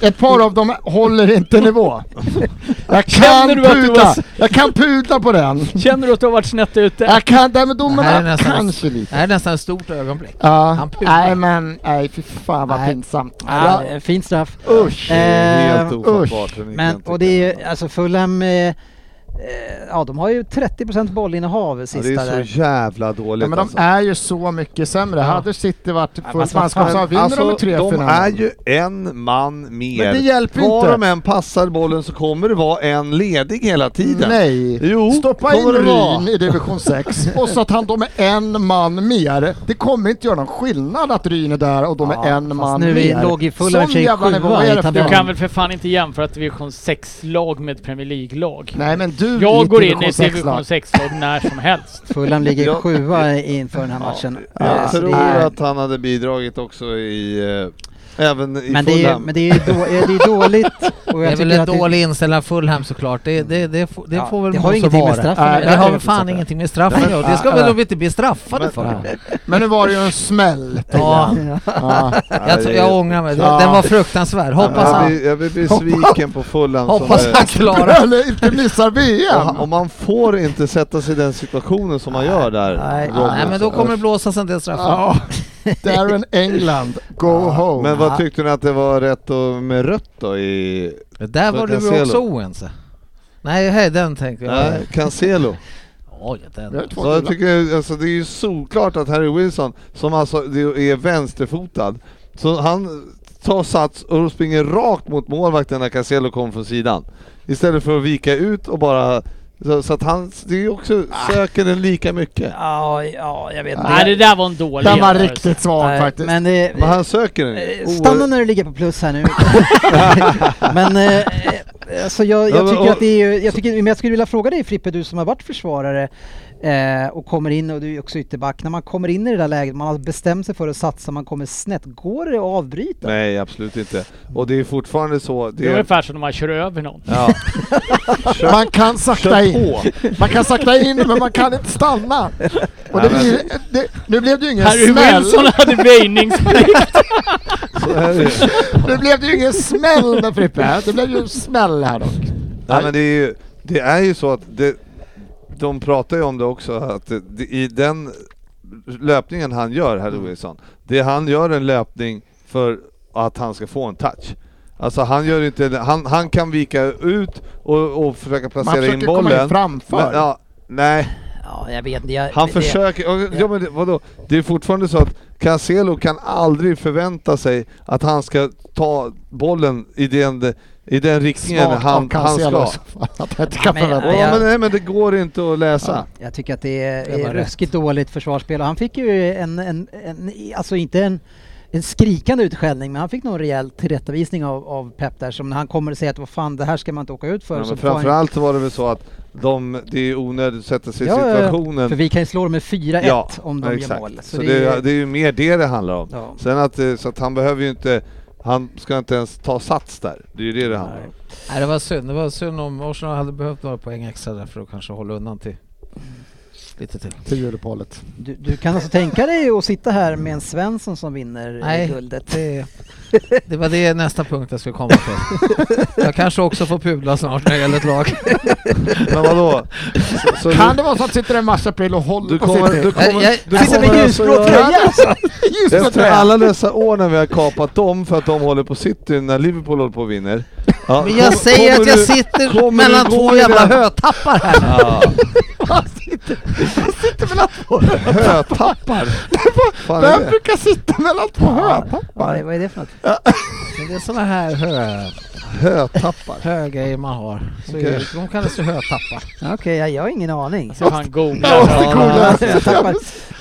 [SPEAKER 4] Ett par av dem håller inte nivå. Jag kan
[SPEAKER 5] Känner du att du
[SPEAKER 4] pudla.
[SPEAKER 5] var-
[SPEAKER 4] Jag kan pudla på den.
[SPEAKER 5] Känner du att du har varit snett ute?
[SPEAKER 4] Jag kan, nej men
[SPEAKER 6] Det här är
[SPEAKER 4] domarna
[SPEAKER 6] nästan-
[SPEAKER 4] kanske lite.
[SPEAKER 6] Det här är nästan ett stort ögonblick.
[SPEAKER 4] Ja.
[SPEAKER 6] Han pudlar.
[SPEAKER 4] Nej men, nej fy fan vad
[SPEAKER 3] Nej.
[SPEAKER 4] pinsamt.
[SPEAKER 3] Ja.
[SPEAKER 4] Ja.
[SPEAKER 3] det är en Fin straff.
[SPEAKER 4] Usch.
[SPEAKER 7] Det är helt
[SPEAKER 3] Eh,
[SPEAKER 7] ofattbart. hur ni
[SPEAKER 3] Men,
[SPEAKER 7] kan tycka
[SPEAKER 3] och det är ju,
[SPEAKER 7] det.
[SPEAKER 3] alltså Fulham, eh, eh, ja de har ju 30% bollinnehav
[SPEAKER 7] Ja,
[SPEAKER 3] sista
[SPEAKER 7] det är
[SPEAKER 3] där.
[SPEAKER 7] så jävla dåligt
[SPEAKER 4] Ja, men de
[SPEAKER 7] alltså.
[SPEAKER 4] är ju så mycket sämre. Hade City varit fullt
[SPEAKER 3] vad
[SPEAKER 4] manskap så
[SPEAKER 3] fan.
[SPEAKER 4] här, vinner de med tre
[SPEAKER 7] Alltså, de är
[SPEAKER 4] finaler.
[SPEAKER 7] ju en man mer.
[SPEAKER 4] Men det hjälper
[SPEAKER 7] Var
[SPEAKER 4] inte.
[SPEAKER 7] de än passar bollen så kommer det vara en ledig hela tiden.
[SPEAKER 4] Nej!
[SPEAKER 7] Jo,
[SPEAKER 4] Stoppa in
[SPEAKER 7] kommer det vara.
[SPEAKER 4] Ryn i division 6 och så att han då med en man mer. Det kommer inte göra någon skillnad att Ryn är där och de
[SPEAKER 3] Ja,
[SPEAKER 4] är en
[SPEAKER 3] fast
[SPEAKER 4] man
[SPEAKER 3] nu är
[SPEAKER 4] mer.
[SPEAKER 3] låg i full över sig
[SPEAKER 4] jävla nivå
[SPEAKER 3] sjua i
[SPEAKER 4] är det för
[SPEAKER 3] tabellen.
[SPEAKER 5] Du
[SPEAKER 4] fan.
[SPEAKER 5] kan väl för fan inte jämföra ett division 6-lag med ett Premier League-lag?
[SPEAKER 4] Nej men du du
[SPEAKER 5] Jag går in i
[SPEAKER 4] lag?
[SPEAKER 5] division 6-lag när som helst.
[SPEAKER 3] Fulham ligger
[SPEAKER 7] Ja.
[SPEAKER 3] sjua inför den här matchen.
[SPEAKER 7] Jag
[SPEAKER 6] Alltså,
[SPEAKER 3] Eh, så
[SPEAKER 7] tror
[SPEAKER 3] det är-
[SPEAKER 7] att han hade bidragit också i... eh, Även i
[SPEAKER 3] Men det är,
[SPEAKER 7] Fulham.
[SPEAKER 3] men det är, då, eh, det är dåligt. Och
[SPEAKER 6] Det
[SPEAKER 3] jag
[SPEAKER 6] är väl
[SPEAKER 3] tycker
[SPEAKER 6] en
[SPEAKER 3] att det-
[SPEAKER 6] dålig inställning av Fulham såklart. Det, det, det, får- det
[SPEAKER 3] Ja,
[SPEAKER 6] får väl
[SPEAKER 3] det har
[SPEAKER 6] må så
[SPEAKER 3] ingenting med
[SPEAKER 6] vara.
[SPEAKER 3] straffen
[SPEAKER 6] Nej,
[SPEAKER 3] att
[SPEAKER 6] Det
[SPEAKER 3] göra.
[SPEAKER 6] har väl fan ingenting med straffen att göra. Det ska väl de inte bli straffade
[SPEAKER 7] Men-
[SPEAKER 6] för.
[SPEAKER 4] Men nu var det ju en smäll.
[SPEAKER 6] Ja,
[SPEAKER 4] Ja.
[SPEAKER 6] jag, tror- jag ångrar mig.
[SPEAKER 4] Ja.
[SPEAKER 6] Den var fruktansvärd. Hoppas
[SPEAKER 7] jag,
[SPEAKER 6] han,
[SPEAKER 7] blir, jag blir besviken på Fulham. som
[SPEAKER 6] hoppas
[SPEAKER 7] är-
[SPEAKER 6] han klarar
[SPEAKER 4] Eller inte missar
[SPEAKER 7] Och, han-
[SPEAKER 4] VM!
[SPEAKER 7] och man får inte sätta sig i den situationen som man gör där.
[SPEAKER 6] Nej,
[SPEAKER 7] Robinson.
[SPEAKER 6] nej men då kommer det blåsas en del straffar.
[SPEAKER 4] Ja. Darren England, go home!
[SPEAKER 7] Men vad tyckte ni att det var rätt och med rött då i...
[SPEAKER 6] Där var du väl
[SPEAKER 7] Cancelo.
[SPEAKER 6] också oense? Nej, hej, den tänkte jag.
[SPEAKER 7] Nej, eh, Cancelo.
[SPEAKER 6] Oj,
[SPEAKER 4] Vi har
[SPEAKER 6] den.
[SPEAKER 4] ju två
[SPEAKER 7] Så jag
[SPEAKER 4] gula.
[SPEAKER 7] tycker, alltså, det är ju solklart att Harry Wilson, som alltså det är vänsterfotad, så han tar sats och springer rakt mot målvakten när Cancelo kommer från sidan. Istället för att vika ut och bara... Så, så att han, det är ju också, söker den lika mycket.
[SPEAKER 3] Ah. Ja, ja, jag vet
[SPEAKER 5] Nej, det där var en dålig
[SPEAKER 4] Den var
[SPEAKER 5] jämförelse.
[SPEAKER 4] riktigt svag
[SPEAKER 3] Nej,
[SPEAKER 4] faktiskt.
[SPEAKER 3] Men det,
[SPEAKER 7] Men han söker den.
[SPEAKER 3] eh,
[SPEAKER 7] Oer-
[SPEAKER 3] stanna när du ligger på plus här nu. men eh, eh, alltså jag,
[SPEAKER 7] Ja,
[SPEAKER 3] jag
[SPEAKER 7] men,
[SPEAKER 3] tycker
[SPEAKER 7] och-
[SPEAKER 3] att det är ju- jag tycker, men jag skulle vilja fråga dig Frippe, du som har varit försvarare eh, och kommer in och du är också ytterback. När man kommer in i det där läget, man har bestämt sig för att satsa, man kommer snett. Går det att avbryta?
[SPEAKER 7] Nej, absolut inte. Och det är fortfarande så...
[SPEAKER 5] Det är ungefär som när man kör över någon.
[SPEAKER 7] ja. Kör,
[SPEAKER 4] Man kan sakta
[SPEAKER 7] kör
[SPEAKER 4] in.
[SPEAKER 7] på!
[SPEAKER 4] Man kan sakta in men man kan inte stanna. Och det
[SPEAKER 7] Nej,
[SPEAKER 4] blir, det, nu blev det ju ingen
[SPEAKER 5] Harry
[SPEAKER 4] smäll.
[SPEAKER 5] Wilson hade väjningsplikt.
[SPEAKER 7] Så är det.
[SPEAKER 4] Nu blev det ju ingen smäll där Frippe. Det blev ju en smäll här dock.
[SPEAKER 7] Nej, men det, är ju, det är ju så att det, de pratar ju om det också, att det, det, i den löpningen han gör, Harry
[SPEAKER 4] Mm.
[SPEAKER 7] Wilson, det han gör en löpning för att han ska få en touch. Alltså han gör inte, han, han kan vika ut och, och försöka
[SPEAKER 4] Man
[SPEAKER 7] placera in
[SPEAKER 4] försöker komma in
[SPEAKER 7] bollen.
[SPEAKER 4] framför.
[SPEAKER 7] Men, ja, nej,
[SPEAKER 3] Ja, jag vet inte. jag-
[SPEAKER 7] Han
[SPEAKER 3] det-
[SPEAKER 7] försöker, ja, ja men det, vadå? Det är fortfarande så att Cancelo kan aldrig förvänta sig att han ska ta bollen i den, i den riktningen
[SPEAKER 4] Svagt
[SPEAKER 7] han,
[SPEAKER 4] av
[SPEAKER 7] han
[SPEAKER 4] Cancelo
[SPEAKER 7] ska.
[SPEAKER 4] så Att jag inte kan
[SPEAKER 3] Nej, men-
[SPEAKER 4] förvänta
[SPEAKER 7] Ja,
[SPEAKER 4] mig.
[SPEAKER 3] jag-
[SPEAKER 7] men, nej men det går inte att läsa.
[SPEAKER 3] Jag tycker att det är,
[SPEAKER 6] Det var
[SPEAKER 3] är ruskigt dåligt försvarsspel och han fick ju en, en, en alltså inte en, en skrikande utskällning men han fick nog en rejäl tillrättavisning av, av Pep där som när han kommer och säger att vad fan det här ska man inte åka ut för.
[SPEAKER 7] Ja,
[SPEAKER 3] så
[SPEAKER 7] men
[SPEAKER 3] får han-
[SPEAKER 7] framförallt var det väl så att de, det är onödigt att sätta sig i
[SPEAKER 3] Ja, ja, ja.
[SPEAKER 7] situationen.
[SPEAKER 3] För vi kan ju slå dem med 4-1
[SPEAKER 7] Ja,
[SPEAKER 3] om de gör
[SPEAKER 7] exakt.
[SPEAKER 3] mål.
[SPEAKER 7] Så, det, är, det är ju mer det det handlar om.
[SPEAKER 3] ja.
[SPEAKER 7] Sen att, eh, så att han behöver ju inte, han ska inte ens ta sats där. Det är ju det det handlar om.
[SPEAKER 6] Nej, det var synd. Det var synd om Arsenal hade behövt några poäng extra där för att kanske hålla undan till lite till.
[SPEAKER 4] Till juluppehållet.
[SPEAKER 3] du, du kan alltså tänka dig att sitta här med en Svensson som vinner Nej.
[SPEAKER 6] Nej.
[SPEAKER 3] guldet?
[SPEAKER 6] Det, det var det nästa punkt jag skulle komma till. Jag kanske också får pudla snart när det gäller ett lag.
[SPEAKER 7] Men vadå? Så, så
[SPEAKER 4] Kan det vara så att sitter en mars april och håller
[SPEAKER 7] Du
[SPEAKER 4] på
[SPEAKER 7] kommer-
[SPEAKER 4] City?
[SPEAKER 7] du kommer-
[SPEAKER 6] Jag- jag-
[SPEAKER 7] du
[SPEAKER 3] Sitter
[SPEAKER 7] kommer
[SPEAKER 3] med
[SPEAKER 7] alltså
[SPEAKER 3] ljusblå
[SPEAKER 7] göra-
[SPEAKER 3] tröja alltså!
[SPEAKER 4] Just det,
[SPEAKER 7] Efter
[SPEAKER 4] det!
[SPEAKER 7] alla dessa år när vi har kapat dem för att de håller på City när Liverpool håller på och vinner. Ja,
[SPEAKER 6] Men jag
[SPEAKER 7] kom-
[SPEAKER 6] säger
[SPEAKER 7] kommer
[SPEAKER 6] att jag
[SPEAKER 7] du-
[SPEAKER 6] sitter
[SPEAKER 7] kommer
[SPEAKER 6] mellan
[SPEAKER 7] du gå
[SPEAKER 6] två
[SPEAKER 7] i
[SPEAKER 6] jävla
[SPEAKER 7] den-
[SPEAKER 6] hötappar här.
[SPEAKER 7] Ja. Hötappar? Fan är
[SPEAKER 4] Vem
[SPEAKER 7] det?
[SPEAKER 4] brukar sitta mellan två hötappar?
[SPEAKER 3] Vad är, vad är det för något?
[SPEAKER 6] Men det är såna här hö,
[SPEAKER 7] Hötappar?
[SPEAKER 6] högrejer man har. Så
[SPEAKER 7] Okej.
[SPEAKER 6] är, de kallas ju hötappar.
[SPEAKER 3] Okej, jag, jag har ingen aning.
[SPEAKER 7] Alltså,
[SPEAKER 5] Så han
[SPEAKER 4] måste
[SPEAKER 5] googlar.
[SPEAKER 3] Ja, jag tappar.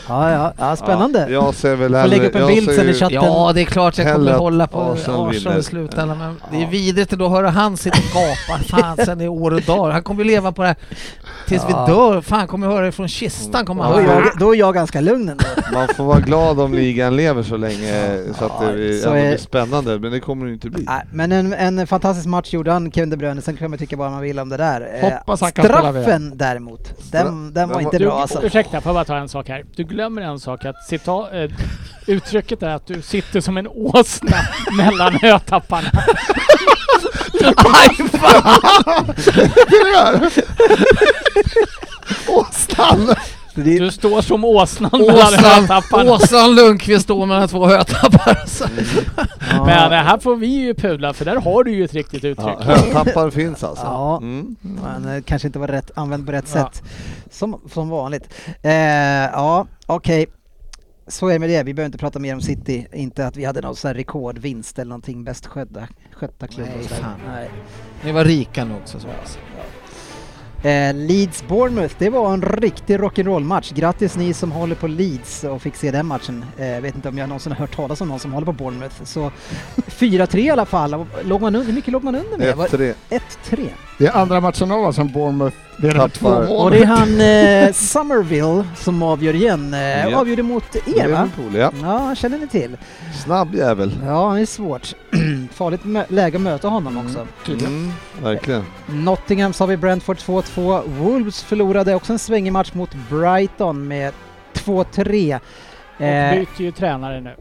[SPEAKER 3] ja, ja, ja, spännande.
[SPEAKER 7] Ja, jag ser väl
[SPEAKER 3] Får lägga upp en
[SPEAKER 7] jag
[SPEAKER 3] bild
[SPEAKER 7] ser
[SPEAKER 3] sen i
[SPEAKER 7] ju-
[SPEAKER 3] chatten.
[SPEAKER 6] Ja, det är klart jag
[SPEAKER 7] Hellre
[SPEAKER 6] kommer
[SPEAKER 7] att
[SPEAKER 6] hålla på
[SPEAKER 7] Arsenal vinner.
[SPEAKER 6] Arsenal i slutändan. Men det är vidrigt att då höra han sitta och gapa fan sen i år och dag. Han kommer ju leva på det här tills
[SPEAKER 3] Ja.
[SPEAKER 6] vi dör. Fan, kommer höra det från kistan. Kommer
[SPEAKER 3] Då är,
[SPEAKER 6] han.
[SPEAKER 3] jag, då är jag ganska lugn ändå.
[SPEAKER 7] Man får vara glad om ligan lever så länge så att det blir-
[SPEAKER 3] så
[SPEAKER 7] ändå
[SPEAKER 3] är-
[SPEAKER 7] blir spännande, men det kommer det ju inte bli.
[SPEAKER 3] Nej, men en, en fantastisk match gjorde han, Kevin De Bruyne. Sen kan man tycka vad man vill om det där. Eh,
[SPEAKER 4] Hoppas han kan spela
[SPEAKER 3] Straffen däremot, den, den var
[SPEAKER 7] den
[SPEAKER 3] inte
[SPEAKER 7] var-
[SPEAKER 5] Du,
[SPEAKER 3] bra alltså.
[SPEAKER 5] ursäkta, får jag bara ta en sak här. Du glömmer en sak att cita, eh, uttrycket är att du sitter som en åsna mellan hötapparna.
[SPEAKER 4] Åsnan!
[SPEAKER 5] Du står som åsnan mellan
[SPEAKER 6] Åsnan,
[SPEAKER 5] hötapparna.
[SPEAKER 6] Åsnan Lundqvist står mellan två hötappar. alltså. Så.
[SPEAKER 5] Men eh, här får vi ju pudla för där har du ju ett riktigt uttryck.
[SPEAKER 7] Ja, hötappar finns alltså.
[SPEAKER 3] Ja.
[SPEAKER 7] Mm.
[SPEAKER 3] Men eh, kanske inte var rätt, använd på rätt
[SPEAKER 5] Ja.
[SPEAKER 3] sätt. Som, som vanligt. Eh, ja, okej. Så är det med det. Vi behöver inte prata mer om City. Inte att vi hade någon sån här rekordvinst eller någonting. Bäst skötta, skötta klubb och
[SPEAKER 6] Nej,
[SPEAKER 3] sådär.
[SPEAKER 6] fan.
[SPEAKER 3] Nej.
[SPEAKER 6] Ni var rika nog också. Så.
[SPEAKER 3] Eh, Leeds-Bournemouth, det var en riktig rock'n'roll-match. Grattis ni som håller på Leeds och fick se den matchen. Eh, vet inte om jag någonsin har hört talas om någon som håller på Bournemouth. Så 4-3 i alla fall. Låg man under, hur mycket låg man under med? Var-
[SPEAKER 7] 1-3.
[SPEAKER 3] 1-3.
[SPEAKER 4] Det är andra matchen av oss som Bournemouth vinner två
[SPEAKER 7] Tappar.
[SPEAKER 4] mål.
[SPEAKER 3] Och det är han eh, Somerville som avgör igen. Eh,
[SPEAKER 7] Ja.
[SPEAKER 3] Avgjorde mot er va?
[SPEAKER 7] Liverpool, ja.
[SPEAKER 3] Ja, han känner ni till.
[SPEAKER 7] Snabb jävel.
[SPEAKER 3] Ja, han är svårt. Farligt mö- läge att möta honom också.
[SPEAKER 7] Mm, verkligen.
[SPEAKER 3] Nottingham sa vi Brentford 2-2. Wolves förlorade också en svängig match mot Brighton med 2-3.
[SPEAKER 5] Och
[SPEAKER 3] Eh,
[SPEAKER 5] byter ju tränare nu.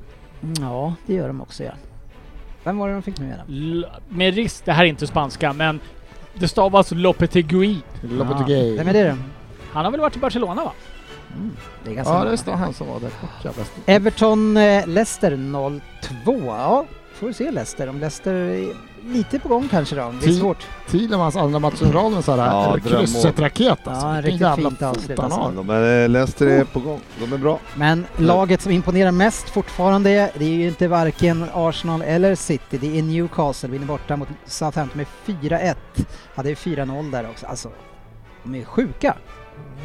[SPEAKER 3] ja, det gör de också ja. Vem var det de fick nu igen?
[SPEAKER 5] L- med risk, det här är inte spanska, men det stavas Lopetegui.
[SPEAKER 4] Lopetegui.
[SPEAKER 3] Vem är det då?
[SPEAKER 5] Han har väl varit i Barcelona va?
[SPEAKER 3] Det är ganska
[SPEAKER 4] Ja,
[SPEAKER 3] många.
[SPEAKER 4] det står han som var där. Och jävla stor.
[SPEAKER 3] Everton eh, Leicester 0-2. Ja, får vi se Leicester. Om Leicester är lite på gång kanske då. Det är
[SPEAKER 4] Ti-
[SPEAKER 3] svårt.
[SPEAKER 4] Thielemans andra match i raden så här,
[SPEAKER 7] Ja, drömmål.
[SPEAKER 4] krysset raket alltså.
[SPEAKER 3] Ja,
[SPEAKER 4] Vilken
[SPEAKER 3] riktigt
[SPEAKER 4] jävla
[SPEAKER 3] fint
[SPEAKER 4] fot
[SPEAKER 3] avslut,
[SPEAKER 4] han har.
[SPEAKER 3] alltså.
[SPEAKER 7] De är, Leicester är på gång. De är bra.
[SPEAKER 3] Men laget som imponerar mest fortfarande, det är ju inte varken Arsenal eller City. Det är Newcastle, vinner borta mot Southampton med 4-1. Hade ju 4-0 där också. Alltså, de är sjuka. Mm.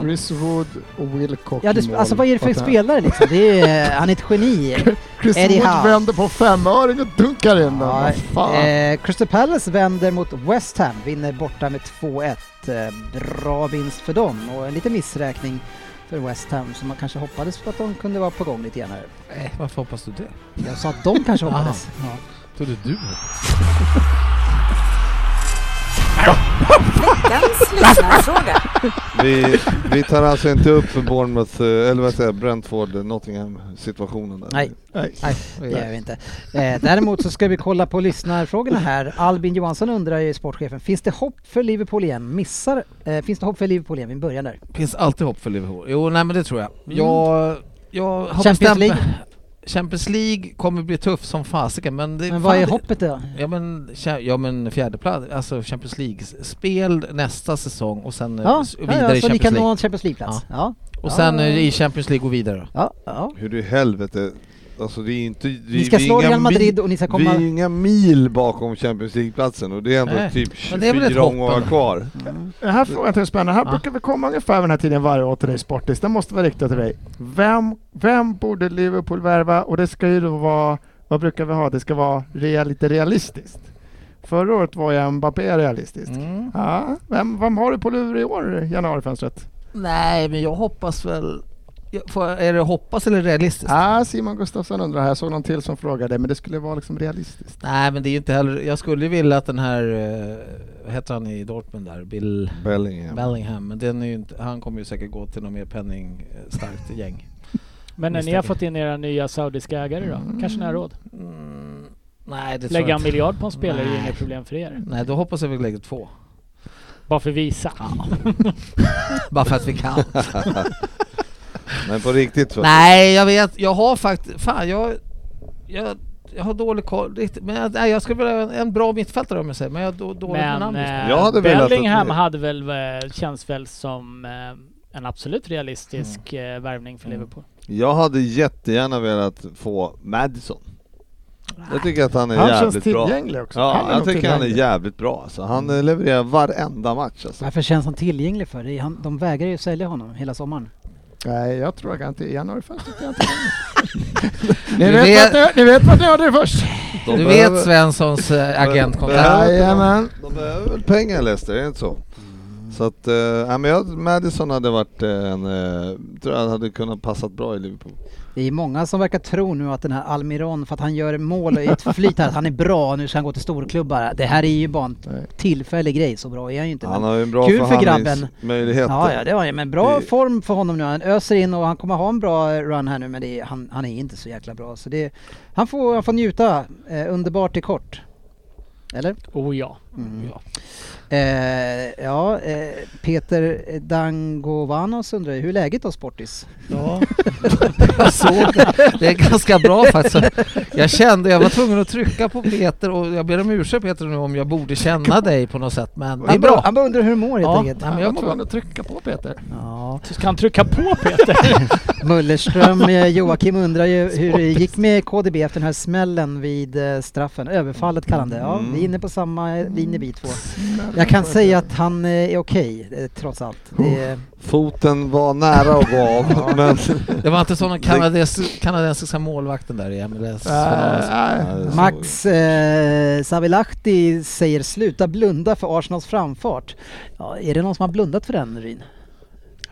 [SPEAKER 4] Chris Wood och Wilcock
[SPEAKER 3] Ja,
[SPEAKER 4] i
[SPEAKER 3] det,
[SPEAKER 4] mål.
[SPEAKER 3] alltså vad är det för
[SPEAKER 4] Och här-
[SPEAKER 3] spelare liksom? Det är, han är ett geni.
[SPEAKER 4] Chris
[SPEAKER 3] Eddie
[SPEAKER 4] Wood
[SPEAKER 3] Howe.
[SPEAKER 4] vänder på femöring och dunkar in den.
[SPEAKER 3] Ja,
[SPEAKER 4] Vad fan.
[SPEAKER 3] Eh, Crystal Palace vänder mot West Ham, vinner borta med 2-1. Eh, bra vinst för dem och en liten missräkning för West Ham som man kanske hoppades på att de kunde vara på gång lite grann. här.
[SPEAKER 6] Eh, Varför hoppas du det?
[SPEAKER 3] Jag sa att de kanske hoppades.
[SPEAKER 7] Ah.
[SPEAKER 3] Ja.
[SPEAKER 6] Trodde du?
[SPEAKER 2] Veckans lyssnarfråga.
[SPEAKER 7] Vi, vi tar alltså inte upp för Bournemouth, eh, eller vad säger jag, Brentford, eh, Nottingham situationen där.
[SPEAKER 3] Nej.
[SPEAKER 4] Nej.
[SPEAKER 3] Det gör vi inte. Eh, däremot så ska vi kolla på lyssnarfrågorna här. Albin Johansson undrar ju, sportchefen, finns det hopp för Liverpool igen? Missar, eh, finns det hopp för Liverpool igen? Vi börjar där.
[SPEAKER 6] Finns alltid hopp för Liverpool. Jo, nej men det tror jag. Jag, jag har
[SPEAKER 3] Mm. Champions
[SPEAKER 6] bestämt mig.
[SPEAKER 3] League?
[SPEAKER 6] Champions League kommer bli tuff som fasiken men det...
[SPEAKER 3] Men vad
[SPEAKER 6] fan,
[SPEAKER 3] är
[SPEAKER 6] det-
[SPEAKER 3] hoppet då?
[SPEAKER 6] Ja men, cha- ja men fjärdeplats, alltså Champions League-spel nästa säsong och sen eh,
[SPEAKER 3] Ja,
[SPEAKER 6] s-
[SPEAKER 3] ja,
[SPEAKER 6] vidare
[SPEAKER 3] ja,
[SPEAKER 6] i
[SPEAKER 3] så ni
[SPEAKER 6] Champions
[SPEAKER 3] kan nå
[SPEAKER 6] League.
[SPEAKER 3] en Champions League-plats? Ja.
[SPEAKER 6] Och sen
[SPEAKER 3] Ja.
[SPEAKER 6] eh, i Champions League och vidare.
[SPEAKER 3] Ja, ja.
[SPEAKER 7] Hur i helvete, alltså det är inte... Det,
[SPEAKER 3] Ni ska
[SPEAKER 7] vi är
[SPEAKER 3] slå
[SPEAKER 7] inga
[SPEAKER 3] Real Madrid
[SPEAKER 7] mil-
[SPEAKER 3] och ni ska
[SPEAKER 7] Vi är
[SPEAKER 3] komma...
[SPEAKER 7] inga mil bakom Champions League-platsen och det är ändå
[SPEAKER 6] Nej,
[SPEAKER 7] typ
[SPEAKER 6] men det är väl ett
[SPEAKER 7] 24
[SPEAKER 6] hopp
[SPEAKER 7] omgångar
[SPEAKER 6] ändå.
[SPEAKER 7] kvar.
[SPEAKER 4] Den här frågan är spännande. Här
[SPEAKER 6] Ja.
[SPEAKER 4] brukar vi komma ungefär vid den här tiden varje år till dig Sportis. Den måste vara riktad till dig. Vem, vem borde Liverpool värva? Och det ska ju då vara, vad brukar vi ha? Det ska vara real, lite realistiskt. Förra året var ju Mbappé realistisk.
[SPEAKER 6] Mm.
[SPEAKER 4] Ja, vem, vem har du på lur i år, januarifönstret?
[SPEAKER 6] Nej men jag hoppas väl... Jag- Får, är det hoppas eller realistiskt?
[SPEAKER 4] Ah, Simon Gustafsson undrar här, jag såg någon till som frågade, men det skulle vara liksom realistiskt.
[SPEAKER 6] Nej men det är ju inte heller... Jag skulle ju vilja att den här... eh, Vad heter han i Dortmund där? Bill
[SPEAKER 7] Bellingham.
[SPEAKER 6] Bellingham. Men den är ju inte, han kommer ju säkert gå till något mer penningstarkt gäng.
[SPEAKER 5] Men när ni
[SPEAKER 6] Misstänker.
[SPEAKER 5] har fått in era nya saudiska ägare då? Kanske ni har råd?
[SPEAKER 6] Mm, nej det tror
[SPEAKER 5] Lägga
[SPEAKER 6] jag
[SPEAKER 5] en
[SPEAKER 6] inte.
[SPEAKER 5] miljard på en spelare är ju
[SPEAKER 6] Nej.
[SPEAKER 5] inget problem för er.
[SPEAKER 6] Nej då hoppas jag vi lägger två.
[SPEAKER 5] Bara för att visa.
[SPEAKER 6] Bara för att vi kan.
[SPEAKER 7] Men på riktigt så.
[SPEAKER 6] Nej, jag vet. Jag har faktiskt... Fan, jag, jag, jag har dålig koll. riktigt. Men jag, nej, jag skulle vilja ha en, en bra mittfältare om jag säger, men jag har då, dåligt med
[SPEAKER 5] Men
[SPEAKER 6] namn just nu.
[SPEAKER 5] eh,
[SPEAKER 7] Jag hade velat att
[SPEAKER 5] Bellingham
[SPEAKER 7] ni-
[SPEAKER 5] hade väl, eh, känns väl som eh, en absolut realistisk eh, värvning för
[SPEAKER 6] Mm.
[SPEAKER 5] Liverpool.
[SPEAKER 7] Jag hade jättegärna velat få Madison. Jag tycker att han är
[SPEAKER 4] Han känns
[SPEAKER 7] jävligt bra.
[SPEAKER 4] tillgänglig också.
[SPEAKER 7] Ja,
[SPEAKER 4] Han är
[SPEAKER 7] jag
[SPEAKER 4] nog
[SPEAKER 7] tycker han är
[SPEAKER 4] tillgänglig.
[SPEAKER 7] jävligt bra alltså. Han eh, levererar varenda match alltså.
[SPEAKER 3] Varför känns han tillgänglig för? Det är han, de vägrar ju sälja honom hela sommaren.
[SPEAKER 4] Nej, jag tror jag inte januarifönstret. är jag inte
[SPEAKER 6] Du
[SPEAKER 4] ni, vet
[SPEAKER 6] vet-
[SPEAKER 4] vad ni, ni vet vad ni hörde först.
[SPEAKER 7] De
[SPEAKER 6] Du
[SPEAKER 7] behöver-
[SPEAKER 6] vet Svenssons eh, agentkontakt.
[SPEAKER 7] Behöver-
[SPEAKER 4] Jajamän.
[SPEAKER 7] De behöver väl pengar Leicester, är det inte så?
[SPEAKER 3] Mm.
[SPEAKER 7] Så att, eh, ja, men jag, Madison hade varit eh, en, eh, tror jag hade kunnat passat bra i Liverpool.
[SPEAKER 3] Det är många som verkar tro nu att den här Almiron, för att han gör mål i ett flyt här, att han är bra, nu ska han gå till storklubbar. Det här är ju bara en
[SPEAKER 4] Nej.
[SPEAKER 3] tillfällig grej, så bra är han ju inte.
[SPEAKER 7] Han
[SPEAKER 3] Men-
[SPEAKER 7] har ju en bra
[SPEAKER 3] Kul för grabben.
[SPEAKER 7] förhandlingsmöjlighet.
[SPEAKER 3] Ja, ja, det var ju, men bra
[SPEAKER 7] Det-
[SPEAKER 3] form för honom nu. Han öser in och han kommer ha en bra run här nu, men det är, han, han är inte så jäkla bra. Så det, han, får, han får njuta. Eh, underbart i kort. Eller?
[SPEAKER 5] Oh ja.
[SPEAKER 6] Mm.
[SPEAKER 3] Eh, ja, eh, Peter Dangovanos undrar ju, hur är läget då Sportis?
[SPEAKER 6] Ja. jag såg det. Det är ganska bra faktiskt. Jag kände, jag var tvungen att trycka på Peter och jag ber om ursäkt Peter nu om jag borde känna dig på något sätt men det är
[SPEAKER 3] Han bara-
[SPEAKER 6] bra.
[SPEAKER 3] Han bara undrar hur du mår helt
[SPEAKER 6] Ja,
[SPEAKER 3] enkelt.
[SPEAKER 6] nej, men jag
[SPEAKER 4] var
[SPEAKER 6] mår
[SPEAKER 4] tvungen
[SPEAKER 6] bra.
[SPEAKER 4] att trycka på Peter.
[SPEAKER 3] Ja.
[SPEAKER 5] Så Ska han trycka på Peter?
[SPEAKER 3] Mullerström, eh, Joakim undrar ju hur det gick med KDB efter den här smällen vid eh, straffen. Överfallet kallar han det. Ja,
[SPEAKER 7] Mm.
[SPEAKER 3] vi är inne på samma linje i B2. Jag kan säga att han eh, är okej, eh, trots allt. Det är,
[SPEAKER 7] Foten var nära att gå av, men...
[SPEAKER 6] Det var inte som den kanadens, kanadensiska målvakten där i MLS.
[SPEAKER 4] Äh, nej.
[SPEAKER 3] Max eh, Savilahti säger sluta blunda för Arsenals framfart. Ja, är det någon som har blundat för den, Ryn?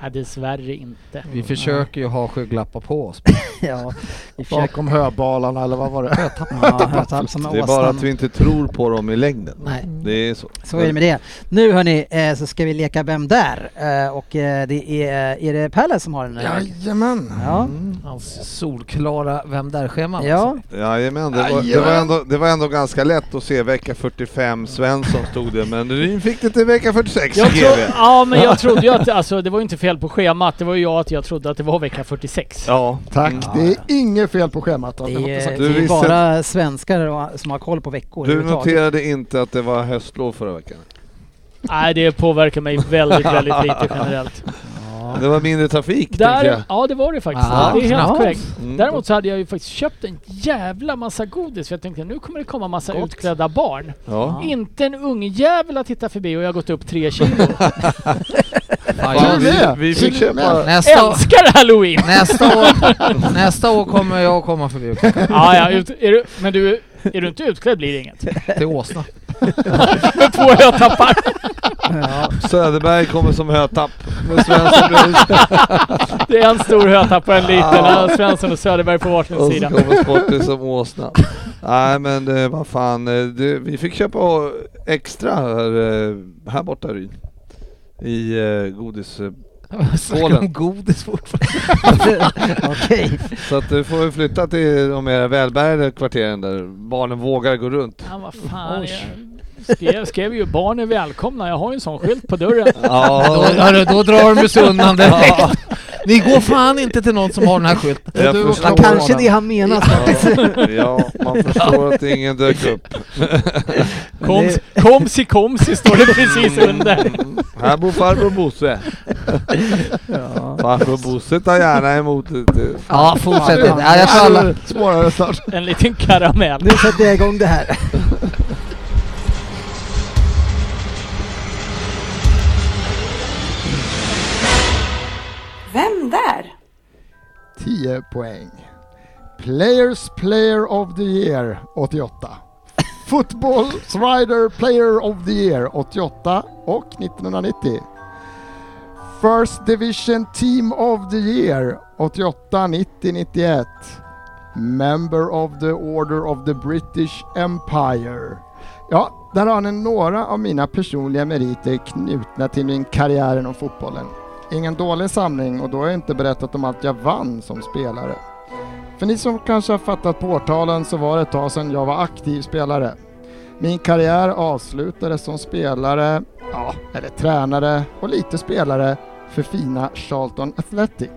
[SPEAKER 5] Nej, dessvärre inte.
[SPEAKER 6] Vi försöker ju ha skygglappar på oss.
[SPEAKER 3] ja, vi försöker...
[SPEAKER 4] Bakom höbalarna eller vad var det?
[SPEAKER 3] Ja, jag tar som
[SPEAKER 7] Det är bara
[SPEAKER 3] åsnan.
[SPEAKER 7] att vi inte tror på dem i längden.
[SPEAKER 3] Nej.
[SPEAKER 7] Det är så.
[SPEAKER 3] Så är det med det. Nu hörni, eh, så ska vi leka Vem där? Eh, Och eh, det är, är det Palace som har den här?
[SPEAKER 4] Jajamän!
[SPEAKER 3] Ja.
[SPEAKER 6] Hans solklara Vem där-schema.
[SPEAKER 3] ja.
[SPEAKER 7] Jajamän, det var, det, var ändå, det var ändå ganska lätt att se vecka 45, Svensson stod det, men Ryn fick det till vecka 46
[SPEAKER 5] Jag tro-
[SPEAKER 7] GV.
[SPEAKER 5] ja men jag trodde ju att, alltså det var ju inte fel på schemat, det var ju jag att jag trodde att det var vecka 46.
[SPEAKER 7] Ja, Mm.
[SPEAKER 4] Tack, det är inget fel på schemat.
[SPEAKER 3] Det
[SPEAKER 4] Alltså.
[SPEAKER 3] är,
[SPEAKER 7] Du
[SPEAKER 3] det är
[SPEAKER 7] visste-
[SPEAKER 3] bara svenskar och- som har koll på veckor
[SPEAKER 7] du
[SPEAKER 3] överhuvudtaget.
[SPEAKER 7] noterade inte att det var höstlov förra veckan.
[SPEAKER 5] Nej det påverkar mig väldigt, väldigt lite generellt.
[SPEAKER 7] Det var mindre trafik, tänkte jag.
[SPEAKER 5] Där, ja det var det faktiskt.
[SPEAKER 6] Ja,
[SPEAKER 5] det är helt
[SPEAKER 6] knappt.
[SPEAKER 5] korrekt.
[SPEAKER 7] Mm.
[SPEAKER 5] Däremot så hade jag ju faktiskt köpt en jävla massa godis för jag tänkte nu kommer det komma massa utklädda barn.
[SPEAKER 7] Ja.
[SPEAKER 5] Inte en ungjävel att titta förbi och jag har gått upp tre kilo.
[SPEAKER 7] Alltså. Fan,
[SPEAKER 4] Till och
[SPEAKER 7] vi,
[SPEAKER 4] med.
[SPEAKER 7] vi fick köpa...
[SPEAKER 6] Nästa, år-
[SPEAKER 5] Älskar halloween!
[SPEAKER 6] nästa, år, nästa år kommer jag komma förbi och knacka
[SPEAKER 5] Ah, ja, ja, ut, är du, men du, är du inte utklädd blir det inget.
[SPEAKER 6] till Åsna.
[SPEAKER 5] Två jag tappar.
[SPEAKER 7] Söderberg kommer som hötapp med Svensson bredvid
[SPEAKER 5] Det är en stor hötapp och en liten. Ja, Svensson och Söderberg på varsin
[SPEAKER 7] och Ah. så
[SPEAKER 5] sida.
[SPEAKER 7] kommer Sportis som åsna. Nej men eh, vad fan, eh, det, vi fick köpa extra här, eh, här borta Ryn. I eh, godis... eh,
[SPEAKER 6] Snackar om godis fortfarande.
[SPEAKER 3] Okej.
[SPEAKER 7] Så att du får vi flytta till de mer välbärgade kvarteren där barnen vågar gå runt.
[SPEAKER 5] Ja, vad fan. Jag skrev, skrev ju barn är välkomna. Jag har ju en sån skylt på dörren.
[SPEAKER 6] Då,
[SPEAKER 7] Ja,
[SPEAKER 6] hörru, då drar de ju sig undan direkt. Ni går fan inte till någon som har den här skylten.
[SPEAKER 7] jag
[SPEAKER 4] Du och
[SPEAKER 7] förstår.
[SPEAKER 3] Ja, kanske det han menar faktiskt.
[SPEAKER 7] Ja, ja, man förstår att ingen dök upp.
[SPEAKER 5] Koms, komsi komsi står det precis under.
[SPEAKER 7] Mm. Här bor farbror Bosse. Farbror Bosse tar gärna emot ett... eh,
[SPEAKER 6] Ja, fortsätt. Ja, jag tror alla...
[SPEAKER 4] Svårare snart.
[SPEAKER 5] En liten karamell.
[SPEAKER 3] Nu sätter jag igång det här.
[SPEAKER 2] Vem där?
[SPEAKER 4] 10 poäng. Players Player of the Year 88. Football Rider Player of the Year 88 och 1990. First Division Team of the Year 88, 90, 91. Member of the Order of the British Empire. Ja, där har ni några av mina personliga meriter knutna till min karriär inom fotbollen. Ingen dålig samling och då har jag inte berättat om allt jag vann som spelare. För ni som kanske har fattat på årtalen så var det ett tag sedan jag var aktiv spelare. Min karriär avslutades som spelare, ja, eller tränare och lite spelare för fina Charlton Athletic.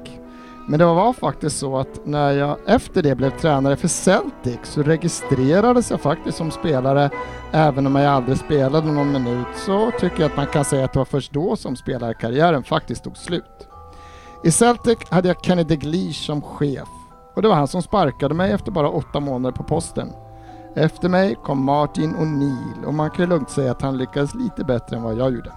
[SPEAKER 4] Men det var faktiskt så att när jag efter det blev tränare för Celtic så registrerades jag faktiskt som spelare även om jag aldrig spelade någon minut så tycker jag att man kan säga att det var först då som spelarkarriären faktiskt tog slut. I Celtic hade jag Kenny Dalglish som chef och det var han som sparkade mig efter bara åtta månader på posten. Efter mig kom Martin O'Neill och man kan ju lugnt säga att han lyckades lite bättre än vad jag gjorde.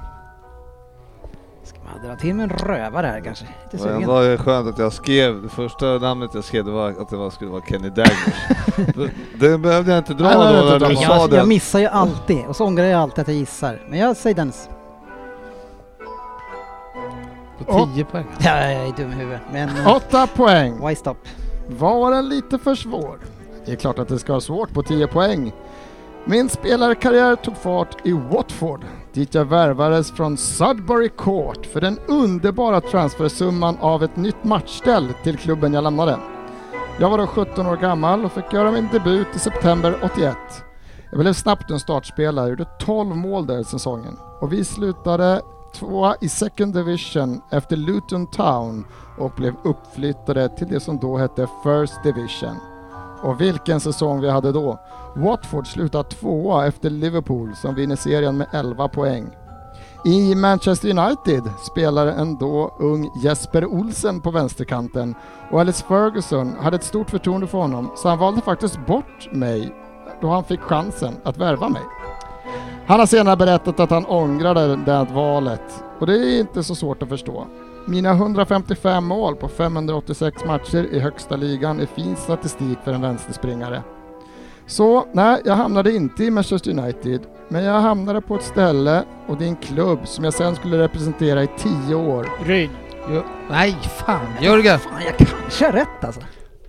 [SPEAKER 3] Ska man dra till med en rövare här kanske? Lite
[SPEAKER 7] Det var
[SPEAKER 3] sugen.
[SPEAKER 7] ändå skönt att jag skrev, det första namnet jag skrev det var att det var, skulle vara Kenny Daggers. det, det behövde jag inte dra
[SPEAKER 4] Nej, det
[SPEAKER 7] då
[SPEAKER 4] behövde
[SPEAKER 7] när
[SPEAKER 4] du
[SPEAKER 7] du
[SPEAKER 4] inte
[SPEAKER 7] sa
[SPEAKER 3] Jag, Alltså, jag
[SPEAKER 7] det.
[SPEAKER 3] missar ju alltid och så ångrar jag alltid att jag gissar. Men jag säger Dennis.
[SPEAKER 6] På 10 poäng.
[SPEAKER 3] Ja, jag är dum i huvudet. Men eh,
[SPEAKER 4] Åtta poäng!
[SPEAKER 3] why stop?
[SPEAKER 4] Var den lite för svår? Det är klart att det ska vara svårt på 10 poäng. Min spelarkarriär tog fart i Watford, dit jag värvades från Sudbury Court för den underbara transfersumman av ett nytt matchställ till klubben jag lämnade. Jag var då 17 år gammal och fick göra min debut i september 81. Jag blev snabbt en startspelare, gjorde 12 mål där i säsongen och vi slutade tvåa i second division efter Luton Town och blev uppflyttade till det som då hette First Division. Och vilken säsong vi hade då! Watford slutar tvåa efter Liverpool som vinner serien med 11 poäng. I Manchester United spelar en då ung Jesper Olsen på vänsterkanten och Alice Ferguson hade ett stort förtroende för honom så han valde faktiskt bort mig då han fick chansen att värva mig. Han har senare berättat att han ångrade det valet och det är inte så svårt att förstå. Mina 155 mål på 586 matcher i högsta ligan är fin statistik för en vänsterspringare. Så nej, jag hamnade inte i Manchester United, men jag hamnade på ett ställe och det är en klubb som jag sen skulle representera i 10 år.
[SPEAKER 5] Ryn.
[SPEAKER 6] Jo, nej, fan. Jörgen.
[SPEAKER 3] Fan, jag kanske har rätt alltså.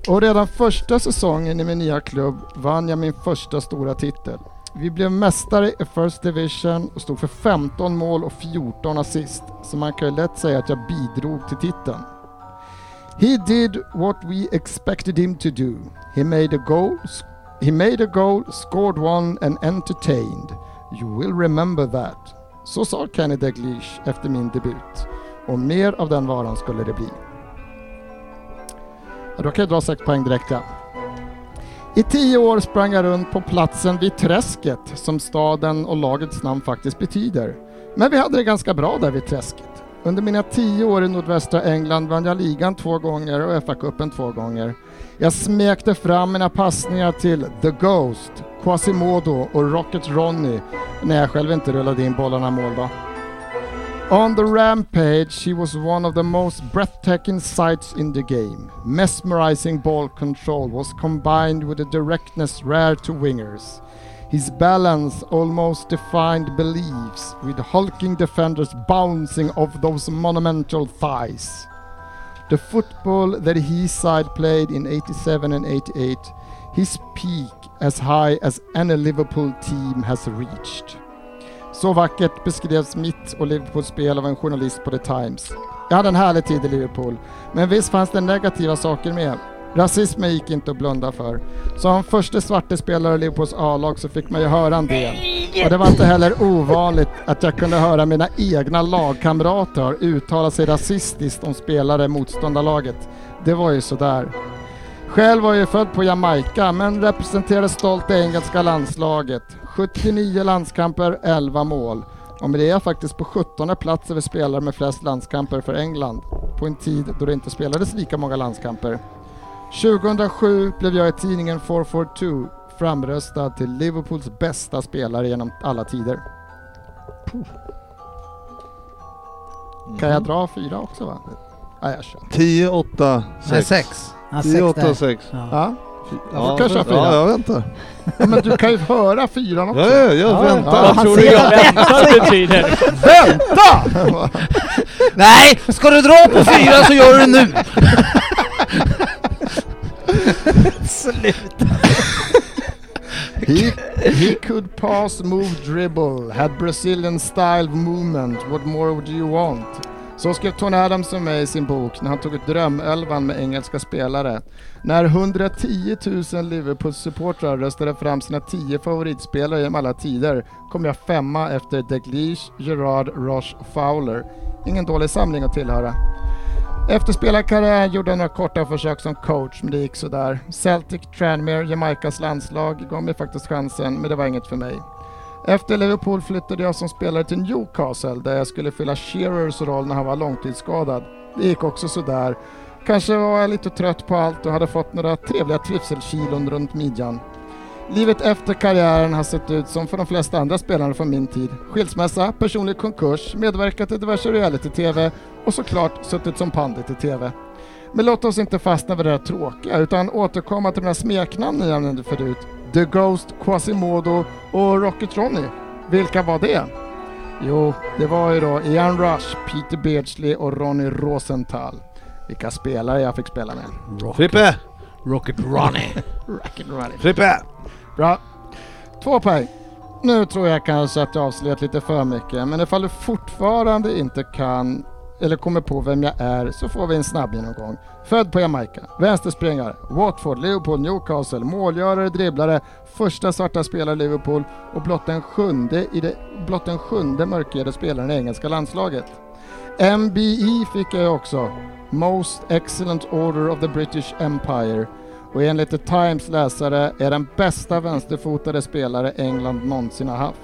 [SPEAKER 4] Och redan första säsongen i min nya klubb vann jag min första stora titel. Vi blev mästare i First Division och stod för 15 mål och 14 assist, så man kan ju lätt säga att jag bidrog till titeln. He did what we expected him to do. He made a goal, he made a goal, scored one and entertained. You will remember that. Så sa Kenny Dalglish efter min debut. Och mer av den varan skulle det bli. Ja, då kan jag dra sex poäng direkt ja. I tio år sprang jag runt på platsen vid Träsket som staden och lagets namn faktiskt betyder. Men vi hade det ganska bra där vid Träsket. Under mina tio år i nordvästra England vann jag ligan två gånger och FA-cupen två gånger. Jag smekte fram mina passningar till The Ghost, Quasimodo och Rocket Ronny när jag själv inte rullade in bollarna i mål då. On the rampage, she was one of the most breathtaking sights in the game. Mesmerizing ball control was combined with a directness rare to wingers. His balance almost defined beliefs, with hulking defenders bouncing off those monumental thighs. The football that his side played in 87 and 88, his peak as high as any Liverpool team has reached. Så vackert beskrevs mitt och Liverpools spel av en journalist på The Times. Jag hade en härlig tid i Liverpool, men visst fanns det negativa saker med. Rasismen gick inte att blunda för. Som första svarte spelare i Liverpools A-lag så fick man ju höra en del. Och det var inte heller ovanligt att jag kunde höra mina egna lagkamrater uttala sig rasistiskt om spelare i motståndarlaget. Det var ju sådär. Själv var jag född på Jamaica men representerade stolt det engelska landslaget. 79 landskamper, 11 mål. Och med det är jag faktiskt på 17 plats över spelare med flest landskamper för England. På en tid då det inte spelades lika många landskamper. 2007 blev jag i tidningen 442 framröstad till Liverpools bästa spelare genom alla tider. Puh. Kan jag dra fyra också va? Nej, jag kör.
[SPEAKER 7] 10, 8, 6.
[SPEAKER 6] Nej, sex.
[SPEAKER 3] Ja, sex
[SPEAKER 7] 10, 8,
[SPEAKER 3] där.
[SPEAKER 7] 6.
[SPEAKER 4] Ja.
[SPEAKER 7] Ja,
[SPEAKER 4] kanske har fyra.
[SPEAKER 7] ja, jag väntar.
[SPEAKER 4] Ja, men du kan ju höra fyran också.
[SPEAKER 7] Ja, ja, jag
[SPEAKER 4] ja,
[SPEAKER 7] väntar.
[SPEAKER 4] han
[SPEAKER 7] Tror du
[SPEAKER 4] ser
[SPEAKER 7] jag-
[SPEAKER 5] Väntar betyder.
[SPEAKER 6] Nej! Ska du dra på fyra så gör du det nu!
[SPEAKER 4] He, he could pass, move, dribble, had Brazilian style movement, what more do you want? Så skrev Tony Adams om mig i sin bok när han tog ett drömölvan med engelska spelare. När 110 000 Liverpool-supportrar röstade fram sina 10 favoritspelare genom alla tider kom jag femma efter Dalglish, Gerard, Roche och Fowler. Ingen dålig samling att tillhöra. Efter spelarkarriären gjorde jag några korta försök som coach, men det gick sådär. Celtic, Tranmere, Jamaicas landslag gav mig faktiskt chansen, men det var inget för mig. Efter Liverpool flyttade jag som spelare till Newcastle där jag skulle fylla Shearers roll när han var långtidsskadad. Det gick också sådär. Kanske var jag lite trött på allt och hade fått några trevliga trivselkilon runt midjan. Livet efter karriären har sett ut som för de flesta andra spelare från min tid. Skilsmässa, personlig konkurs, medverkat i diverse reality-tv och såklart suttit som pandit i TV. Men låt oss inte fastna vid det där tråkiga utan återkomma till mina smeknamn jag nämnde förut. The Ghost, Quasimodo och Rocket Ronny. Vilka var det? Jo, det var ju då Ian Rush, Peter Beardsley och Ronny Rosenthal. Vilka spelare jag fick spela med.
[SPEAKER 7] Frippe!
[SPEAKER 6] Rocket Ronny.
[SPEAKER 4] Rocket Ronny.
[SPEAKER 7] Frippe!
[SPEAKER 4] Bra. Två poäng. Nu tror jag kanske att jag avslöjat lite för mycket, men ifall du fortfarande inte kan eller kommer på vem jag är så får vi en snabb genomgång. Född på Jamaica, vänsterspringare, Watford, Liverpool, Newcastle, målgörare, dribblare, första svarta spelare i Liverpool och blott den sjunde, i det, blott den sjunde mörkhyade spelaren i engelska landslaget. MBE fick jag ju också, Most Excellent Order of the British Empire och enligt The Times läsare är den bästa vänsterfotade spelare England någonsin har haft.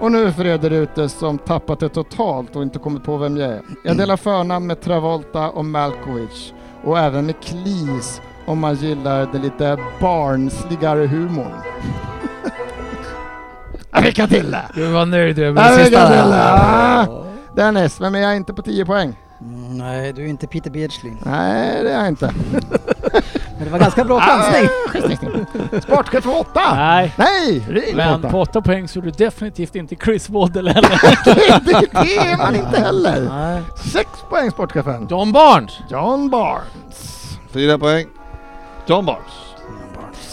[SPEAKER 4] Och nu för er där ute som tappat det totalt och inte kommit på vem jag är. Jag delar förnamn med Travolta och Malkovich och även med Cleese om man gillar den lite barnsligare humorn. Jag fick till det!
[SPEAKER 6] Du var nöjd över
[SPEAKER 4] Jag
[SPEAKER 6] det
[SPEAKER 4] fick till
[SPEAKER 6] sista.
[SPEAKER 4] det!
[SPEAKER 6] där.
[SPEAKER 4] Ah! Dennis, vem är jag inte på 10 poäng?
[SPEAKER 3] Mm, nej, du är inte Peter Beardsley.
[SPEAKER 4] Nej, det är jag inte.
[SPEAKER 3] Men det var ganska bra chansning.
[SPEAKER 4] Sportchef 8!
[SPEAKER 5] Nej.
[SPEAKER 4] Nej! Ring
[SPEAKER 5] Men
[SPEAKER 4] åtta.
[SPEAKER 5] på 8 poäng så är du definitivt inte Chris Waddle heller.
[SPEAKER 4] det, det är man inte heller!
[SPEAKER 3] Nej.
[SPEAKER 4] Sex poäng sportchefen.
[SPEAKER 6] John Barnes!
[SPEAKER 4] John Barnes.
[SPEAKER 7] Fyra poäng. John Barnes.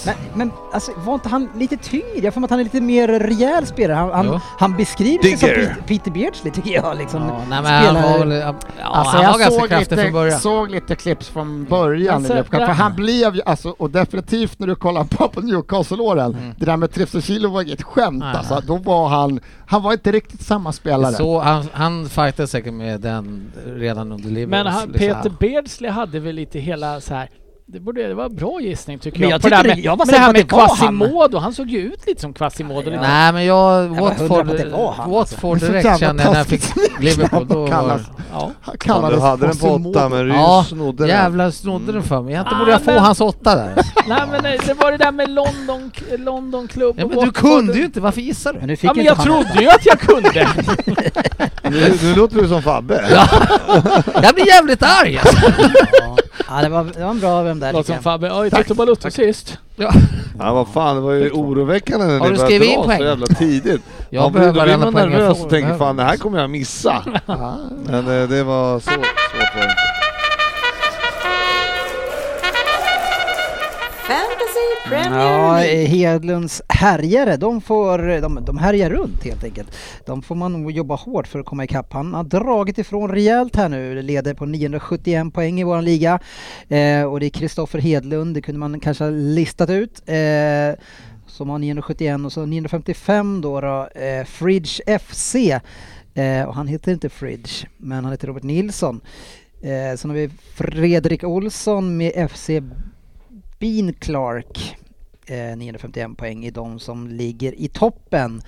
[SPEAKER 3] Men, men alltså, var inte han lite tyngre? Jag får mig att han är lite mer rejäl spelare. Han, han,
[SPEAKER 6] Jo.
[SPEAKER 3] han beskriver sig som
[SPEAKER 7] Digger.
[SPEAKER 3] Pete- Peter Beardsley tycker jag. Liksom.
[SPEAKER 6] Ja, nej, men han
[SPEAKER 3] Spelar-
[SPEAKER 6] var, väl- ja, han var ganska kraftig
[SPEAKER 4] Alltså, lite,
[SPEAKER 6] från början.
[SPEAKER 4] såg lite klipps från början
[SPEAKER 5] Alltså,
[SPEAKER 4] i löpkamp, för
[SPEAKER 5] det-
[SPEAKER 4] han blev ju, alltså, och definitivt när du kollar på, på Newcastle-åren, det där med 30 kilo var inget skämt
[SPEAKER 6] Nej,
[SPEAKER 4] alltså. Då var han, han var inte riktigt samma spelare.
[SPEAKER 6] Så han, han fightade säkert med den redan under liksom- livet.
[SPEAKER 5] Men han, Peter Beardsley hade väl lite hela så här. Det, borde, det var en bra gissning tycker
[SPEAKER 3] Men
[SPEAKER 5] jag.
[SPEAKER 3] jag
[SPEAKER 5] på det här
[SPEAKER 3] tyckte
[SPEAKER 5] med,
[SPEAKER 3] det- jag var
[SPEAKER 5] men det
[SPEAKER 3] säker på
[SPEAKER 5] här
[SPEAKER 3] att
[SPEAKER 5] med
[SPEAKER 3] det var han.
[SPEAKER 5] Quasimodo, han såg ju ut lite som Quasimodo. lite.
[SPEAKER 6] Nej men jag,
[SPEAKER 3] var hundra
[SPEAKER 6] Watford,
[SPEAKER 3] på att det var han,
[SPEAKER 6] Watford
[SPEAKER 4] alltså.
[SPEAKER 6] direkt
[SPEAKER 4] Det är så
[SPEAKER 6] kände jag
[SPEAKER 4] jävla
[SPEAKER 6] när jag fick
[SPEAKER 4] taskigt
[SPEAKER 6] Liverpool. Då var,
[SPEAKER 4] kallas.
[SPEAKER 5] Ja.
[SPEAKER 4] Han
[SPEAKER 7] Ja,
[SPEAKER 4] kallades
[SPEAKER 7] du hade den på
[SPEAKER 4] Quasimodo.
[SPEAKER 7] åtta men Ryn
[SPEAKER 6] Ja,
[SPEAKER 7] snodde den.
[SPEAKER 6] jävlar snodde den för mig. Egentligen
[SPEAKER 5] Ah,
[SPEAKER 6] borde jag få
[SPEAKER 5] men-
[SPEAKER 6] hans åtta där.
[SPEAKER 5] Nej men det, det var det där med London, London Club
[SPEAKER 6] Ja,
[SPEAKER 5] och
[SPEAKER 6] men du
[SPEAKER 5] Watford.
[SPEAKER 6] kunde ju inte, varför gissar du?
[SPEAKER 3] Men nu fick
[SPEAKER 5] Ja men
[SPEAKER 3] inte
[SPEAKER 5] jag
[SPEAKER 3] han
[SPEAKER 5] trodde
[SPEAKER 3] detta.
[SPEAKER 5] ju att jag kunde!
[SPEAKER 7] Nu, nu låter du som Fabbe.
[SPEAKER 6] Jag blir jävligt arg! alltså.
[SPEAKER 3] Ja, det, var, det var en bra vem där.
[SPEAKER 5] Låter som
[SPEAKER 3] tycker jag.
[SPEAKER 5] Fabbe. Oj, Toto Balotto sist.
[SPEAKER 7] Ja vad fan, det var ju oroväckande när
[SPEAKER 6] Har
[SPEAKER 7] ni
[SPEAKER 6] du
[SPEAKER 7] började
[SPEAKER 6] skrivit in
[SPEAKER 7] dra
[SPEAKER 6] poäng?
[SPEAKER 7] så jävla tidigt.
[SPEAKER 6] Jag
[SPEAKER 7] Ja,
[SPEAKER 6] behöver
[SPEAKER 7] då blir
[SPEAKER 6] varenda
[SPEAKER 7] man
[SPEAKER 6] poäng jag
[SPEAKER 7] nervös
[SPEAKER 6] får.
[SPEAKER 7] och tänker
[SPEAKER 6] Jag
[SPEAKER 7] fan det här kommer jag missa. Men eh, det var så svårt var det inte.
[SPEAKER 2] Fantasy Premier
[SPEAKER 3] Ja,
[SPEAKER 2] League.
[SPEAKER 3] Hedlunds härjare, de, får, de, de härjar runt helt enkelt. De får man nog jobba hårt för att komma ikapp. Han har dragit ifrån rejält här nu, leder på 971 poäng i vår liga. Eh, och det är Kristoffer Hedlund, det kunde man kanske ha listat ut. Eh, som har 971 och så 955 då, då eh, Fridge FC. Eh, och han heter inte Fridge, men han heter Robert Nilsson. Eh, sen har vi Fredrik Olsson med FC Bean Clark. Eh, 951 poäng i de som ligger i toppen.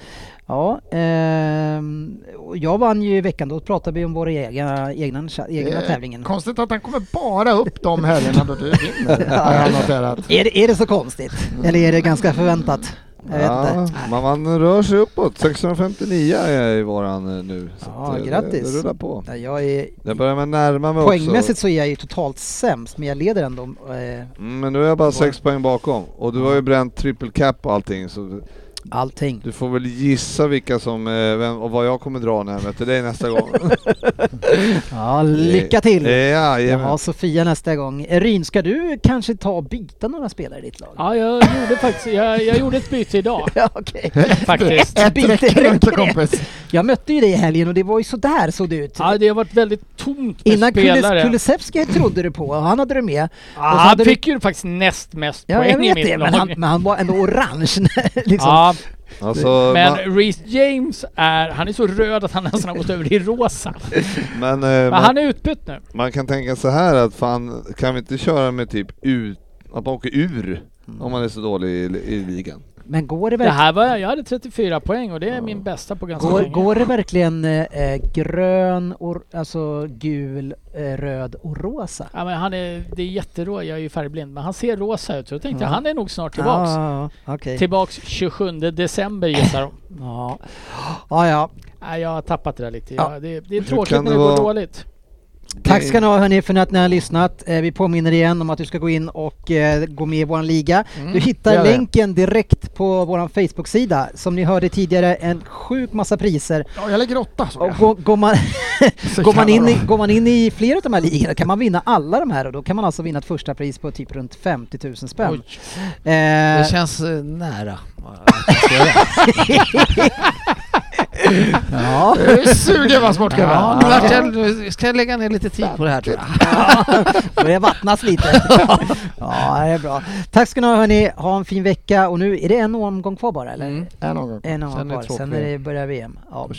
[SPEAKER 3] Ja, ehm, och jag vann ju i veckan, då pratade vi om våra egna, egna, cha- egna
[SPEAKER 4] Eh,
[SPEAKER 3] tävlingen.
[SPEAKER 4] Konstigt att han kommer bara upp de helgerna då du vinner, har jag noterat.
[SPEAKER 3] Är det, är det så konstigt? Eller är det ganska förväntat? Jag vet
[SPEAKER 7] Ja,
[SPEAKER 3] inte.
[SPEAKER 7] man, man rör sig uppåt. 659 är i våran eh, nu. Så
[SPEAKER 3] Ja,
[SPEAKER 7] att, eh,
[SPEAKER 3] grattis.
[SPEAKER 7] Det, det rullar på.
[SPEAKER 3] Nej, Jag är,
[SPEAKER 7] Jag börjar med närma mig
[SPEAKER 3] poängmässigt
[SPEAKER 7] också.
[SPEAKER 3] så är jag ju totalt sämst, men jag leder ändå. Eh,
[SPEAKER 7] Mm, Men nu är jag bara sex poäng bakom. Och du har ju bränt triple cap och allting. Så
[SPEAKER 3] allting.
[SPEAKER 7] du får väl gissa vilka som, eh, vem, och vad jag kommer dra när jag möter dig nästa gång.
[SPEAKER 3] Ja, lycka till!
[SPEAKER 7] Eh, Ja,
[SPEAKER 3] Jag
[SPEAKER 7] jajamän.
[SPEAKER 3] har Sofia nästa gång. Ryn, ska du kanske ta och byta några spelare i ditt lag?
[SPEAKER 5] Ja jag gjorde faktiskt, jag, jag gjorde ett byte idag
[SPEAKER 3] Ja, okej.
[SPEAKER 5] faktiskt.
[SPEAKER 4] Ett
[SPEAKER 3] Byter
[SPEAKER 4] räcker inte
[SPEAKER 3] räcker det.
[SPEAKER 4] kompis.
[SPEAKER 3] Jag mötte ju dig i helgen och det var ju sådär såg det ut.
[SPEAKER 5] Ja det har varit väldigt tomt med
[SPEAKER 3] Innan
[SPEAKER 5] spelare.
[SPEAKER 3] Kulis- Kulusevski trodde du på och han hade du med.
[SPEAKER 5] Ja,
[SPEAKER 3] Och så
[SPEAKER 5] han
[SPEAKER 3] hade du-
[SPEAKER 5] fick ju faktiskt näst mest
[SPEAKER 3] Ja, jag
[SPEAKER 5] poäng i
[SPEAKER 3] vet
[SPEAKER 5] mitt
[SPEAKER 3] det,
[SPEAKER 5] lag.
[SPEAKER 3] men han, liksom- men han var ändå orange. liksom.
[SPEAKER 5] Ja,
[SPEAKER 7] Alltså, man-
[SPEAKER 5] men Reece James är, han är så röd att han nästan har gått över i rosa.
[SPEAKER 7] Men, eh,
[SPEAKER 5] Men
[SPEAKER 7] man,
[SPEAKER 5] han är utbytt nu.
[SPEAKER 7] man kan tänka så här att fan, kan vi inte köra med typ ut, att man åker ur
[SPEAKER 3] Mm.
[SPEAKER 7] om man är så dålig i, i ligan?
[SPEAKER 3] Men går det
[SPEAKER 5] Det
[SPEAKER 3] verkligen,
[SPEAKER 5] här var, jag hade 34 poäng och det är min bästa på ganska
[SPEAKER 3] går,
[SPEAKER 5] länge.
[SPEAKER 3] går det verkligen eh, grön, or, alltså gul, eh, röd och rosa?
[SPEAKER 5] Ja, men han är, det är jätterå, jag är ju färgblind, men han ser rosa ut så jag tänkte han är nog snart tillbaks.
[SPEAKER 3] Ja, ja, okej.
[SPEAKER 5] Tillbaks 27 december gissar de.
[SPEAKER 3] Ja. Ja, ja.
[SPEAKER 5] Nej, jag har tappat det där lite.
[SPEAKER 3] Ja.
[SPEAKER 5] Ja. Det, det är tråkigt
[SPEAKER 7] kan
[SPEAKER 5] när
[SPEAKER 7] det
[SPEAKER 5] det går
[SPEAKER 7] vara-
[SPEAKER 5] dåligt.
[SPEAKER 3] Tack ska ni ha hörni för att ni har lyssnat. Eh, Vi påminner igen om att du ska gå in och eh, gå med i vår liga. Du hittar
[SPEAKER 4] Gör det.
[SPEAKER 3] länken direkt på vår Facebook-sida. Som ni hörde tidigare, en sjuk massa priser.
[SPEAKER 4] Ja, jag lägger åtta så
[SPEAKER 3] Och går, går, man,
[SPEAKER 4] Så
[SPEAKER 3] går, man in
[SPEAKER 4] jävla
[SPEAKER 3] i, går man in i flera av de här ligorna kan man vinna alla de här och då kan man alltså vinna ett första pris på typ runt 50 000 spänn.
[SPEAKER 6] Oj,
[SPEAKER 3] Eh,
[SPEAKER 6] det känns eh, nära. Ja,
[SPEAKER 3] ja.
[SPEAKER 4] Det suger vad sportchefen.
[SPEAKER 6] nu vart jag- nu ska jag lägga ner lite tid på det här tror jag.
[SPEAKER 3] börjar vattnas lite. ja, det är bra. Tack ska ni ha hörni, ha en fin vecka och nu är det en omgång kvar bara eller?
[SPEAKER 6] Mm.
[SPEAKER 4] En omgång.
[SPEAKER 3] En omgång
[SPEAKER 6] Sen är
[SPEAKER 3] kvar,
[SPEAKER 6] det
[SPEAKER 3] sen
[SPEAKER 6] två
[SPEAKER 3] är det börjar VM. Ja.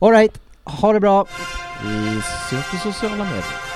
[SPEAKER 3] All right. ha det bra.
[SPEAKER 6] Vi syns på sociala medier.